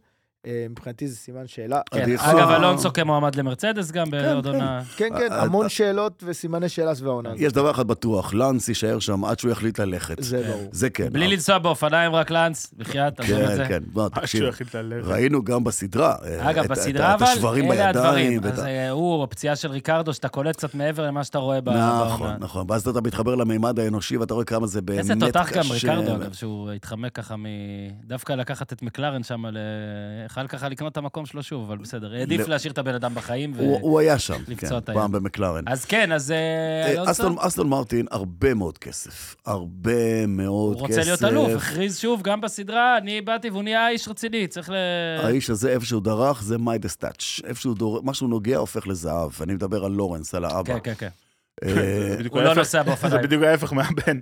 Speaker 4: אה, מבחינתי זה סימן שאלה.
Speaker 1: כן,
Speaker 2: עדיף.
Speaker 1: אגב, אלונסו כמועמד למרצדס גם בעוד
Speaker 4: כן.
Speaker 1: עונה.
Speaker 4: כן, כן,
Speaker 2: אה, אה,
Speaker 4: המון שאלות וסימני שאלה סביב העונה הזאת.
Speaker 2: יש דבר אחד בטוח, לאנס יישאר שם עד שהוא יחליט ללכת.
Speaker 4: זה ברור.
Speaker 2: זה כן.
Speaker 1: בלי לנסוע באופניים, רק לאנס, בחייאת, עזוב את זה.
Speaker 2: כן, כן, בוא,
Speaker 4: אה,
Speaker 3: עד
Speaker 4: כאילו,
Speaker 2: תקשיב.
Speaker 3: שהוא יחיד ללב.
Speaker 2: ראינו גם בסדרה. אה,
Speaker 1: אגב,
Speaker 2: את-
Speaker 1: בסדרה
Speaker 2: את
Speaker 1: אבל,
Speaker 2: השברים
Speaker 1: אלה
Speaker 2: בידיים.
Speaker 1: הדברים.
Speaker 2: ואת
Speaker 1: אז
Speaker 2: ה-
Speaker 1: אה, הוא, הפציעה של ריקרדו, שאתה קולט קצת מעבר למה שאתה רואה ב- בעונה.
Speaker 2: נכון, נכון. ואז אתה מתחבר למימד האנושי, ואתה רואה כמה זה באמת
Speaker 1: איזה
Speaker 2: קשה.
Speaker 1: תותח גם ריקרדו, אגב, שהוא התחמק ככה מ... דווקא לקחת את מקלרן שם, ל- יכל ככה לקנות את המקום שלו שוב, אבל בסדר. העדיף
Speaker 2: לא.
Speaker 1: להשאיר את הבן אדם בחיים. ו-
Speaker 2: הוא הוא היה שם,
Speaker 1: לפצוע
Speaker 2: כן,
Speaker 1: את
Speaker 2: פעם
Speaker 1: היד.
Speaker 2: במקלרן.
Speaker 1: אז כן, אז אה,
Speaker 2: אה,
Speaker 1: אלונסו,
Speaker 2: אסטון- אסטון מרטין, הרבה מאוד כסף. הרבה מאוד
Speaker 1: הוא
Speaker 2: כסף.
Speaker 1: רוצה להיות אלוף, הכריז שוב, גם בסדרה, אני באתי והוא נהיה איש רציני, צריך ל...
Speaker 2: האיש הזה, איפה שהוא דרך, זה מיידס טאץ'. איפה שהוא דור... מה שהוא נוגע הופך לזהב. אני מדבר על לורנס, על
Speaker 1: כן,
Speaker 2: האבא.
Speaker 1: כן, כן.
Speaker 2: אה,
Speaker 3: בדיוק
Speaker 1: הוא לא
Speaker 3: ההפך-
Speaker 1: נוסע
Speaker 3: זה
Speaker 1: באופניים.
Speaker 3: בדיוק ההפך מהבן.
Speaker 1: כן.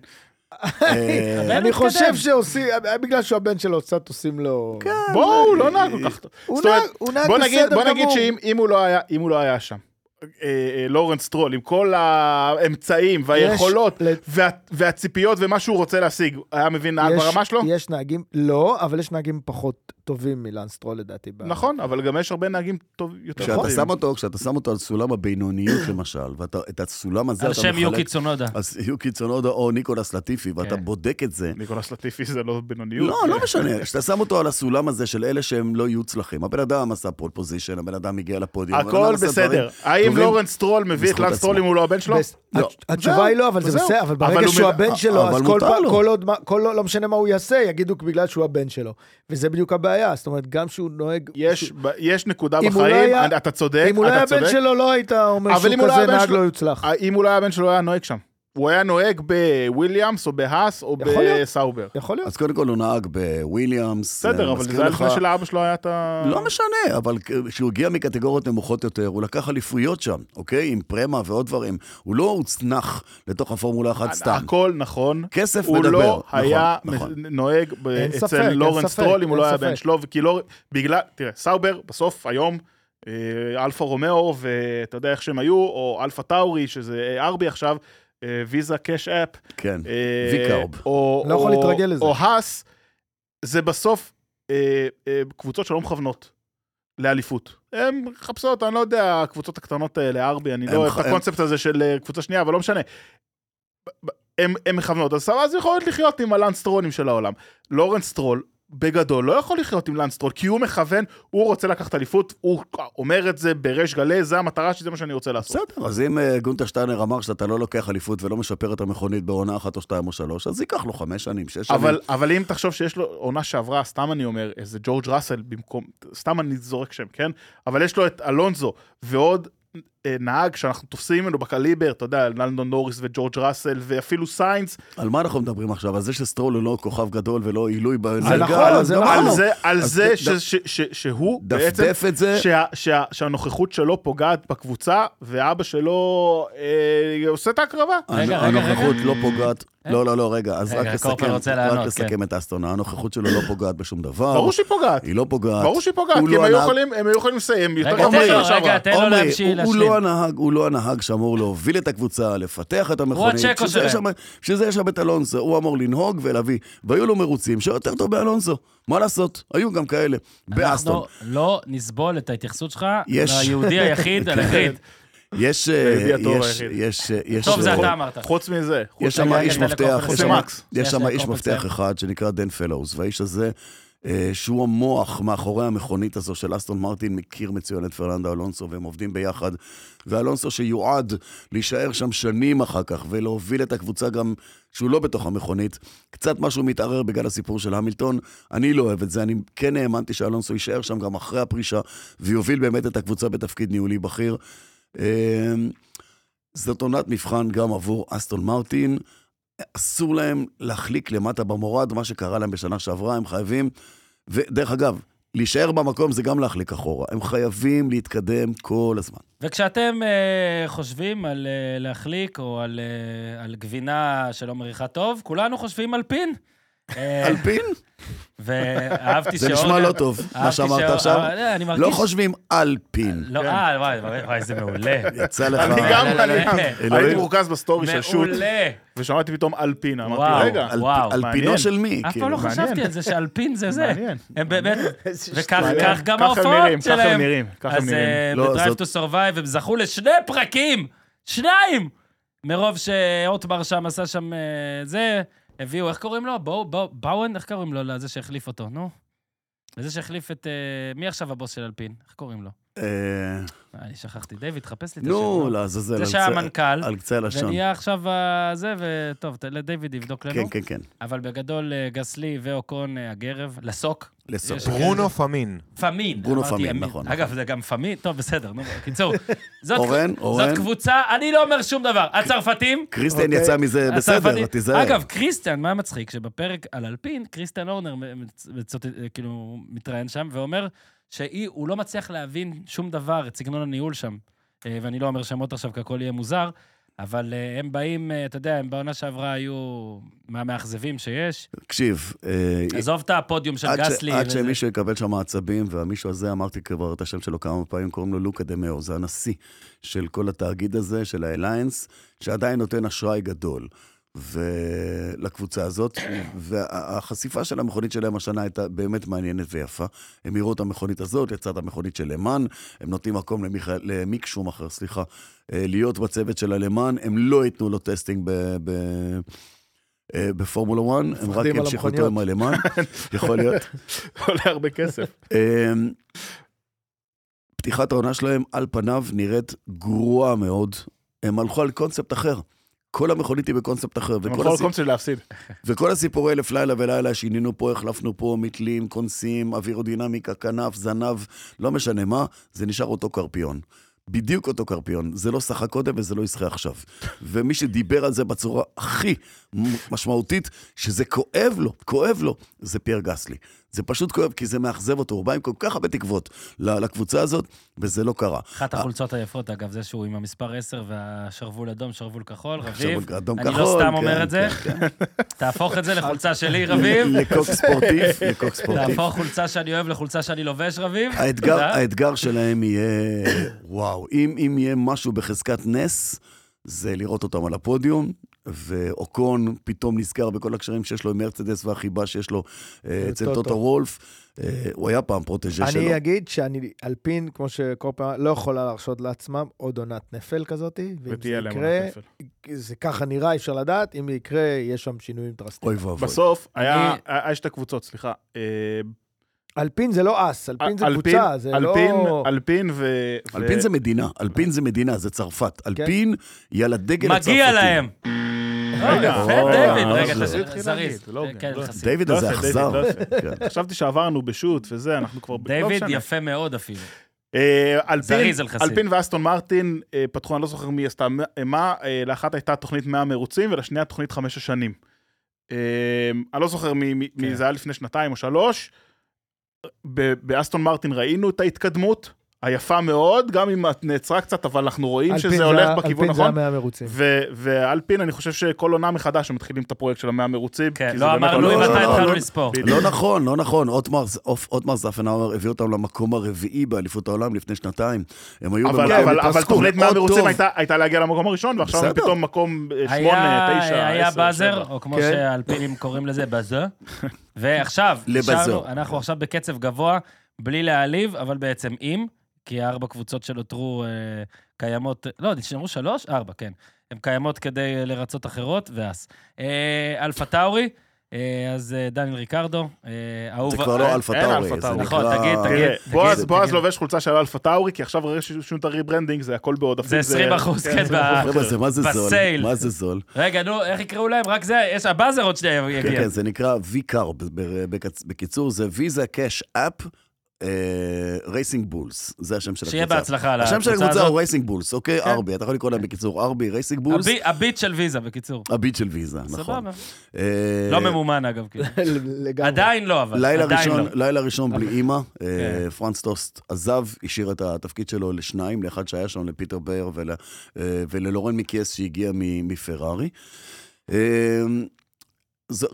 Speaker 2: אה,
Speaker 1: הבן
Speaker 4: אני
Speaker 1: מתקדם.
Speaker 4: חושב שעושים, בגלל שהוא הבן שלו, קצת עושים לו... כן.
Speaker 3: בואו, הוא לא נהג כל כך טוב.
Speaker 4: הוא
Speaker 3: זאת אומרת,
Speaker 4: נהג- הוא נהג
Speaker 3: בוא נגיד,
Speaker 4: בסדר
Speaker 3: בוא נגיד
Speaker 4: גמור.
Speaker 3: שאם אם הוא לא היה- אם הוא לא היה שם, אה, אה, לורנס טרול, עם כל האמצעים והיכולות
Speaker 4: יש-
Speaker 3: וה- והציפיות ומה שהוא רוצה להשיג, היה מבין נהג
Speaker 4: יש-
Speaker 3: ברמה שלו?
Speaker 4: יש נהגים, לא, אבל יש נהגים פחות טובים מלנסטרו לדעתי. ב-
Speaker 3: נכון, אבל גם יש הרבה נהגים טוב יותר.
Speaker 2: כשאתה
Speaker 3: טובים.
Speaker 2: שם אותו, כשאתה שם אותו על סולם הבינוניות [CLEARS THROAT] למשל, ואת הסולם הזה
Speaker 1: על
Speaker 2: אתה
Speaker 1: שם יוקי
Speaker 2: מחלק,
Speaker 1: צונודה.
Speaker 2: אז יוקי צונודה או ניקולס לטיפי, ואתה
Speaker 1: כן.
Speaker 2: בודק את זה.
Speaker 3: ניקולס לטיפי זה לא בינוניות.
Speaker 2: לא, לא משנה, כשאתה שם אותו על הסולם הזה של אלה שהם לא יהיו צלחים. הבן אדם עשה פול פוזיישן, הבן אדם הגיע לפודיום. הבן
Speaker 3: הכל
Speaker 2: אדם עשה
Speaker 3: בסדר.
Speaker 2: דברים-
Speaker 3: האם
Speaker 2: טובים.
Speaker 3: לורנס טרול מביא את
Speaker 2: בזכות
Speaker 3: לנס טרול
Speaker 2: עצמו.
Speaker 3: אם הוא לא הבן שלו?
Speaker 4: בס-
Speaker 2: לא.
Speaker 4: הת- התשובה היא לא, אבל זה
Speaker 3: וזהו.
Speaker 4: בסדר, אבל
Speaker 3: אבל
Speaker 4: ברגע
Speaker 3: הוא
Speaker 4: שהוא
Speaker 3: מ-
Speaker 4: הבן שלו,
Speaker 2: אבל
Speaker 4: אז כל
Speaker 2: מותר
Speaker 4: פעם,
Speaker 2: לו.
Speaker 4: כל עוד, מה- כל לא- לא משנה מה הוא יעשה, יגידו בגלל שהוא הבן שלו. וזה בדיוק הבעיה, זאת אומרת, גם שהוא נוהג... [LAUGHS]
Speaker 3: יש- ב- יש נקודה
Speaker 4: אם הוא לא
Speaker 3: בחיים,
Speaker 4: היה-
Speaker 3: אני- אתה צודק,
Speaker 4: אם הוא לא היה
Speaker 3: אתה צודק.
Speaker 4: הבן שלו, לא היית אומר
Speaker 3: אבל
Speaker 4: שהוא
Speaker 3: אם הוא לא
Speaker 4: כזה
Speaker 3: היה בן
Speaker 4: נהג
Speaker 3: שלו-
Speaker 4: לא יוצלח.
Speaker 3: אם הוא לא היה הבן שלו, הוא היה נוהג שם. הוא היה נוהג בוויליאמס או בהאס או
Speaker 4: יכול להיות.
Speaker 3: בסאובר.
Speaker 4: יכול להיות.
Speaker 2: אז קודם כל הוא נהג בוויליאמס.
Speaker 3: בסדר,
Speaker 2: אה,
Speaker 3: אבל
Speaker 2: מזכיר
Speaker 3: זה היה
Speaker 2: לך-
Speaker 3: לפני שלאבא שלו היה את ה...
Speaker 2: לא משנה, אבל כשהוא הגיע מקטגוריות נמוכות יותר, הוא לקח אליפויות שם, אוקיי? עם פרמה ועוד דברים. הוא לא הוצנח לתוך הפורמולה אחת סתם.
Speaker 3: הכל נכון.
Speaker 2: כסף
Speaker 3: הוא
Speaker 2: מדבר.
Speaker 3: לא
Speaker 2: נכון,
Speaker 3: היה
Speaker 2: נכון.
Speaker 3: מ- נוהג ב-
Speaker 4: אין ספק,
Speaker 3: אצל
Speaker 4: אין
Speaker 3: לורנס
Speaker 4: ספק,
Speaker 3: טרול אם הוא
Speaker 4: אין
Speaker 3: לא היה
Speaker 4: ספק.
Speaker 3: הבן שלו, כי לא... בגלל... תראה, סאובר בסוף היום... אה, אלפה רומאו, ואתה יודע איך שהם היו, או אלפה טאורי, שזה אה, ארבי עכשיו, אה, ויזה קאש אפ,
Speaker 2: כן.
Speaker 3: אה,
Speaker 2: ויקארב.
Speaker 3: או-
Speaker 4: לא יכול
Speaker 3: או-
Speaker 4: להתרגל לזה.
Speaker 3: או האס, זה בסוף אה, אה, קבוצות שלא מכוונות לאליפות. הן מחפשות, אני לא יודע, הקבוצות הקטנות האלה, ארבי, אני
Speaker 2: הם
Speaker 3: לא אוהב
Speaker 2: ח-
Speaker 3: את הקונספט הזה של אה, קבוצה שנייה, אבל לא משנה. ב- ב- הם, הם מכוונות, אז אז יכולות לחיות עם הלנסטרונים של העולם. לורנס טרול, בגדול, לא יכול לחיות עם לנסטרול, כי הוא מכוון, הוא רוצה לקחת אליפות, הוא אומר את זה בריש גלי, זה המטרה שלי, זה מה שאני רוצה לעשות.
Speaker 2: בסדר, אז אם אה, גונטה שטיינר אמר שאתה לא לוקח אליפות ולא משפר את המכונית בעונה אחת או שתיים או שלוש, אז ייקח לו חמש שנים, שש שנים.
Speaker 3: אבל, אבל אם תחשוב שיש לו עונה שעברה, סתם אני אומר, איזה ג'ורג' ראסל במקום, סתם אני זורק שם, כן? אבל יש לו את אלונזו ועוד אה, נהג שאנחנו תופסים ממנו בקליבר, אתה יודע, לנדון נוריס וג'ורג' ראסל ואפילו סיינס,
Speaker 2: על מה אנחנו מדברים עכשיו? על זה שסטרול הוא לא כוכב גדול ולא עילוי בליגה?
Speaker 4: זה נכון,
Speaker 2: אז
Speaker 4: זה
Speaker 2: גמרנו.
Speaker 4: נכון.
Speaker 3: על זה, על
Speaker 2: לא, אז
Speaker 3: זה
Speaker 2: ד-
Speaker 3: ש, ש, ש, שהוא בעצם,
Speaker 2: דפדף את זה.
Speaker 3: שה, שה, שהנוכחות שלו פוגעת בקבוצה, ואבא שלו אה, עושה את ההקרבה.
Speaker 1: רגע, רגע,
Speaker 2: הנוכחות לא פוגעת,
Speaker 1: אה?
Speaker 2: לא, לא, לא, רגע, אז
Speaker 1: רגע,
Speaker 2: רק
Speaker 1: קורפל
Speaker 2: לסכם,
Speaker 1: רוצה
Speaker 2: רק
Speaker 1: לענות,
Speaker 2: לסכם את אסטונה, הנוכחות שלו לא פוגעת בשום דבר.
Speaker 3: כן. ברור שהיא פוגעת.
Speaker 2: היא לא פוגעת.
Speaker 3: ברור שהיא פוגעת,
Speaker 2: הוא
Speaker 3: כי
Speaker 2: לא
Speaker 3: הם היו
Speaker 2: הנהג-
Speaker 3: יכולים- הם היו יכולים לסיים יותר
Speaker 1: רגע,
Speaker 3: טוב
Speaker 1: תן לו,
Speaker 3: מהשנה
Speaker 1: רגע,
Speaker 3: שעברה.
Speaker 1: תן לו
Speaker 2: עומרי,
Speaker 1: להמשיך,
Speaker 2: הוא- הוא
Speaker 1: להשלים.
Speaker 2: לא הנהג, הוא לא הנהג שאמור להוביל את הקבוצה, לפתח את המכונית.
Speaker 1: הצ'קו
Speaker 2: בשביל זה
Speaker 1: שלהם.
Speaker 2: יש שם- בשביל זה יש שם את אלונסו, הוא אמור לנהוג ולהביא. והיו לו מרוצים שיותר טוב באלונסו, מה לעשות? היו גם כאלה. באסטון.
Speaker 1: אנחנו לא נסבול את ההתייחסות שלך
Speaker 2: יש.
Speaker 1: ליהודי
Speaker 2: [LAUGHS]
Speaker 1: היחיד על הגריד.
Speaker 2: יש... אה,
Speaker 3: לידיע הטוב
Speaker 2: יש-
Speaker 3: היחיד.
Speaker 2: יש... אה, יש,
Speaker 1: טוב, זה
Speaker 2: אה,
Speaker 1: אתה אמרת.
Speaker 3: חוץ מזה, חוץ
Speaker 2: יש שם
Speaker 1: רגע,
Speaker 2: איש
Speaker 1: רגע,
Speaker 2: מפתח,
Speaker 1: לקורפל
Speaker 2: יש
Speaker 3: זה
Speaker 2: שם-
Speaker 3: מקס.
Speaker 2: יש
Speaker 1: יש
Speaker 2: שם
Speaker 1: להם
Speaker 2: איש
Speaker 1: קורפל
Speaker 2: מפתח
Speaker 1: צעיר.
Speaker 2: אחד שנקרא דן פלווז, והאיש הזה, אה, שהוא המוח מאחורי המכונית הזו של אסטון מרטין, מכיר מצוין את פרננדו אלונסו, והם עובדים ביחד. ואלונסו שיועד להישאר שם שנים אחר כך, ולהוביל את הקבוצה גם שהוא לא בתוך המכונית. קצת משהו מתערער בגלל הסיפור של המילטון, אני לא אוהב את זה, אני כן האמנתי שאלונסו יישאר שם גם אחרי הפרישה, ויוביל באמת את הקבוצה בתפקיד ניהולי בכיר. אה, זאת עונת מבחן גם עבור אסטון מרטין. אסור להם להחליק למטה במורד, מה שקרה להם בשנה שעברה, הם חייבים... ודרך אגב, להישאר במקום זה גם להחליק אחורה. הם חייבים להתקדם כל הזמן.
Speaker 1: וכשאתם אה, חושבים על אה, להחליק או על, אה, על גבינה שלא מריחה טוב, כולנו חושבים על פין. אה, [LAUGHS]
Speaker 2: אלפין?
Speaker 1: ואהבתי
Speaker 2: זה
Speaker 1: שאורן...
Speaker 2: נשמע לא טוב, מה
Speaker 1: אהבתי
Speaker 2: שאמרת
Speaker 1: שאור-
Speaker 2: עכשיו.
Speaker 1: אה, אני מרגיש...
Speaker 2: לא חושבים אלפין.
Speaker 1: לא, אה, וואי, וואי, וואי, זה מעולה.
Speaker 2: [LAUGHS] יצא לך...
Speaker 3: אני גם,
Speaker 1: לא, לא,
Speaker 3: אני
Speaker 1: לא.
Speaker 3: גם.
Speaker 2: אלוהים.
Speaker 3: הייתי מורכז בסטורי של שו"ת,
Speaker 1: מעולה.
Speaker 3: ושמעתי פתאום אלפינה.
Speaker 1: וואו.
Speaker 3: אמרתי, רגע,
Speaker 2: על-
Speaker 1: אה, וואו,
Speaker 2: על פינו
Speaker 3: מעניין.
Speaker 2: של מי?
Speaker 1: אף
Speaker 2: כאילו?
Speaker 1: פעם לא
Speaker 3: מעניין.
Speaker 1: חשבתי על זה שאלפין זה זה.
Speaker 3: מעניין.
Speaker 1: הם
Speaker 2: [LAUGHS]
Speaker 1: באמת... וכך
Speaker 3: מעניין.
Speaker 1: כך גם
Speaker 3: ככה הם נראים,
Speaker 1: ההופעות
Speaker 3: ככה הם
Speaker 1: שלהם.
Speaker 3: נראים, ככה הם
Speaker 1: אז
Speaker 3: נראים.
Speaker 1: אה,
Speaker 2: לא,
Speaker 1: ב-Drive
Speaker 2: זאת-
Speaker 1: to Survive הם זכו לשני פרקים! שניים! מרוב שאוטמר שם עשה שם אה, זה, הביאו, איך קוראים לו? בואו- בואו- באואן? איך קוראים לו? לזה שהחליף אותו, נו. לזה שהחליף את... אה, מי עכשיו הבוס של אלפין? איך קוראים לו?
Speaker 2: אה,
Speaker 1: אה, אני שכחתי. דיוויד, חפש לי את השם.
Speaker 2: נו,
Speaker 1: נו.
Speaker 2: לעזאזל. לא, על
Speaker 1: זה
Speaker 2: קצה-
Speaker 1: שהיה מנכ"ל,
Speaker 2: על קצה הלשון.
Speaker 1: ונהיה עכשיו אה, זה, וטוב, ת- לדיוויד יבדוק לנו.
Speaker 2: כן, כן, כן.
Speaker 1: אבל בגדול, אה, גסלי ואוקון, אה, הגרב, לסוק.
Speaker 2: לסוף.
Speaker 1: יש-
Speaker 5: ברונו פמין.
Speaker 1: פמין.
Speaker 2: ברונו
Speaker 1: אמרתי,
Speaker 2: פמין,
Speaker 1: אמין.
Speaker 2: נכון.
Speaker 1: אגב, זה גם פמין? טוב, בסדר, נו,
Speaker 2: [LAUGHS]
Speaker 1: בקיצור. זאת-
Speaker 2: אורן, אורן.
Speaker 1: זאת קבוצה, אני לא אומר שום דבר. הצרפתים...
Speaker 2: כריסטיאן
Speaker 4: אוקיי.
Speaker 2: יצא מזה בסדר,
Speaker 1: הצרפתים-
Speaker 2: תיזהר.
Speaker 1: אגב, קריסטיאן, מה מצחיק? שבפרק על אלפין, קריסטיאן אורנר מצ- מצוט- כאילו מתראיין שם ואומר שהוא לא מצליח להבין שום דבר, את סגנון הניהול שם. אה, ואני לא אומר שמות עכשיו, כי הכל יהיה מוזר, אבל אה, הם באים, אה, אתה יודע, הם בעונה שעברה היו מהמאכזבים שיש.
Speaker 2: תקשיב, אה,
Speaker 1: עזוב את הפודיום של
Speaker 2: עד ש-
Speaker 1: גסלי.
Speaker 2: עד
Speaker 1: וזה.
Speaker 2: שמישהו יקבל שם עצבים, והמישהו הזה, אמרתי כבר את השם שלו כמה פעמים, קוראים לו לוקה דה מאו, זה הנשיא של כל התאגיד הזה, של האליינס, שעדיין נותן אשראי גדול. ולקבוצה הזאת, והחשיפה של המכונית שלהם השנה הייתה באמת מעניינת ויפה. הם הראו את המכונית הזאת, לצד המכונית של למן, הם נותנים מקום למיכ- למיק שומאחר, סליחה, אה, להיות בצוות של הלמן, הם לא ייתנו לו טסטינג ב- ב- אה, בפורמולה 1, הם רק
Speaker 4: מפחדים על
Speaker 2: ימשיכו אותו עם הלמן,
Speaker 4: [LAUGHS]
Speaker 2: יכול להיות.
Speaker 3: עולה הרבה כסף.
Speaker 2: אמ, פתיחת העונה שלהם, על פניו, נראית גרועה מאוד. הם הלכו על קונספט אחר. כל המכונית היא בקונספט אחר. וכל
Speaker 3: בכל
Speaker 2: הסי-
Speaker 3: מקום שלי להפסיד.
Speaker 2: וכל הסיפורי אלף לילה ולילה, שינינו פה, החלפנו פה, מתלים, כונסים, אווירודינמיקה, כנף, זנב, לא משנה מה, זה נשאר אותו קרפיון. בדיוק אותו קרפיון. זה לא שחה קודם וזה לא ישחה עכשיו. ומי שדיבר על זה בצורה הכי משמעותית, שזה כואב לו, כואב לו, זה פייר גסלי. זה פשוט כואב, כי זה מאכזב אותו, הוא בא עם כל כך הרבה תקוות ל- לקבוצה הזאת, וזה לא קרה.
Speaker 1: אחת החולצות היפות, אגב, זה שהוא עם המספר 10 והשרוול אדום, שרוול כחול,
Speaker 2: עכשיו,
Speaker 1: רביב.
Speaker 2: אה, אדום
Speaker 1: אני
Speaker 2: כחול.
Speaker 1: לא סתם
Speaker 2: כן,
Speaker 1: אומר את זה.
Speaker 2: כן,
Speaker 1: תהפוך את זה לחולצה שלי,
Speaker 2: כן. [LAUGHS]
Speaker 1: רביב.
Speaker 2: לקוק ספורטיב, לקוק ספורטיב.
Speaker 1: תהפוך חולצה שאני אוהב לחולצה שאני לובש, רביב.
Speaker 2: האתגר,
Speaker 1: תודה.
Speaker 2: האתגר שלהם יהיה, וואו, אם, אם יהיה משהו בחזקת נס, זה לראות אותם על הפודיום, ואוקון פתאום נזכר בכל הקשרים שיש לו עם מרצדס והחיבה שיש לו אה, אצל
Speaker 4: טוטו.
Speaker 2: טוטו וולף. אה, הוא היה פעם פרוטג'ה שלו.
Speaker 4: אני אגיד שאני, אלפין, כמו שכל פעם, לא יכולה להרשות לעצמם עוד עונת נפל כזאת, ואם זה
Speaker 3: ותהיה להם
Speaker 4: יקרה,
Speaker 3: עונת נפל.
Speaker 4: זה ככה נראה, אי אפשר לדעת, אם זה יקרה, יש שם שינויים דרסטיים.
Speaker 2: אוי ואבוי.
Speaker 3: בסוף, היה
Speaker 1: אני-
Speaker 3: היה שתי קבוצות, סליחה. אה,
Speaker 4: אלפין זה לא אס, אלפין זה קבוצה, זה לא...
Speaker 3: אלפין, אלפין ו... ו-
Speaker 2: אלפין זה מדינה, אלפין זה מדינה, זה צרפת. אלפין היא על הדגל הצרפתי.
Speaker 1: מגיע להם.
Speaker 3: לא,
Speaker 1: אה,
Speaker 3: רגע,
Speaker 1: יפה,
Speaker 3: אה,
Speaker 1: דיוויד.
Speaker 3: אה,
Speaker 1: רגע,
Speaker 3: זה-
Speaker 1: אתה-
Speaker 3: זה התחיל
Speaker 1: זריז.
Speaker 3: להגיד, לא הוגן,
Speaker 1: כן,
Speaker 3: לא
Speaker 1: חסיד.
Speaker 2: דיוויד
Speaker 3: לא
Speaker 2: הזה
Speaker 3: יפה, דיוויד,
Speaker 2: אכזר.
Speaker 3: לא יפה.
Speaker 2: כן.
Speaker 3: חשבתי שעברנו בשו"ת וזה, אנחנו כבר... לא
Speaker 1: דיוויד
Speaker 3: משנה.
Speaker 1: יפה מאוד אפילו.
Speaker 3: אה, אלפין,
Speaker 1: זריז אל חסיד.
Speaker 3: אלפין ואסטון מרטין אה, פתחו, אני לא זוכר מי עשתה מה- מה, אה, לאחת הייתה תוכנית 100 מרוצים ולשנייה תוכנית חמש השנים. אה, אני לא זוכר מי- מי מי
Speaker 1: כן.
Speaker 3: זה היה לפני שנתיים או שלוש. ב- באסטון מרטין ראינו את ההתקדמות, היפה מאוד, גם אם את נעצרה קצת, אבל אנחנו רואים
Speaker 4: אלפין
Speaker 3: שזה
Speaker 4: זה
Speaker 3: הולך
Speaker 4: ה-
Speaker 3: בכיוון
Speaker 4: אלפין זה
Speaker 3: נכון.
Speaker 4: המאה המרוצים.
Speaker 3: ו- ואלפין, אני חושב שכל עונה מחדש הם מתחילים את הפרויקט של המאה המרוצים.
Speaker 1: כן,
Speaker 3: כי זה
Speaker 1: לא
Speaker 3: באמת
Speaker 1: אמרנו
Speaker 2: לא,
Speaker 1: אם
Speaker 2: לא,
Speaker 1: אתה
Speaker 2: לא,
Speaker 1: התחלנו
Speaker 2: לא.
Speaker 1: לספור.
Speaker 3: בדיוק.
Speaker 2: לא נכון, לא נכון. אוטמר- אופ- אוטמר זפנהאואר הביא אותם למקום הרביעי באליפות העולם לפני שנתיים. הם היו
Speaker 3: אבל,
Speaker 2: במקום
Speaker 3: אבל, אבל
Speaker 2: התרסקו
Speaker 3: תוכנית
Speaker 2: מאוד
Speaker 3: 100 מרוצים
Speaker 2: טוב.
Speaker 3: הייתה, הייתה להגיע למקום הראשון, ועכשיו הם
Speaker 2: בסדר.
Speaker 3: פתאום מקום אה, 8, 9, 10, 7.
Speaker 1: היה היה באזר, או
Speaker 2: כן.
Speaker 1: כמו שהאלפינים קוראים לזה, באזר.
Speaker 2: [LAUGHS]
Speaker 1: ועכשיו,
Speaker 2: לבאזר.
Speaker 1: נשארנו- אנחנו עכשיו בקצב גבוה, בלי להעליב, אבל בעצם אם, כי ארבע קבוצות שנותרו אה, קיימות, לא, נשארו שלוש? ארבע, כן. הן קיימות כדי לרצות אחרות, ואס. אה, אלפה טאורי, אה, אז אה, דניאל ריקרדו, אה, אהוב...
Speaker 2: זה כבר לא
Speaker 1: אה,
Speaker 2: אלפה
Speaker 3: אין
Speaker 2: טאורי,
Speaker 3: אלפא
Speaker 2: זה
Speaker 3: טאורי.
Speaker 1: נכון,
Speaker 2: נקרא-
Speaker 1: תגיד, תגיד.
Speaker 3: תראה, בועז-
Speaker 1: תגיד.
Speaker 3: בועז לובש חולצה של אלפה טאורי, כי עכשיו הרי ששינו את הריברנדינג, זה הכל בעודפים.
Speaker 1: זה 20%, כן,
Speaker 3: זה
Speaker 1: ב-
Speaker 3: 20%.
Speaker 2: חבר'ה, זה מה זה זול?
Speaker 1: בסייל.
Speaker 2: מה זה זול?
Speaker 1: רגע, נו, איך יקראו להם? רק זה, יש הבאזר עוד שנייה
Speaker 2: כן,
Speaker 1: יגיע.
Speaker 2: כן, זה נקרא V-Car, ב- ב- בקצ- בקיצור, זה ויזה קאש אפ אה, רייסינג בולס, זה השם של הקבוצה.
Speaker 1: שיהיה בהצלחה על
Speaker 2: השם של
Speaker 1: הקבוצה
Speaker 2: הקבוצה
Speaker 1: הזאת.
Speaker 2: הוא רייסינג בולס, אוקיי?
Speaker 1: כן.
Speaker 2: ארבי, אתה יכול לקרוא להם בקיצור ארבי, רייסינג בולס,
Speaker 1: הבי- הביט של ויזה, בקיצור.
Speaker 2: הביט של ויזה, נכון.
Speaker 1: סבבה.
Speaker 2: אה,
Speaker 1: לא ממומן, אגב,
Speaker 2: [LAUGHS]
Speaker 1: כאילו.
Speaker 4: לגמרי.
Speaker 1: עדיין לא, אבל.
Speaker 2: לילה
Speaker 1: עדיין
Speaker 2: ראשון,
Speaker 1: לא.
Speaker 2: לילה ראשון
Speaker 1: [LAUGHS]
Speaker 2: בלי אימא, אה,
Speaker 1: כן.
Speaker 2: פרנס טוסט עזב, השאיר את התפקיד שלו לשניים, לאחד שהיה שם, לפיטר באר ול- אה, וללורן מיקייס שהגיע מ- מפרארי. אה, זו-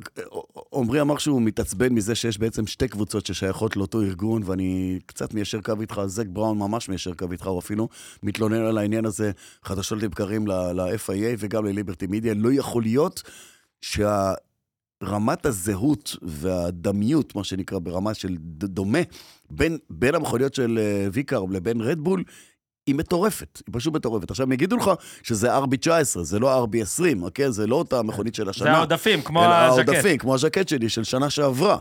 Speaker 2: עמרי אמר שהוא מתעצבן מזה שיש בעצם שתי קבוצות ששייכות לאותו ארגון, ואני קצת מיישר קו איתך, זק בראון ממש מיישר קו איתך, הוא אפילו מתלונן על העניין הזה חדשות לבקרים ל- ל-FIA וגם לליברטי מידיה. לא יכול להיות שהרמת הזהות והדמיות, מה שנקרא, ברמה של ד- דומה, בין, בין המכוניות של אה, ויקארם לבין רדבול, היא מטורפת, היא פשוט מטורפת. עכשיו, הם יגידו לך שזה RB19, זה לא RB20, אוקיי? זה לא אותה מכונית של השנה.
Speaker 1: זה העודפים, כמו
Speaker 2: אלא
Speaker 1: הז'קט.
Speaker 2: העודפים, כמו הז'קט שלי של שנה שעברה.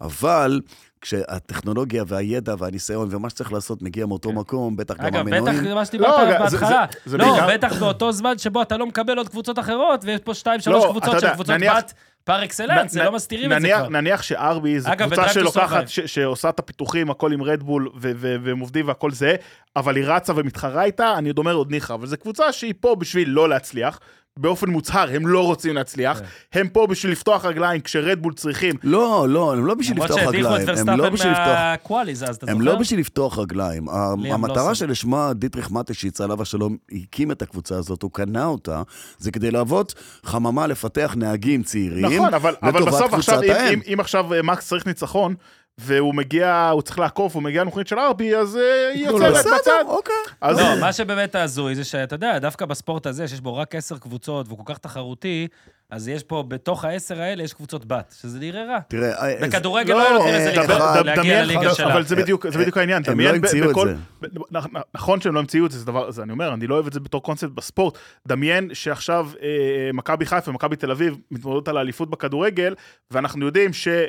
Speaker 2: אבל כשהטכנולוגיה והידע והניסיון ומה שצריך לעשות מגיע מאותו מקום, בטח גם
Speaker 1: כן. אגב, בטח
Speaker 2: המנועים,
Speaker 1: מה שדיברת
Speaker 3: לא,
Speaker 1: עליו
Speaker 3: זה- זה-
Speaker 1: בהתחלה.
Speaker 3: זה
Speaker 1: לא,
Speaker 3: בעיקר-
Speaker 1: בטח באותו זמן שבו אתה לא מקבל עוד קבוצות אחרות, ויש פה שתיים, שלוש
Speaker 3: לא, אתה
Speaker 1: קבוצות
Speaker 3: יודע,
Speaker 1: שהן קבוצות
Speaker 3: נניח-
Speaker 1: בת פר אקסלנס, זה
Speaker 3: נ-
Speaker 1: לא מסתירים את זה
Speaker 3: נניח-
Speaker 1: כבר.
Speaker 3: נניח שארבי זה
Speaker 1: אגב,
Speaker 3: קבוצה
Speaker 1: ב-Drive to
Speaker 3: שלוקחת,
Speaker 1: Survive.
Speaker 3: ש- שעושה את הפיתוחים, הכל עם רדבול, ו- ו- והם עובדים והכל זה, אבל היא רצה ומתחרה איתה, אני עוד אומר עוד ניחא, אבל זו קבוצה שהיא פה בשביל לא להצליח. באופן מוצהר, הם לא רוצים להצליח,
Speaker 1: כן.
Speaker 3: הם פה בשביל לפתוח רגליים כשרדבול צריכים.
Speaker 2: לא, לא, הם לא בשביל
Speaker 1: למרות
Speaker 2: לפתוח
Speaker 1: שהדיחו את
Speaker 2: רגליים. הם לא
Speaker 1: ורסטאפן
Speaker 2: בשביל לפתוח...
Speaker 1: מהקואליז אז, אתה זוכר? לא
Speaker 2: הם לא בשביל לפתוח רגליים. ה-
Speaker 1: ליאם
Speaker 2: המטרה
Speaker 1: לוסון.
Speaker 2: שלשמה דietrich מטשיץ, עליו השלום, הקים את הקבוצה הזאת, הוא קנה אותה, זה כדי להוות חממה לפתח נהגים צעירים.
Speaker 3: נכון, אבל, אבל
Speaker 2: לטובת
Speaker 3: בסוף עכשיו,
Speaker 2: קבוצת
Speaker 3: אם,
Speaker 2: האם.
Speaker 3: אם, אם עכשיו אה, מקס צריך ניצחון, והוא מגיע, הוא צריך לעקוף, הוא מגיע למכונית של ארבי, אז אה, היא
Speaker 2: נו,
Speaker 3: יוצאת
Speaker 2: בסדר,
Speaker 3: בצד.
Speaker 2: אוקיי.
Speaker 3: אז
Speaker 1: לא, מה שבאמת הזוי זה שאתה יודע, דווקא בספורט הזה, שיש בו רק עשר קבוצות והוא כל כך תחרותי, אז יש פה, בתוך העשר האלה יש קבוצות בת, שזה נראה רע.
Speaker 2: תראה, אה,
Speaker 1: בכדורגל לא היה נותן לזה
Speaker 2: אה,
Speaker 1: לקרות,
Speaker 2: דבר-
Speaker 1: להגיע
Speaker 3: דמיין
Speaker 1: לליגה
Speaker 3: לך-
Speaker 1: שלה.
Speaker 3: אבל זה בדיוק, זה בדיוק העניין,
Speaker 2: הם
Speaker 3: דמיין
Speaker 2: לא
Speaker 3: ב-
Speaker 2: המציאו את
Speaker 3: בכל...
Speaker 2: זה.
Speaker 3: ב- נכ- נכון שהם לא המציאו את זה, זה דבר, זה אני אומר, אני לא אוהב את זה בתור קונספט בספורט. דמיין שעכשיו אה, מכבי חיפה ומכבי תל אביב מתמודדות על האליפות בכדורגל, ואנחנו יודעים ש... אה,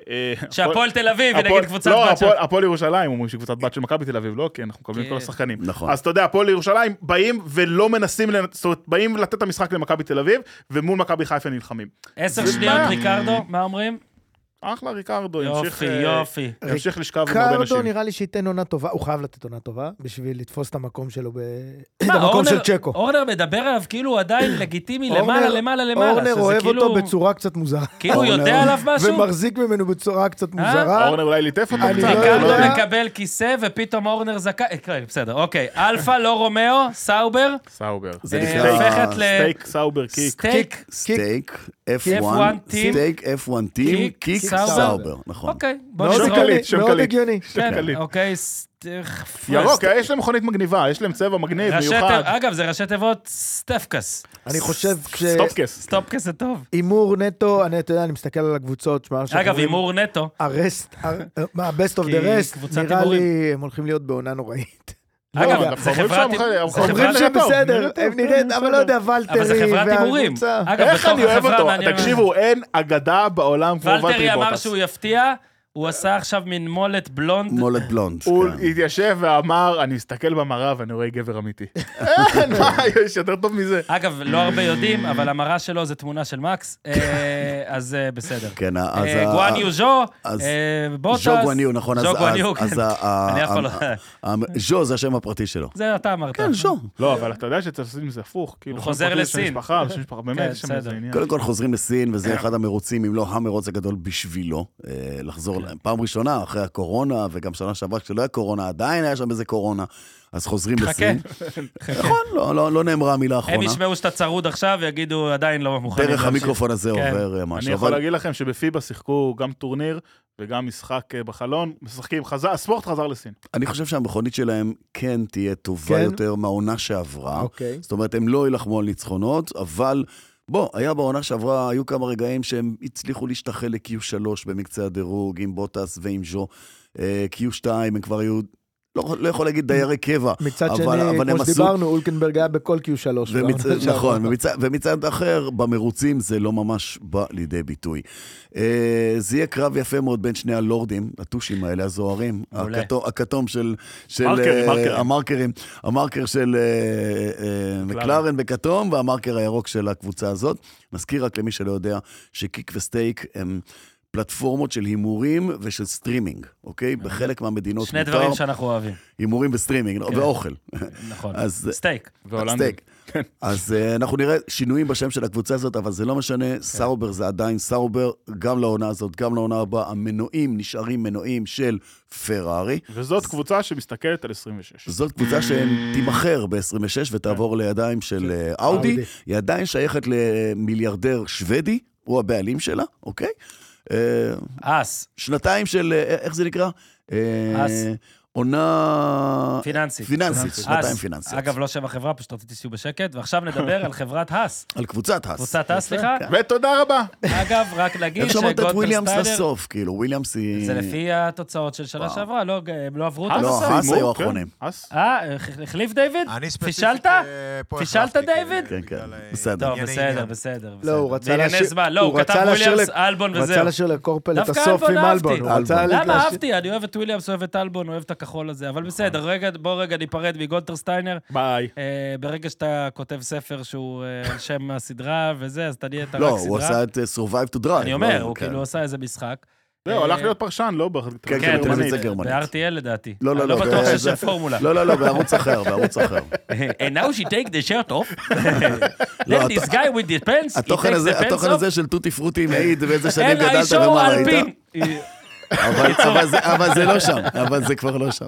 Speaker 1: שהפועל תל אביב היא
Speaker 3: הפועל-
Speaker 1: נגיד קבוצת
Speaker 3: לא,
Speaker 1: בת של...
Speaker 3: הפועל- הפועל ירושלים אומרים שהיא קבוצת בת של מכבי תל אביב, לא? כי אנחנו מקבלים את כל
Speaker 1: כן.
Speaker 3: השחקנים.
Speaker 2: נכון.
Speaker 3: אז אתה יודע, הפועל ירושלים באים ולא מנסים, לנ- זאת אומרת, באים לתת את המשחק למכבי תל אביב, ומול מכבי חיפה נלחמים.
Speaker 1: עשר
Speaker 3: זה
Speaker 1: שניות
Speaker 3: בעיה.
Speaker 1: ריקרדו, מה אומרים?
Speaker 3: אחלה, ריקרדו, ימשיך...
Speaker 1: יופי,
Speaker 3: אה,
Speaker 1: יופי.
Speaker 3: ימשיך
Speaker 1: לא
Speaker 3: לשכב עם הרבה
Speaker 4: קרדו
Speaker 3: נשים.
Speaker 4: נראה לי שייתן עונה טובה, הוא חייב לתת עונה טובה בשביל לתפוס את המקום שלו ב... את
Speaker 1: מה,
Speaker 4: המקום של
Speaker 1: אורנר-
Speaker 4: צ'קו.
Speaker 1: אורנר מדבר עליו כאילו הוא עדיין לגיטימי
Speaker 4: אורנר-
Speaker 1: למעלה, למעלה, למעלה.
Speaker 4: אורנר
Speaker 1: שזה
Speaker 4: אוהב
Speaker 1: כאילו-
Speaker 4: אותו בצורה קצת מוזרה.
Speaker 1: כאילו הוא יודע
Speaker 4: אורנר- [LAUGHS]
Speaker 1: עליו משהו? אה,
Speaker 4: ומחזיק ממנו בצורה קצת מוזרה.
Speaker 3: אורנר אולי ליטף אותו
Speaker 4: אני
Speaker 3: קצת.
Speaker 4: לא
Speaker 3: לא
Speaker 1: ריקרדו
Speaker 3: יודע.
Speaker 1: מקבל כיסא ופתאום אורנר זכאי, אה, כן, בסדר, אוקיי. אלפא, לא רומאו, סאובר,
Speaker 3: סאובר.
Speaker 2: זה
Speaker 1: אה,
Speaker 2: נקרא-
Speaker 1: הופכת ל...
Speaker 3: סטייק, סאובר, קיק.
Speaker 1: סטייק.
Speaker 2: סטייק,
Speaker 1: F1
Speaker 2: F1,
Speaker 1: טים,
Speaker 2: סטייק, F1 טים,
Speaker 1: קיק,
Speaker 2: קיק
Speaker 1: סאובר.
Speaker 2: סאובר, נכון.
Speaker 1: אוקיי, בוא
Speaker 4: מאוד
Speaker 3: שם
Speaker 1: נזרום.
Speaker 4: הגיוני,
Speaker 3: קליט, שם
Speaker 4: מאוד
Speaker 3: קליט.
Speaker 4: הגיוני.
Speaker 1: כן,
Speaker 3: קליט.
Speaker 1: אוקיי, סט- אה,
Speaker 3: ירוק, יש להם מכונית מגניבה, יש להם צבע מגניב,
Speaker 1: ראשי
Speaker 3: מיוחד.
Speaker 1: תיב- אגב, זה ראשי תיבות סטפקס.
Speaker 4: אני חושב ש...
Speaker 1: אה,
Speaker 3: סטופקס.
Speaker 1: סטופקס זה טוב.
Speaker 4: הימור נטו, אני, אתה יודע, אני מסתכל על הקבוצות, שמע, שאנחנו
Speaker 1: אגב,
Speaker 4: אומרים,
Speaker 1: הימור נטו.
Speaker 4: הרסט, הר- מה, best of
Speaker 1: כי
Speaker 4: the rest,
Speaker 1: קבוצת
Speaker 4: נראה
Speaker 1: הימורים.
Speaker 4: לי הם הולכים להיות בעונה נוראית.
Speaker 3: לא,
Speaker 1: אגב,
Speaker 3: אנחנו
Speaker 1: זה
Speaker 3: אומרים
Speaker 1: חברת-
Speaker 3: שהם-
Speaker 1: זה
Speaker 3: הם
Speaker 1: חברת-
Speaker 3: אומרים
Speaker 4: אומרים
Speaker 3: נראה טוב,
Speaker 4: שבסדר,
Speaker 3: נראה
Speaker 4: הם
Speaker 3: טוב,
Speaker 4: נראית,
Speaker 3: נראה
Speaker 4: אבל
Speaker 3: טוב.
Speaker 4: לא יודע, ולטרי,
Speaker 1: אבל זה חברת הימורים.
Speaker 4: והקבוצה.
Speaker 1: אגב,
Speaker 3: איך
Speaker 1: בתוך
Speaker 3: אני אוהב
Speaker 1: החברה
Speaker 3: אותו?
Speaker 1: מעניין מאוד.
Speaker 3: תקשיבו, אין אגדה בעולם כמו ולטרי
Speaker 1: ולטרי אמר
Speaker 3: בוטס.
Speaker 1: שהוא יפתיע, הוא עשה עכשיו מין מולת בלונד.
Speaker 2: מולד בלונד.
Speaker 3: הוא
Speaker 2: כן.
Speaker 3: התיישב ואמר, אני מסתכל במראה ואני רואה גבר אמיתי. [LAUGHS] אין, מה, יש יותר טוב מזה.
Speaker 1: אגב, לא הרבה יודעים, אבל המראה שלו זה תמונה של מקס, אה, אז אה, בסדר.
Speaker 2: כן, אז...
Speaker 1: אה,
Speaker 2: ה-
Speaker 1: גואניו ז'ו,
Speaker 2: אז-
Speaker 1: אה, בוטס.
Speaker 2: ז'ו גואניו, נכון. אז-
Speaker 1: ז'ו
Speaker 2: אז-
Speaker 1: גואניו,
Speaker 2: אז אה,
Speaker 1: כן.
Speaker 2: ה- ה-
Speaker 1: אני אף פעם לא-
Speaker 2: ה- ה- ז'ו זה השם הפרטי שלו.
Speaker 1: [LAUGHS] זה אתה אמרת.
Speaker 2: כן, ז'ו.
Speaker 3: לא, אבל אתה יודע שצריך לעשות עם זה הפוך. כאילו,
Speaker 1: הוא חוזר
Speaker 3: פרטי זה של
Speaker 1: לסין.
Speaker 3: משפחה, זה של משפחה,
Speaker 1: [LAUGHS] כן,
Speaker 3: באמת, יש שם איזה
Speaker 1: בסדר.
Speaker 3: עניין.
Speaker 2: קודם כל חוזרים לסין,
Speaker 1: כן.
Speaker 2: וזה אחד המרוצים, אם לא המרוץ הגדול בשבילו, אה,
Speaker 1: כן.
Speaker 2: לחזור להם. פעם ראשונה, אחרי הקורונה, וגם שנה שעברה, כשלא היה קורונה, עדיין היה שם איזה קורונה, אז חוזרים
Speaker 1: [LAUGHS] חכה.
Speaker 2: לסין. נכון, לא- לא לא נאמרה המילה
Speaker 1: הם
Speaker 2: האחרונה.
Speaker 1: ישמעו שאתה צרוד עכשיו ויגידו, עדיין לא מוכנים.
Speaker 2: דרך
Speaker 1: להמשיך."
Speaker 2: המיקרופון הזה
Speaker 1: כן.
Speaker 2: עובר אה, משהו.
Speaker 3: אני יכול
Speaker 2: אבל-
Speaker 3: להגיד לכם שבפיבה שיחקו גם טורניר וגם משחק אה, בחלון, משחקים, חזר- הספורט חזר לסין.
Speaker 2: אני חושב שהמכונית שלהם כן תהיה טובה
Speaker 4: כן?
Speaker 2: יותר מהעונה שעברה.
Speaker 4: אוקיי.
Speaker 2: זאת אומרת, הם לא יילחמו על ניצחונות, אבל בוא, היה בעונה שעברה, היו כמה רגעים שהם הצליחו להשתחל ל-Q3 במקצה הדירוג, עם בוטס ועם ז'ו. אה, Q2 הם כבר היו, לא, לא יכול להגיד דיירי קבע.
Speaker 4: מצד
Speaker 2: אבל-
Speaker 4: שני,
Speaker 2: אבל הם
Speaker 4: כמו
Speaker 2: עשו-
Speaker 4: שדיברנו, אולקנברג היה בכל לא? Q3.
Speaker 2: ומצ...
Speaker 4: בעונה שעברה.
Speaker 2: נכון, ומצד, ומצד אחר, במרוצים זה לא ממש בא לידי ביטוי. אה, זה יהיה קרב יפה מאוד בין שני הלורדים, הטושים האלה, הזוהרים,
Speaker 1: מעולה.
Speaker 2: הכתום, הכתום של... של
Speaker 3: מרקרים,
Speaker 2: אה,
Speaker 3: מרקרים.
Speaker 2: המרקרים. המרקר של אה, אה, מקלרן בכתום והמרקר הירוק של הקבוצה הזאת. נזכיר רק למי שלא יודע, שקיק וסטייק הם... פלטפורמות של הימורים ושל סטרימינג, אוקיי? בחלק מהמדינות
Speaker 1: שני דברים שאנחנו אוהבים,
Speaker 2: הימורים וסטרימינג, ואוכל.
Speaker 1: נכון.
Speaker 2: אז-
Speaker 1: סטייק. [LAUGHS]
Speaker 3: והולנדים.
Speaker 1: כן.
Speaker 2: סטייק. אז אה, אנחנו נראה שינויים בשם של הקבוצה הזאת, אבל זה לא
Speaker 1: כן.
Speaker 2: משנה, סאובר זה עדיין סאובר, גם לעונה הזאת, גם לעונה הבאה. המנועים נשארים מנועים של פרארי.
Speaker 3: וזאת קבוצה שמסתכלת על 26.
Speaker 2: זאת קבוצה שתימכר
Speaker 1: כן.
Speaker 2: ב-26 ותעבור לידיים של אה, אאודי.
Speaker 4: אאודי.
Speaker 2: היא עדיין שייכת למיליארדר שוודי, הוא הבעלים שלה, אוקיי? אה,
Speaker 1: אס,
Speaker 2: שנתיים של, אה, איך זה נקרא? אה,
Speaker 1: אס.
Speaker 2: עונה...
Speaker 1: פיננסית.
Speaker 2: פיננסית, שנתיים
Speaker 1: אס.
Speaker 2: פיננסיות.
Speaker 1: אגב, לא שם החברה, פשוט רציתי שיהיו בשקט, ועכשיו נדבר על חברת האס.
Speaker 2: על קבוצת האס.
Speaker 1: קבוצת האס, סליחה.
Speaker 2: כן.
Speaker 3: ותודה רבה.
Speaker 1: אגב, רק נגיד
Speaker 2: איך שמעת את וויליאמס
Speaker 1: שגולדברסטיידר...
Speaker 2: לסוף? כאילו, וויליאמס היא...
Speaker 1: זה לפי התוצאות של שנה
Speaker 2: וואו.
Speaker 1: שעברה, לא, הם לא עברו אותם
Speaker 2: לא,
Speaker 1: בסוף.
Speaker 2: האס היו
Speaker 3: כן.
Speaker 2: האחרונים.
Speaker 3: אס.
Speaker 1: אה, הח- החליף דיוויד?
Speaker 5: אני ספציפית...
Speaker 1: פישלת?
Speaker 5: אה, פה
Speaker 1: פישלת,
Speaker 5: החלפתי,
Speaker 1: דיוויד?
Speaker 2: כן,
Speaker 5: בגלל,
Speaker 2: כן,
Speaker 5: אה,
Speaker 2: בסדר.
Speaker 1: טוב,
Speaker 5: ענייני
Speaker 1: בסדר,
Speaker 5: עניין.
Speaker 1: בסדר.
Speaker 4: לא, הוא
Speaker 1: בסדר.
Speaker 4: רצה
Speaker 1: בענייני
Speaker 4: להשאיר-
Speaker 1: זמן, לא,
Speaker 4: הוא
Speaker 1: הוא כתב
Speaker 4: רצה להשאיר
Speaker 1: וויליאמס,
Speaker 4: לק-
Speaker 1: אלבון
Speaker 4: הוא רצה
Speaker 1: וזהו.
Speaker 4: להשאיר לקורפל את
Speaker 1: דווקא
Speaker 4: הסוף
Speaker 1: אלבון
Speaker 4: עם
Speaker 1: אהבתי.
Speaker 4: אלבון. הוא רצה
Speaker 2: אלבון.
Speaker 1: למה
Speaker 4: להשאיר-
Speaker 1: אהבתי? אני אוהב את וויליאמס, אוהב את אלבון, אוהב את הכחול הזה, אבל בסדר, רגע, בוא רגע ניפרד מגולדרסטיינר.
Speaker 3: ביי.
Speaker 1: אה, ברגע שאתה כותב ספר שהוא אה, על שם הסדרה וזה, אז אתה נהיית רק סדרה.
Speaker 2: לא, הוא עשה את אה, Survive to Drive.
Speaker 1: אני
Speaker 2: לא?
Speaker 1: אומר, הוא
Speaker 2: כן.
Speaker 1: כאילו עשה איזה משחק.
Speaker 3: זהו,
Speaker 1: אה,
Speaker 3: הלך להיות פרשן, לא? ב-
Speaker 2: כן,
Speaker 1: כן,
Speaker 2: הוא
Speaker 1: טלוויזיה
Speaker 2: מבין את זה גרמנית.
Speaker 1: ב-RTL לדעתי.
Speaker 2: לא, לא,
Speaker 1: אני לא
Speaker 2: לא,
Speaker 1: בטוח
Speaker 2: זה-
Speaker 1: שיש שם
Speaker 2: זה-
Speaker 1: פורמולה.
Speaker 2: לא, לא, לא, בערוץ אחר,
Speaker 1: [LAUGHS]
Speaker 2: בערוץ אחר.
Speaker 1: And now she take the shirt off.
Speaker 2: [LAUGHS] לא,
Speaker 1: Then
Speaker 2: הת-
Speaker 1: this guy with the pants, he
Speaker 2: התוכן
Speaker 1: takes
Speaker 2: הזה-
Speaker 1: the pants
Speaker 2: התוכן
Speaker 1: off.
Speaker 2: הזה של תותי פרוטי מעיד באיזה שנים
Speaker 1: And I
Speaker 2: גדלת
Speaker 1: show [LAUGHS]
Speaker 2: ומה ראית.
Speaker 1: אלפין. אה,
Speaker 2: אבל- אבל זה- אבל זה לא שם, אבל זה כבר לא שם.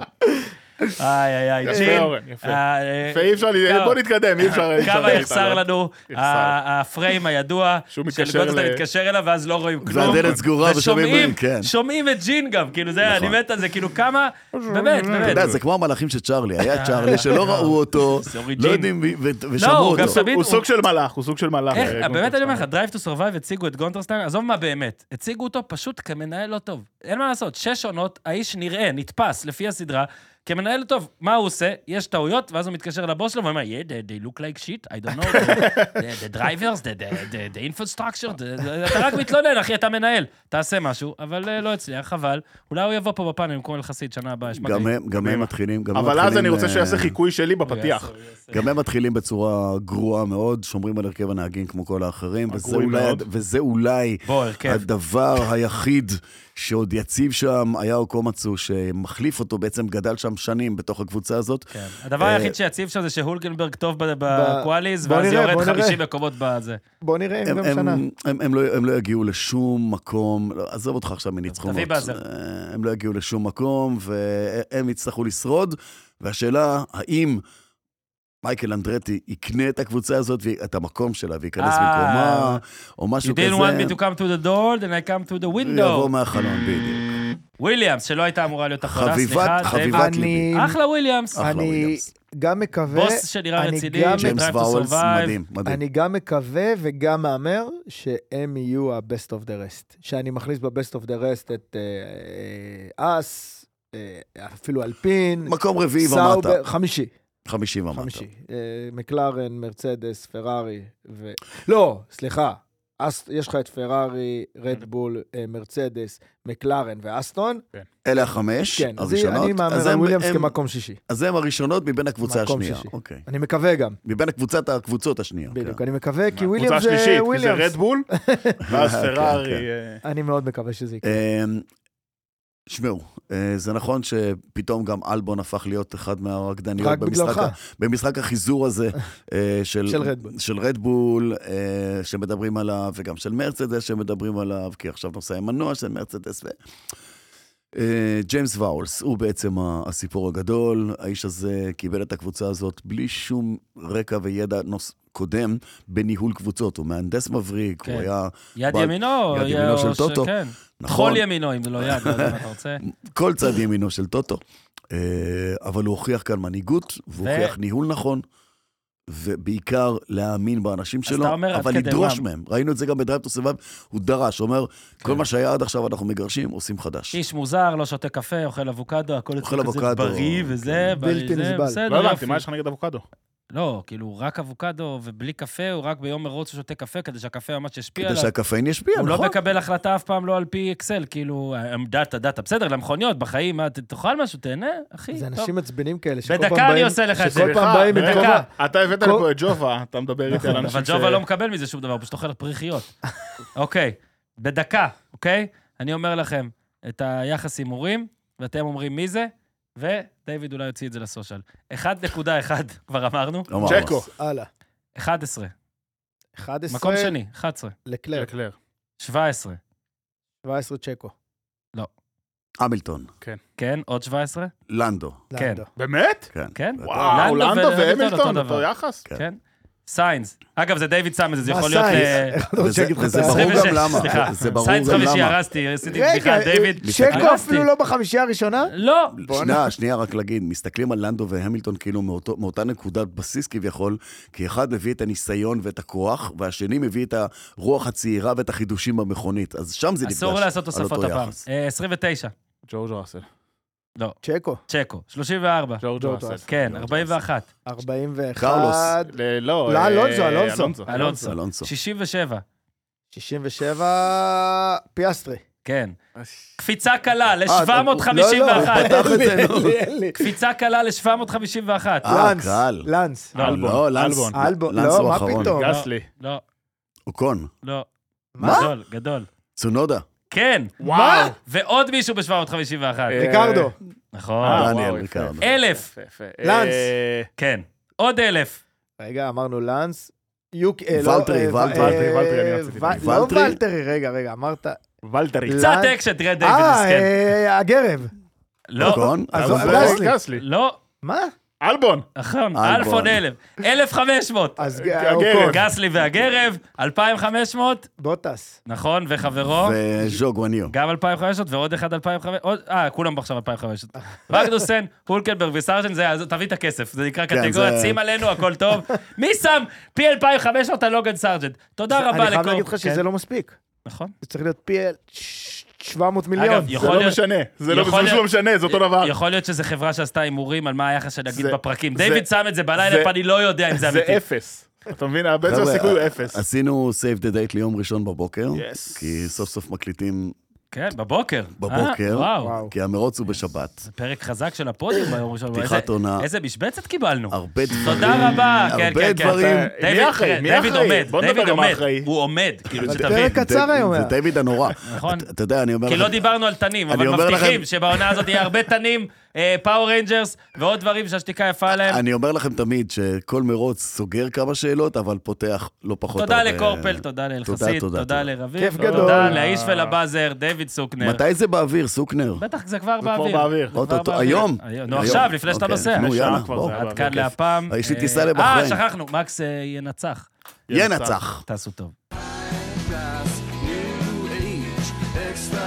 Speaker 1: איי, איי, איי,
Speaker 3: יפה,
Speaker 1: ג'ין.
Speaker 3: אורן, יפה.
Speaker 1: אה, אה,
Speaker 3: יפה, אי אפשר,
Speaker 1: כמה-
Speaker 3: בוא נתקדם, אי אפשר... אי אפשר
Speaker 1: כמה
Speaker 3: להתעלם.
Speaker 1: יחסר לנו
Speaker 3: יחסר.
Speaker 1: ה- הפריים
Speaker 2: [LAUGHS]
Speaker 1: הידוע, של
Speaker 3: שהוא מתקשר
Speaker 1: גולדסטר
Speaker 3: אל-
Speaker 1: מתקשר אליו ואז לא רואים כלום.
Speaker 2: והדלת סגורה ושומעים,
Speaker 1: ושומעים-
Speaker 2: כן.
Speaker 1: שומעים את ג'ין גם, כאילו זה, אני
Speaker 2: נכון.
Speaker 1: מת על זה, כאילו כמה, באמת,
Speaker 2: אתה
Speaker 1: באמת.
Speaker 2: יודע, זה כמו המלאכים של צ'ארלי, היה צ'ארלי שלא ראו אותו,
Speaker 1: אה. זה אוריג'ין.
Speaker 2: לא יודעים, מי- ו-
Speaker 1: לא,
Speaker 2: ושמעו
Speaker 1: הוא גם
Speaker 2: אותו.
Speaker 1: תמיד...
Speaker 3: הוא
Speaker 1: הוא-
Speaker 3: סוג של מלאך, הוא סוג של מלאך.
Speaker 1: איך,
Speaker 3: אה,
Speaker 1: באמת
Speaker 3: גונטר
Speaker 1: אני אומר לך,
Speaker 3: סטיין.
Speaker 1: Drive to Survive הציגו את גונטרסטיין, עזוב מה באמת, הציגו אותו פשוט כמנהל לא טוב. אין מה לעשות, שש עונות, האיש נראה, נתפס לפי הסדרה, כמנהל לא טוב. מה הוא עושה? יש טעויות, ואז הוא מתקשר לבוס שלו ואומר, yeah, they, they look like shit, I don't know, the, the, the drivers, the, the, the, the infrastructure, the, the, אתה רק מתלונן, אחי, אתה מנהל. תעשה משהו, אבל אה, לא הצליח, חבל. אולי הוא יבוא פה בפאנל במקום אלחסיד שנה הבאה, יש
Speaker 2: גם
Speaker 1: מגעי.
Speaker 2: הם- גם הם מתחילים, גם הם
Speaker 3: אבל אז אני
Speaker 2: מתחילים,
Speaker 3: רוצה שהוא יעשה
Speaker 2: אה,
Speaker 3: חיקוי שלי בפתיח.
Speaker 2: גם הם מתחילים בצורה גרועה מאוד, שומרים על הרכב הנהגים כמו כל האחרים, וזה
Speaker 3: הגרועים
Speaker 2: אולי-
Speaker 3: מאוד.
Speaker 2: וזה אולי
Speaker 1: בוא, הרכב.
Speaker 2: הדבר היחיד שעוד יציב שם, היה קומצו שמחליף אותו, בעצם גדל שם שנים בתוך הקבוצה הזאת.
Speaker 1: כן. הדבר
Speaker 2: אה,
Speaker 1: היחיד שיציב שם זה שהולגנברג טוב ב- בקואליז,
Speaker 4: בוא
Speaker 1: ואז
Speaker 4: נראה,
Speaker 1: יורד
Speaker 4: בוא נראה.
Speaker 1: 50 מקומות בזה.
Speaker 4: בוא נראה אם
Speaker 2: הם,
Speaker 4: גם
Speaker 2: הם,
Speaker 4: שנה.
Speaker 2: הם, הם, הם, לא, הם לא יגיעו לשום מקום, לא, עזוב אותך עכשיו מניצחונות.
Speaker 1: תביא באזר.
Speaker 2: אה, הם לא יגיעו לשום מקום, והם יצטרכו לשרוד. והשאלה, האם מייקל אנדרטי יקנה את הקבוצה הזאת, ואת המקום שלה, וייכנס
Speaker 1: אה.
Speaker 2: במקומה, או
Speaker 1: You
Speaker 2: משהו כזה.
Speaker 1: didn't want me to come to the door, then I come to the
Speaker 2: יבוא
Speaker 1: window.
Speaker 2: מהחלון, בדיוק.
Speaker 1: וויליאמס, שלא הייתה אמורה להיות החלטה,
Speaker 2: חביבת-
Speaker 1: סליחה. זה-
Speaker 2: חביבת
Speaker 4: אני
Speaker 2: ליבי.
Speaker 1: אחלה וויליאמס.
Speaker 2: אחלה
Speaker 4: אני
Speaker 2: וויליאמס.
Speaker 4: גם מקווה,
Speaker 1: בוס שנראה
Speaker 4: אני
Speaker 1: רציני,
Speaker 4: גם-
Speaker 1: שדרייב
Speaker 2: ג'יימס
Speaker 1: to
Speaker 2: ואולס,
Speaker 1: survive.
Speaker 2: מדהים, מדהים.
Speaker 4: אני גם מקווה וגם מהמר שהם יהיו ה-best of the rest. שאני מכניס ב-best of the rest את אה, אה, אס, אה, אפילו אלפין,
Speaker 2: מקום רביעי ומטה,
Speaker 4: סאובר, חמישי,
Speaker 2: חמישי ומטה.
Speaker 4: חמישי. אה, מקלרן, מרצדס, פרארי ו... לא, סליחה. אס, יש לך את פרארי,
Speaker 2: כן.
Speaker 4: רדבול, אה, מרצדס, מקלרן ואסטון.
Speaker 2: אלה החמש
Speaker 4: כן, אז היא-
Speaker 2: הראשונות.
Speaker 4: אני
Speaker 2: אז
Speaker 4: מהמר על
Speaker 2: הם-
Speaker 4: וויליאמס
Speaker 2: הם-
Speaker 4: כמקום שישי.
Speaker 2: אז הם הראשונות מבין הקבוצה
Speaker 4: מקום
Speaker 2: השנייה.
Speaker 4: שישי.
Speaker 2: אוקיי.
Speaker 4: אני מקווה גם,
Speaker 2: מבין הקבוצת הקבוצות השנייה. כן.
Speaker 4: בדיוק. אני מקווה, כי
Speaker 3: קבוצה
Speaker 4: וויליאמס
Speaker 3: שלישית,
Speaker 4: זה
Speaker 3: כי זה
Speaker 4: וויליאמס. [LAUGHS]
Speaker 3: רדבול, ואז
Speaker 2: כן,
Speaker 3: פרארי...
Speaker 2: כן.
Speaker 3: אה,
Speaker 4: אני מאוד מקווה שזה יקרה.
Speaker 2: אמ, שמעו, אה, זה נכון שפתאום גם אלבון הפך להיות אחד מהרקדניות
Speaker 4: רק
Speaker 2: כן, במשחק,
Speaker 4: בגללך.
Speaker 2: ה-
Speaker 1: אוקיי,
Speaker 2: במשחק החיזור הזה אה, של,
Speaker 4: של רדבול.
Speaker 2: של רדבול, אה, שמדברים עליו, וגם של מרצדס שמדברים עליו, כי עכשיו נוסע עם מנוע של מרצדס. ו... אה, ג'יימס ואולס הוא בעצם ה- הסיפור הגדול. האיש הזה קיבל את הקבוצה הזאת בלי שום רקע וידע נוס... קודם בניהול קבוצות. הוא מהנדס מבריק,
Speaker 1: כן.
Speaker 2: הוא היה...
Speaker 1: יד
Speaker 2: בעל-
Speaker 1: ימינו.
Speaker 2: יד
Speaker 1: או-
Speaker 2: ימינו
Speaker 1: או
Speaker 2: של
Speaker 1: ש-
Speaker 2: טוטו.
Speaker 1: כן.
Speaker 2: נכון,
Speaker 1: חול ימינו, אם זה לא יד, לא יודע מה אתה
Speaker 2: [LAUGHS]
Speaker 1: רוצה.
Speaker 2: כל צד ימינו של טוטו. אה, אבל הוא הוכיח כאן מנהיגות, והוא
Speaker 1: ו-
Speaker 2: הוכיח ניהול נכון, ובעיקר להאמין באנשים
Speaker 1: אתה
Speaker 2: שלו,
Speaker 1: אומר, עד
Speaker 2: אבל
Speaker 1: כדי
Speaker 2: לדרוש
Speaker 1: מה? כן.
Speaker 2: מהם. ראינו את זה גם בדרייב טו סבב, הוא דרש, הוא אומר, כל מה שהיה עד עכשיו אנחנו מגרשים, עושים חדש.
Speaker 1: איש מוזר, לא שותה קפה, אוכל אבוקדו, הכל
Speaker 2: אוכל
Speaker 1: אצלו כזה
Speaker 2: אבוקדו,
Speaker 1: בריא
Speaker 2: כן.
Speaker 1: וזה. בריא
Speaker 4: בלתי
Speaker 1: זה,
Speaker 4: נסבל.
Speaker 1: בסדר,
Speaker 3: לא הבנתי,
Speaker 1: יופי.
Speaker 3: מה יש לך נגד אבוקדו?
Speaker 1: לא, כאילו, רק אבוקדו ובלי קפה, הוא רק ביום מרוץ הוא שותה קפה, כדי שהקפה ממש ישפיע
Speaker 2: כדי
Speaker 1: עליו.
Speaker 2: שהקפאין ישפיע, [LAUGHS]
Speaker 1: הוא לא
Speaker 2: נכון?
Speaker 1: מקבל החלטה אף פעם לא על פי אקסל, כאילו, דאטה, דאטה, בסדר, למכוניות, בחיים, מה, ת- תאכל משהו, תהנה, אחי,
Speaker 4: זה
Speaker 1: טוב.
Speaker 4: אנשים עצבנים כאלה, שכל פעם
Speaker 1: בדקה
Speaker 4: באים...
Speaker 1: אני עושה לך את זה.
Speaker 4: שכל פעם
Speaker 3: סליחה,
Speaker 4: באים
Speaker 3: רגע,
Speaker 4: במקומה.
Speaker 3: אתה הבאת
Speaker 4: כל-
Speaker 3: לפה את ג'ובה, אתה מדבר איתי על
Speaker 1: אבל
Speaker 3: אנשים ש...
Speaker 1: ג'ובה לא מקבל מזה שום דבר, הוא פשוט אוכל פריחיות. אוקיי, בדקה, אוקיי? אני אומר לכם את היחס הימורים, ואתם אומרים מי זה, ודייוויד אולי יוציא את זה לסושיאל. 1.1, [LAUGHS] כבר אמרנו,
Speaker 2: אמר,
Speaker 3: צ'קו.
Speaker 4: הלאה.
Speaker 1: 11,
Speaker 4: 11
Speaker 1: מקום שני, 11,
Speaker 4: לקלר,
Speaker 3: לקלר.
Speaker 1: 17,
Speaker 4: 17 צ'קו.
Speaker 2: המילטון,
Speaker 1: כן, עוד 17,
Speaker 2: לנדו,
Speaker 1: כן.
Speaker 4: לנדו.
Speaker 3: באמת?
Speaker 2: כן.
Speaker 1: כן.
Speaker 2: ואתה-
Speaker 3: וואו,
Speaker 1: לנדו
Speaker 3: לנדו
Speaker 1: והמילטון אותו
Speaker 3: והמילטון,
Speaker 1: דבר.
Speaker 3: אותו יחס?
Speaker 2: כן.
Speaker 1: כן? סיינס. אגב, זה דיוויד סם את זה, זה
Speaker 4: מה,
Speaker 1: יכול להיות... אה,
Speaker 4: סיינס?
Speaker 1: ל-
Speaker 4: לא רוצה
Speaker 2: וזה-
Speaker 4: להגיד לך את
Speaker 2: וזה
Speaker 4: ה-
Speaker 2: ברור גם
Speaker 1: 26,
Speaker 2: למה.
Speaker 1: סליחה.
Speaker 2: זה ברור
Speaker 1: סיינס
Speaker 2: גם
Speaker 1: חמישי,
Speaker 2: למה.
Speaker 1: הרסתי, עשיתי
Speaker 4: רגע, אה,
Speaker 1: בדיחה, דיוויד.
Speaker 4: צ'קו
Speaker 1: הרסתי.
Speaker 4: אפילו לא בחמישייה הראשונה?
Speaker 1: לא,
Speaker 2: שנייה, שנייה, רק להגיד, מסתכלים על לנדו והמילטון כאילו מאותו, מאותה נקודת בסיס כביכול, כי אחד מביא את הניסיון ואת הכוח, והשני מביא את הרוח הצעירה ואת החידושים במכונית. אז שם זה נפגש.
Speaker 1: אסור לעשות
Speaker 2: על
Speaker 1: תוספות
Speaker 2: אותו
Speaker 1: הפעם.
Speaker 2: יחס.
Speaker 1: אה, 29,
Speaker 3: ג'ורג' ראסל.
Speaker 4: צ'קו,
Speaker 1: צ'קו. 34,
Speaker 3: ג'ורג'
Speaker 4: ג'ורג'
Speaker 3: ראסל.
Speaker 4: ראסל.
Speaker 1: כן, 41.
Speaker 4: 41,
Speaker 2: קרלוס.
Speaker 3: ל- לא,
Speaker 4: לא,
Speaker 3: אה,
Speaker 4: אלונזו, אלונזו.
Speaker 1: אלונסו.
Speaker 2: אלונסו.
Speaker 1: 67,
Speaker 4: 67, פיאסטרי.
Speaker 2: אה,
Speaker 1: כן. קפיצה קלה
Speaker 4: לא,
Speaker 1: ל-751. [LAUGHS]
Speaker 4: לא,
Speaker 2: הוא פתח את זה,
Speaker 4: אין לי,
Speaker 2: נו.
Speaker 4: אין לי.
Speaker 1: קפיצה קלה ל-751.
Speaker 2: אה,
Speaker 4: לנס,
Speaker 2: קהל.
Speaker 4: לנס.
Speaker 1: לא,
Speaker 3: אלבון.
Speaker 2: לא, לנס.
Speaker 3: אלבון.
Speaker 4: אלבון,
Speaker 2: לנס
Speaker 4: לא,
Speaker 2: הוא
Speaker 4: מה
Speaker 2: האחרון.
Speaker 4: פתאום?
Speaker 3: גסלי.
Speaker 1: לא,
Speaker 2: אוקון,
Speaker 1: לא.
Speaker 4: מה?
Speaker 1: גדול, גדול.
Speaker 2: צונודה,
Speaker 1: כן.
Speaker 3: וואו.
Speaker 1: ועוד מישהו ב-751.
Speaker 3: אה,
Speaker 4: ריקרדו,
Speaker 1: נכון.
Speaker 3: אה,
Speaker 2: דניאל
Speaker 3: וואו, יפה,
Speaker 2: ריקרדו.
Speaker 3: יפה,
Speaker 1: אלף.
Speaker 3: יפה, יפה.
Speaker 4: לנס.
Speaker 3: אה,
Speaker 1: כן. עוד אלף.
Speaker 2: אה.
Speaker 4: רגע, אמרנו לנס. יוק... אה, לא,
Speaker 2: ולטרי,
Speaker 4: אה,
Speaker 2: ולטרי,
Speaker 4: אה,
Speaker 3: ולטרי, אני רציתי
Speaker 4: ו-
Speaker 3: להגיד.
Speaker 4: לא
Speaker 2: ולטרי.
Speaker 4: ולטרי, רגע, רגע, אמרת...
Speaker 3: ולטרי.
Speaker 4: לנס.
Speaker 1: קצת אקשן, תראה דיוויד
Speaker 4: אה,
Speaker 1: מסכן.
Speaker 4: אה, הגרב.
Speaker 1: לא,
Speaker 2: אוקון,
Speaker 4: אז
Speaker 2: אלבון.
Speaker 3: זה
Speaker 4: גסלי.
Speaker 3: גסלי.
Speaker 1: לא,
Speaker 4: מה?
Speaker 3: אלבון.
Speaker 1: נכון,
Speaker 2: אלבון.
Speaker 1: אלפון אלף. 1,500.
Speaker 4: אז אה, אוקיי,
Speaker 3: הגרב.
Speaker 4: אוקון,
Speaker 1: גסלי והגרב, 2,500,
Speaker 4: בוטס.
Speaker 1: נכון, וחברו,
Speaker 2: וז'ו גווניו.
Speaker 1: גם 2,500, ועוד אחד 2,500, עוד- אה, כולם עכשיו 2,500. וגדוסן, הולקנברג וסרג'ן, זה, אז תביא את הכסף, זה נקרא
Speaker 2: כן,
Speaker 1: קטגוריה,
Speaker 2: זה-
Speaker 1: שים עלינו, הכל טוב. מי שם פי 2,500 על לוגן סרג'ן? תודה רבה
Speaker 4: אני
Speaker 1: לכל...
Speaker 4: חייב להגיד לך שזה
Speaker 1: כן,
Speaker 4: לא מספיק.
Speaker 1: נכון.
Speaker 4: זה צריך להיות פי 700 מיליון.
Speaker 1: אגב,
Speaker 3: זה
Speaker 1: יכול
Speaker 3: לא
Speaker 1: להיות-
Speaker 3: משנה. זה לא זה
Speaker 1: יכול
Speaker 3: פשוט
Speaker 1: להיות-
Speaker 3: לא משנה, זה אותו דבר.
Speaker 1: יכול להיות שזו חברה שעשתה הימורים על מה היחס שנגיד
Speaker 3: זה-
Speaker 1: בפרקים.
Speaker 3: זה-
Speaker 1: דיוויד שם את זה בלילה,
Speaker 3: זה-
Speaker 1: ואני לא יודע אם זה
Speaker 3: זה
Speaker 1: אמיתי.
Speaker 3: אפס. אתה מבין? בעצם
Speaker 2: חבר'ה,
Speaker 3: הסיכוי הוא
Speaker 2: א-
Speaker 3: אפס.
Speaker 2: עשינו save the date ליום ראשון בבוקר,
Speaker 3: Yes.
Speaker 2: כי סוף סוף מקליטים,
Speaker 1: כן, בבוקר.
Speaker 2: בבוקר.
Speaker 1: אה, וואו.
Speaker 4: וואו.
Speaker 2: כי המרוץ הוא בשבת.
Speaker 1: זה פרק חזק של הפודיום ביום ראשון.
Speaker 2: פתיחת
Speaker 1: איזה-
Speaker 2: עונה.
Speaker 1: איזה משבצת קיבלנו.
Speaker 2: הרבה דברים.
Speaker 1: תודה רבה. כן,
Speaker 2: הרבה
Speaker 1: כן, כן.
Speaker 2: דברים.
Speaker 1: אתה-
Speaker 3: מי
Speaker 1: דיוויד-
Speaker 3: אחראי?
Speaker 1: כן,
Speaker 3: מי
Speaker 1: דיוויד
Speaker 3: אחראי?
Speaker 1: עומד,
Speaker 3: בוא נדבר
Speaker 1: דיוויד
Speaker 3: על מה
Speaker 1: עומד.
Speaker 3: אחראי.
Speaker 1: הוא עומד, כאילו, שתבין.
Speaker 4: פרק קצר היום
Speaker 2: זה
Speaker 4: היה.
Speaker 2: דיוויד הנורא.
Speaker 1: נכון.
Speaker 2: אתה- אתה יודע, אני אומר
Speaker 1: כי לא
Speaker 2: לכם,
Speaker 1: דיברנו על תנים,
Speaker 2: אני
Speaker 1: אבל
Speaker 2: אומר
Speaker 1: מבטיחים
Speaker 2: לכם-
Speaker 1: שבעונה הזאת יהיה הרבה תנים, אה, פאור ריינג'רס ועוד דברים שהשתיקה יפה להם.
Speaker 2: אני אומר לכם תמיד שכל מרוץ סוגר כמה שאלות, אבל פותח לא פחות
Speaker 1: תודה
Speaker 2: הרבה.
Speaker 1: לקורפל, תודה לאלחסית,
Speaker 2: תודה,
Speaker 1: תודה
Speaker 2: תודה.
Speaker 1: לרביב,
Speaker 4: כיף
Speaker 1: תודה
Speaker 4: גדול.
Speaker 1: לאיש
Speaker 3: אה.
Speaker 1: ולבאזר, דיוויד סוקנר.
Speaker 2: מתי זה באוויר, סוקנר?
Speaker 1: בטח, זה כבר
Speaker 3: זה כבר
Speaker 1: באוויר.
Speaker 3: באוויר.
Speaker 1: זה כבר
Speaker 2: אוטוטו,
Speaker 1: באוויר.
Speaker 2: היום?
Speaker 1: נו,
Speaker 2: היום.
Speaker 1: עכשיו, לפני שאתה
Speaker 2: אוקיי,
Speaker 1: נוסע.
Speaker 2: נו,
Speaker 3: שעה
Speaker 2: יאללה,
Speaker 3: כבר
Speaker 2: בואו.
Speaker 3: זה היה
Speaker 1: עד
Speaker 3: באוויר,
Speaker 1: כאן
Speaker 3: כיף.
Speaker 1: להפעם.
Speaker 2: יש לי
Speaker 1: אה,
Speaker 2: טיסה לבחריין.
Speaker 1: אה, שכחנו, מקס אה, ינצח.
Speaker 2: ינצח.
Speaker 1: תעשו טוב.
Speaker 6: Plus, new age, extra,